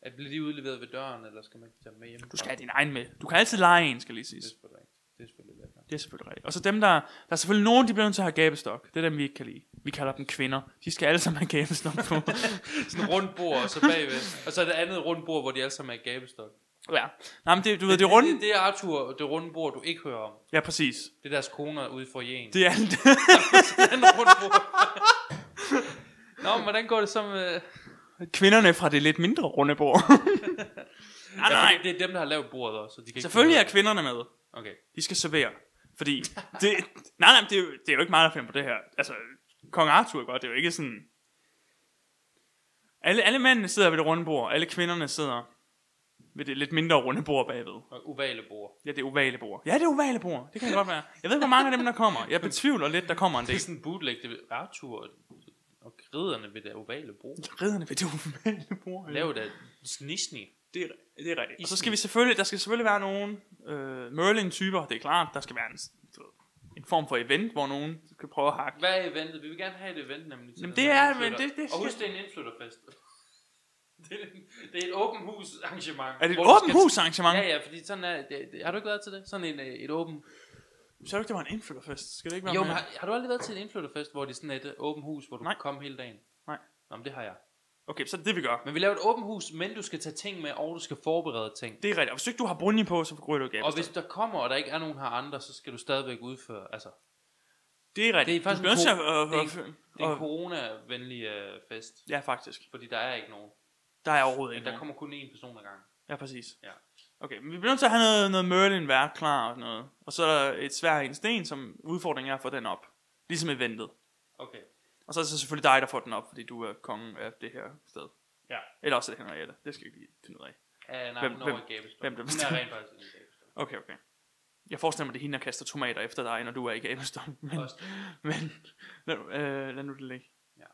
[SPEAKER 2] at blive de udleveret ved døren, eller skal man tage dem med hjem?
[SPEAKER 1] Du skal have din egen med. Du kan altid lege en, skal lige
[SPEAKER 2] Det er
[SPEAKER 1] siges.
[SPEAKER 2] selvfølgelig rigtigt. Det er selvfølgelig lækkert.
[SPEAKER 1] Det er selvfølgelig rigtigt. Og så dem, der... Der er selvfølgelig nogen, de bliver nødt til at have gabestok. Det er dem, vi ikke kan lide. Vi kalder dem kvinder. De skal alle sammen have gabestok på.
[SPEAKER 2] Sådan et rundt bord, og så bagved. Og så er det andet rundt bord, hvor de alle sammen er i gabestok.
[SPEAKER 1] Ja. Nej, men det, du ved, det er runde.
[SPEAKER 2] Det, det er Arthur, det runde bord, du ikke hører om.
[SPEAKER 1] Ja, præcis.
[SPEAKER 2] Det er deres koner ude for jen.
[SPEAKER 1] Det er alt.
[SPEAKER 2] Den runde bord. Nå, men hvordan går det så med...
[SPEAKER 1] Kvinderne fra det lidt mindre runde bord. nej,
[SPEAKER 2] Ja,
[SPEAKER 1] nej.
[SPEAKER 2] fordi det er dem, der har lavet bordet også. Så de kan ikke
[SPEAKER 1] Selvfølgelig er kvinderne med.
[SPEAKER 2] Okay.
[SPEAKER 1] De skal servere. Fordi, det, nej, nej, men det, er jo- det er jo ikke meget at finde på det her. Altså, kong Arthur godt, det er jo ikke sådan... Alle, alle mændene sidder ved det runde bord, alle kvinderne sidder ved det lidt mindre runde bord bagved.
[SPEAKER 2] Og ovale bord.
[SPEAKER 1] Ja, det er ovale bord. Ja, det er ovale bord. Det kan det godt være. Jeg ved ikke, hvor mange af dem, der kommer. Jeg betvivler lidt, der kommer en
[SPEAKER 2] Det
[SPEAKER 1] del.
[SPEAKER 2] er sådan en bootleg, det er Arthur og, og ridderne ved det ovale bord.
[SPEAKER 1] Ridderne ved det ovale bord.
[SPEAKER 2] Lav da snisni.
[SPEAKER 1] Det er, det er rigtigt. Og så skal vi selvfølgelig, der skal selvfølgelig være nogen øh, Merlin-typer, det er klart. Der skal være en, du ved, en form for event, hvor nogen skal prøve at hakke.
[SPEAKER 2] Hvad er eventet? Vi vil gerne have et event nemlig. til
[SPEAKER 1] Jamen,
[SPEAKER 2] den
[SPEAKER 1] det
[SPEAKER 2] her
[SPEAKER 1] er- men
[SPEAKER 2] indflytter.
[SPEAKER 1] det- det
[SPEAKER 2] Og
[SPEAKER 1] skal-
[SPEAKER 2] husk, det er en indflytterfest. det, er, en- det er et åben hus arrangement.
[SPEAKER 1] Er det et
[SPEAKER 2] hvor du
[SPEAKER 1] åbent
[SPEAKER 2] skal-
[SPEAKER 1] hus arrangement?
[SPEAKER 2] Ja, ja, fordi sådan er... Det, det, har du ikke været til det? Sådan en, øh, et åben...
[SPEAKER 1] Så er det ikke, det var en indflytterfest. Skal det ikke være
[SPEAKER 2] Jo, men
[SPEAKER 1] med?
[SPEAKER 2] har, har, du aldrig været til en indflytterfest, hvor det er sådan et øh, åben hus, hvor du
[SPEAKER 1] Nej.
[SPEAKER 2] kan komme hele dagen?
[SPEAKER 1] Nej.
[SPEAKER 2] Nå, men det har jeg.
[SPEAKER 1] Okay, så er det det, vi gør.
[SPEAKER 2] Men vi laver et åbent hus, men du skal tage ting med, og du skal forberede ting.
[SPEAKER 1] Det er rigtigt. Og hvis ikke du har brunje på, så ryger du ikke af.
[SPEAKER 2] Og hvis der kommer, og der ikke er nogen her andre, så skal du stadigvæk udføre, altså,
[SPEAKER 1] Det er rigtigt.
[SPEAKER 2] det er faktisk
[SPEAKER 1] du bliver nødt til at... Øh,
[SPEAKER 2] en ko- det
[SPEAKER 1] øh,
[SPEAKER 2] det er en
[SPEAKER 1] øh,
[SPEAKER 2] corona-venlig øh, fest,
[SPEAKER 1] ja, faktisk.
[SPEAKER 2] fordi der er ikke nogen.
[SPEAKER 1] Der er overhovedet
[SPEAKER 2] Men
[SPEAKER 1] ikke
[SPEAKER 2] der
[SPEAKER 1] nogen.
[SPEAKER 2] kommer kun én person ad gangen.
[SPEAKER 1] Ja, præcis.
[SPEAKER 2] Ja.
[SPEAKER 1] Okay, men vi bliver nødt til at have noget, noget merlin værk klar og sådan noget. Og så er der et svær en sten, som udfordringen er at få den op. Ligesom eventet.
[SPEAKER 2] Okay.
[SPEAKER 1] Og så er det så selvfølgelig dig, der får den op, fordi du er kongen af det her sted.
[SPEAKER 2] Ja. Eller,
[SPEAKER 1] Eller også er det Henriette. Det skal jeg ikke lige finde ud af.
[SPEAKER 2] uh, nej,
[SPEAKER 1] Hvem-
[SPEAKER 2] hvem, hun er
[SPEAKER 1] hvem-
[SPEAKER 2] over i Gabestol.
[SPEAKER 1] hvem der
[SPEAKER 2] Hun er
[SPEAKER 1] bestemmer?
[SPEAKER 2] rent faktisk i Gabestol.
[SPEAKER 1] Okay, okay. Jeg forestiller mig, det er hende, der kaster tomater efter dig, når du er i Gabelstone. Men,
[SPEAKER 2] Også-
[SPEAKER 1] men lad, nu- øh, lad nu det ligge.
[SPEAKER 2] Ja.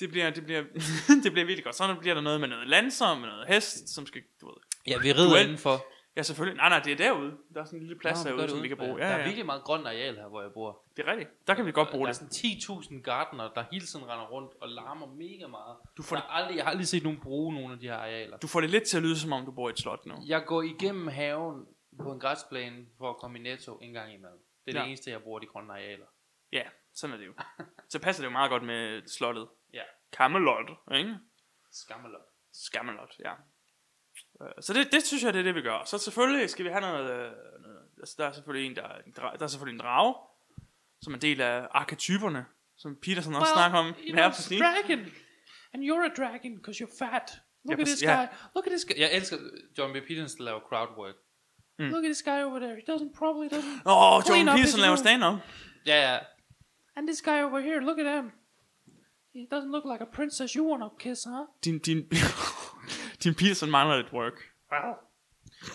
[SPEAKER 1] Det bliver, det bliver, det bliver virkelig godt. Så bliver der noget med noget landsom, med noget hest, som skal, du ved.
[SPEAKER 2] Ja, vi rider
[SPEAKER 1] Duel.
[SPEAKER 2] indenfor.
[SPEAKER 1] Ja, selvfølgelig. Nej, nej, det er derude. Der er sådan en lille plads Nå,
[SPEAKER 2] Nå, gør
[SPEAKER 1] derude,
[SPEAKER 2] det
[SPEAKER 1] som vi kan
[SPEAKER 2] udenfor,
[SPEAKER 1] bruge.
[SPEAKER 2] ja. Der
[SPEAKER 1] Ja,
[SPEAKER 2] er
[SPEAKER 1] ja,
[SPEAKER 2] virkelig meget grønt areal her, hvor jeg bor.
[SPEAKER 1] det er rigtigt. Der kan vi godt bruge
[SPEAKER 2] Der er
[SPEAKER 1] det.
[SPEAKER 2] sådan 10.000 gardener, der hele tiden render rundt og larmer mega meget.
[SPEAKER 1] Du får
[SPEAKER 2] der er aldrig, jeg har aldrig set nogen bruge nogen af de her arealer.
[SPEAKER 1] Du får det lidt til at lyde, som om du bor i et slot nu.
[SPEAKER 2] Jeg går igennem haven på en græsplæne for at komme i netto en gang imellem. Det er ja.
[SPEAKER 1] Ja.
[SPEAKER 2] det eneste, jeg bruger de grønne arealer.
[SPEAKER 1] Ja, sådan er det jo. Så passer det jo meget godt med slottet.
[SPEAKER 2] Ja,
[SPEAKER 1] Camelot, ikke?
[SPEAKER 2] skammelop.
[SPEAKER 1] Skammelot, ja. Øh, Så det, det synes jeg, det er det, vi gør. Så selvfølgelig skal vi have noget... øh, noget altså, der er selvfølgelig en, der, er en dra- der er selvfølgelig en drage, som er en del af arketyperne, som Peterson også snakker om.
[SPEAKER 3] you
[SPEAKER 1] her
[SPEAKER 3] know,
[SPEAKER 1] på
[SPEAKER 3] it's
[SPEAKER 1] Steam.
[SPEAKER 3] dragon. And you're a dragon because you're fat. Look
[SPEAKER 1] Yeah,
[SPEAKER 3] at this
[SPEAKER 1] but- yeah.
[SPEAKER 3] guy. Look at this guy.
[SPEAKER 2] Jeg elsker John B. Peters, der laver crowdwork.
[SPEAKER 3] Look at this guy over there. He doesn't probably doesn't.
[SPEAKER 1] Åh, oh,
[SPEAKER 3] Clean
[SPEAKER 1] John
[SPEAKER 3] up
[SPEAKER 1] Peterson
[SPEAKER 3] his
[SPEAKER 1] laver
[SPEAKER 3] room.
[SPEAKER 1] stand-up.
[SPEAKER 2] Ja, ja.
[SPEAKER 3] And this guy over here. Look at him. He doesn't look like a princess you want to kiss, huh?
[SPEAKER 1] Din, din, din Peterson mangler lidt work.
[SPEAKER 3] Well,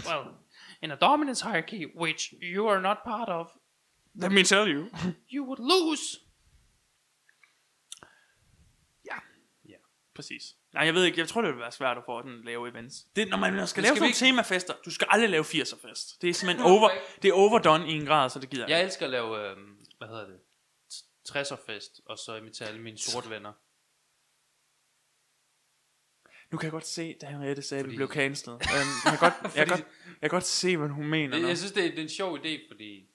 [SPEAKER 3] well, in a dominance hierarchy, which you are not part of,
[SPEAKER 1] Let me tell you.
[SPEAKER 3] you would lose.
[SPEAKER 1] Præcis. Nej, jeg ved ikke. Jeg tror, det vil være svært at få den lave events. Det, når man skal,
[SPEAKER 2] skal
[SPEAKER 1] lave
[SPEAKER 2] vi
[SPEAKER 1] sådan
[SPEAKER 2] ikke-
[SPEAKER 1] ikke... temafester, du skal aldrig lave 80'er fest. Det er simpelthen over, det er overdone i en grad, så det gider
[SPEAKER 2] Jeg elsker at lave, øh, hvad hedder det, T- 60'er-fest, og så invitere alle mine sorte venner.
[SPEAKER 1] Nu kan jeg godt se, da Henriette sagde, at
[SPEAKER 2] Fordi-
[SPEAKER 1] vi blev cancelet. Um, jeg, kan godt, jeg, kan
[SPEAKER 2] Fordi-
[SPEAKER 1] godt, jeg kan godt se, hvad hun mener.
[SPEAKER 2] Jeg,
[SPEAKER 1] nu.
[SPEAKER 2] jeg synes, det er, det er en sjov idé, fordi...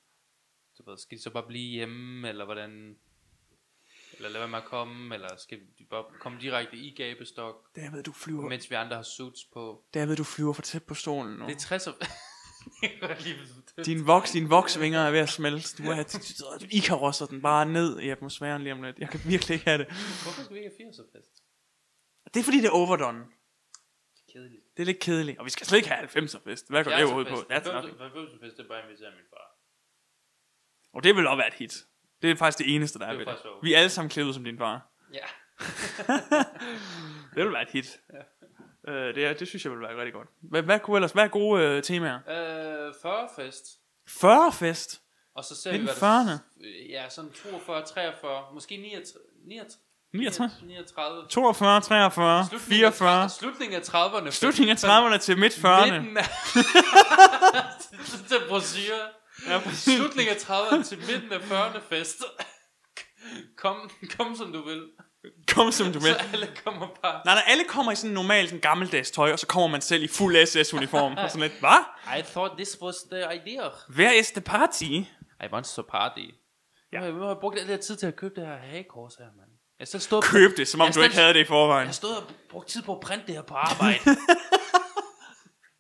[SPEAKER 2] Du ved, skal de så bare blive hjemme, eller hvordan... Eller lad være med at komme, eller skal de bare komme direkte i gabestok,
[SPEAKER 1] David, du flyver, Men...
[SPEAKER 2] mens vi andre har suits på.
[SPEAKER 1] David, du flyver for tæt på stolen nu.
[SPEAKER 2] Det er 60'er... Jeg kan godt lide-
[SPEAKER 1] Din voks, din voksvinger er ved at smelte. Du er, I karosser den bare ned i atmosfæren lige om lidt. Jeg kan virkelig ikke have det.
[SPEAKER 2] Hvorfor skal vi ikke have 80'er fest?
[SPEAKER 1] Det er fordi, det er overdone.
[SPEAKER 2] Kedeligt.
[SPEAKER 1] Det er lidt kedeligt. Og vi skal slet ikke have 90'er fest. Hvad går det overhovedet på? That's nothing.
[SPEAKER 2] 90'er fest, det er bare at invitere min far.
[SPEAKER 1] Og det vil også være et hit. Det er faktisk det eneste, der er
[SPEAKER 2] Det er
[SPEAKER 1] ved det.
[SPEAKER 2] faktisk sjovt.
[SPEAKER 1] Vi er alle sammen klædt ud som din far.
[SPEAKER 2] Ja.
[SPEAKER 1] Det vil være et hit. Øh, det, er, det synes jeg vil være rigtig godt. Hvad, hvad kunne ellers? Hvad er gode øh, temaer?
[SPEAKER 2] Øh, 40 fest.
[SPEAKER 1] 40 fest.
[SPEAKER 2] Og så ser
[SPEAKER 1] Lidt
[SPEAKER 2] vi, hvad
[SPEAKER 1] i
[SPEAKER 2] der... Ja, sådan 42, 43, måske 69, 69,
[SPEAKER 1] 69.
[SPEAKER 2] 39.
[SPEAKER 1] 42, 43,
[SPEAKER 2] Slutningen af
[SPEAKER 1] 44.
[SPEAKER 2] 30 Slutningen af 30'erne.
[SPEAKER 1] Slutningen af 30'erne til midt 40'erne.
[SPEAKER 2] Midten af... til brosure.
[SPEAKER 1] Ja, præcis.
[SPEAKER 2] Slutningen af 30'erne til midten af 40'erne fest. Kom, kom som du vil.
[SPEAKER 1] Kom som du vil.
[SPEAKER 2] Så alle kommer bare.
[SPEAKER 1] Nej, nej, alle kommer i sådan normalt sådan gammeldags tøj, og så kommer man selv i fuld SS-uniform. og sådan lidt, hvad?
[SPEAKER 2] I thought this was the idea.
[SPEAKER 1] Where is the party?
[SPEAKER 2] I want to party. Ja. Jeg har brugt al den her tid til at købe det her hagekors her, mand. Jeg har selv stået
[SPEAKER 1] Køb det, som om
[SPEAKER 2] Jeg
[SPEAKER 1] du ikke
[SPEAKER 2] står-
[SPEAKER 1] havde det i forvejen.
[SPEAKER 2] Jeg stod og brugt tid på at printe det her på arbejde.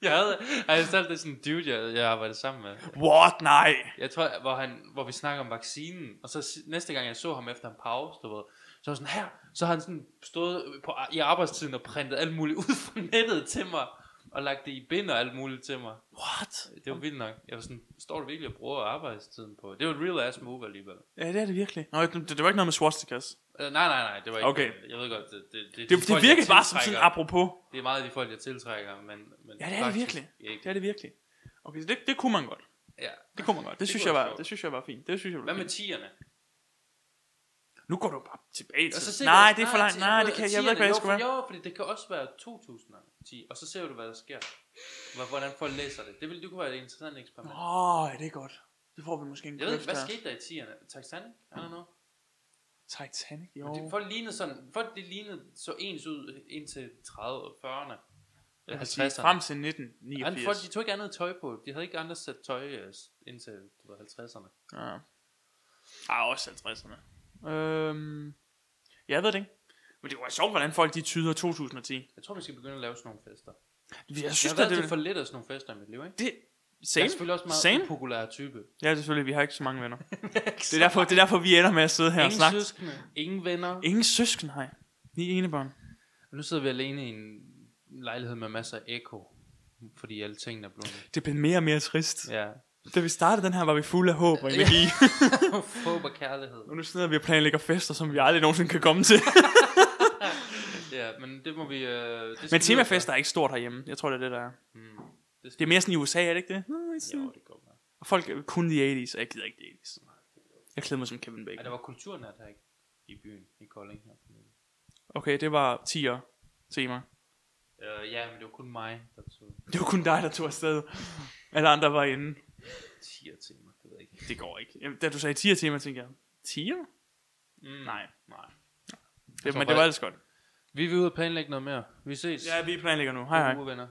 [SPEAKER 2] Jeg havde, jeg selv det er sådan en dude, jeg, jeg arbejdede sammen med.
[SPEAKER 1] What? Nej.
[SPEAKER 2] Jeg tror, hvor, han, hvor vi snakker om vaccinen, og så si- næste gang jeg så ham efter en pause, du ved, så var jeg sådan her, så har han sådan stået på, i arbejdstiden og printet alt muligt ud fra nettet til mig, og lagt det i bind og alt muligt til mig.
[SPEAKER 1] What?
[SPEAKER 2] Det var vildt nok. Jeg var sådan, står du virkelig og bruger arbejdstiden på? Det var et real ass move alligevel.
[SPEAKER 1] Ja, det er det virkelig. Nå, det, det var ikke noget med swastikas.
[SPEAKER 2] Eller, nej, nej, nej, det var ikke.
[SPEAKER 1] Okay.
[SPEAKER 2] Jeg ved godt, det, det, det,
[SPEAKER 1] Det,
[SPEAKER 2] de
[SPEAKER 1] det
[SPEAKER 2] folk, jeg
[SPEAKER 1] virkede bare som sådan
[SPEAKER 2] tiltrækker.
[SPEAKER 1] apropos.
[SPEAKER 2] Det er meget af de folk, jeg tiltrækker, men... men
[SPEAKER 1] Ja, det er det virkelig.
[SPEAKER 2] Ikke.
[SPEAKER 1] Det er det virkelig. Okay, så det, det kunne man godt.
[SPEAKER 2] Ja.
[SPEAKER 1] Det kunne man godt. Det, det synes jeg
[SPEAKER 2] kunne
[SPEAKER 1] var,
[SPEAKER 2] sjovt.
[SPEAKER 1] det synes jeg var fint. Det synes jeg var
[SPEAKER 2] Hvad med
[SPEAKER 1] fint.
[SPEAKER 2] tierne?
[SPEAKER 1] Nu går du bare tilbage til.
[SPEAKER 2] Og så ser
[SPEAKER 1] nej,
[SPEAKER 2] du-
[SPEAKER 1] det er for langt.
[SPEAKER 2] ti-
[SPEAKER 1] Nej, det kan jeg ved ikke, hvad jeg
[SPEAKER 2] tierne,
[SPEAKER 1] skulle
[SPEAKER 2] jo,
[SPEAKER 1] være.
[SPEAKER 2] for- Jo, fordi det kan også være 2010, og så ser du, hvad der sker. Hvor- Hvordan folk læser det. Det, ville, det kunne være et interessant eksperiment.
[SPEAKER 1] Åh, oh, det er godt. Det får vi måske en
[SPEAKER 2] Jeg ved
[SPEAKER 1] kløft
[SPEAKER 2] ikke, hvad
[SPEAKER 1] der.
[SPEAKER 2] skete der i 10'erne? Titanic? I don't know.
[SPEAKER 1] Titanic,
[SPEAKER 2] Oh.
[SPEAKER 1] jo.
[SPEAKER 2] Folk lignede sådan, folk det lignede så ens ud indtil 30 og 40'erne.
[SPEAKER 1] Jeg
[SPEAKER 2] Eller
[SPEAKER 1] vil sige,
[SPEAKER 2] 50'erne.
[SPEAKER 1] Altså, frem til
[SPEAKER 2] Han, folk,
[SPEAKER 1] 1989.
[SPEAKER 2] de tog ikke andet tøj på. De havde ikke andet sæt tøj øh, indtil du ved, 50'erne.
[SPEAKER 1] Ja. Ah, også 50'erne. Øhm, jeg ved det ikke. Men det var sjovt, hvordan folk de tyder 2010.
[SPEAKER 2] Jeg tror, vi skal begynde at lave sådan nogle fester.
[SPEAKER 1] Jeg
[SPEAKER 2] Jeg
[SPEAKER 1] synes,
[SPEAKER 2] har
[SPEAKER 1] jeg
[SPEAKER 2] været
[SPEAKER 1] det,
[SPEAKER 2] til
[SPEAKER 1] det,
[SPEAKER 2] for
[SPEAKER 1] for...
[SPEAKER 2] lidt af sådan nogle fester i mit liv, ikke?
[SPEAKER 1] det
[SPEAKER 2] Jeg er
[SPEAKER 1] Same.
[SPEAKER 2] selvfølgelig også meget
[SPEAKER 1] Same.
[SPEAKER 2] populær type.
[SPEAKER 1] Ja, selvfølgelig. Vi har ikke så mange venner. Det er derfor, det er derfor vi ender med at sidde her og
[SPEAKER 2] Ingen
[SPEAKER 1] snakke.
[SPEAKER 2] søskende, ingen venner.
[SPEAKER 1] Ingen søsken, nej. Ni enebørn.
[SPEAKER 2] Nu sidder vi alene i en lejlighed med masser af ekko, fordi alle tingene er blevet...
[SPEAKER 1] Det blev mere og mere trist. Ja.
[SPEAKER 2] Ja.
[SPEAKER 1] Da vi startede den her, var vi fulde af håb og energi. Ja.
[SPEAKER 2] Håb og kærlighed.
[SPEAKER 1] og nu sidder vi og planlægger fester, som vi aldrig nogensinde kan komme til.
[SPEAKER 2] Ja, men det må vi... Øh, det skal
[SPEAKER 1] Men
[SPEAKER 2] vi
[SPEAKER 1] temafest er ikke stort herhjemme. Jeg tror, det er det, der er.
[SPEAKER 2] ud af. Mm. Det,
[SPEAKER 1] Det
[SPEAKER 2] skal,
[SPEAKER 1] er mere sådan i USA, er det ikke det? Nå, det er sådan-
[SPEAKER 2] jo, det går bare.
[SPEAKER 1] Og folk er kun de 80's, og jeg gider ikke de 80's. Jeg klæder mig som Kevin
[SPEAKER 2] Ja,
[SPEAKER 1] Bacon.
[SPEAKER 2] der var kulturnat her ikke? i byen, i Kolding her. forleden.
[SPEAKER 1] Okay, det var 10'er tema.
[SPEAKER 2] Øh, ja, men det var kun mig, der tog
[SPEAKER 1] Det var kun dig, der tog afsted. Alle andre var inde.
[SPEAKER 2] 10 til mig, det ved jeg ikke.
[SPEAKER 1] Det går ikke. Jamen, da du sagde 10'er tema, tænkte jeg, 10'er?
[SPEAKER 2] Mm.
[SPEAKER 1] Nej.
[SPEAKER 2] Nej.
[SPEAKER 1] Det,
[SPEAKER 2] tror
[SPEAKER 1] men det var
[SPEAKER 2] faktisk-
[SPEAKER 1] ellers godt.
[SPEAKER 2] Vi vil ud og planlægge noget mere. Vi ses.
[SPEAKER 1] Ja, vi planlægger nu. Hej hej.
[SPEAKER 2] Ugevenner.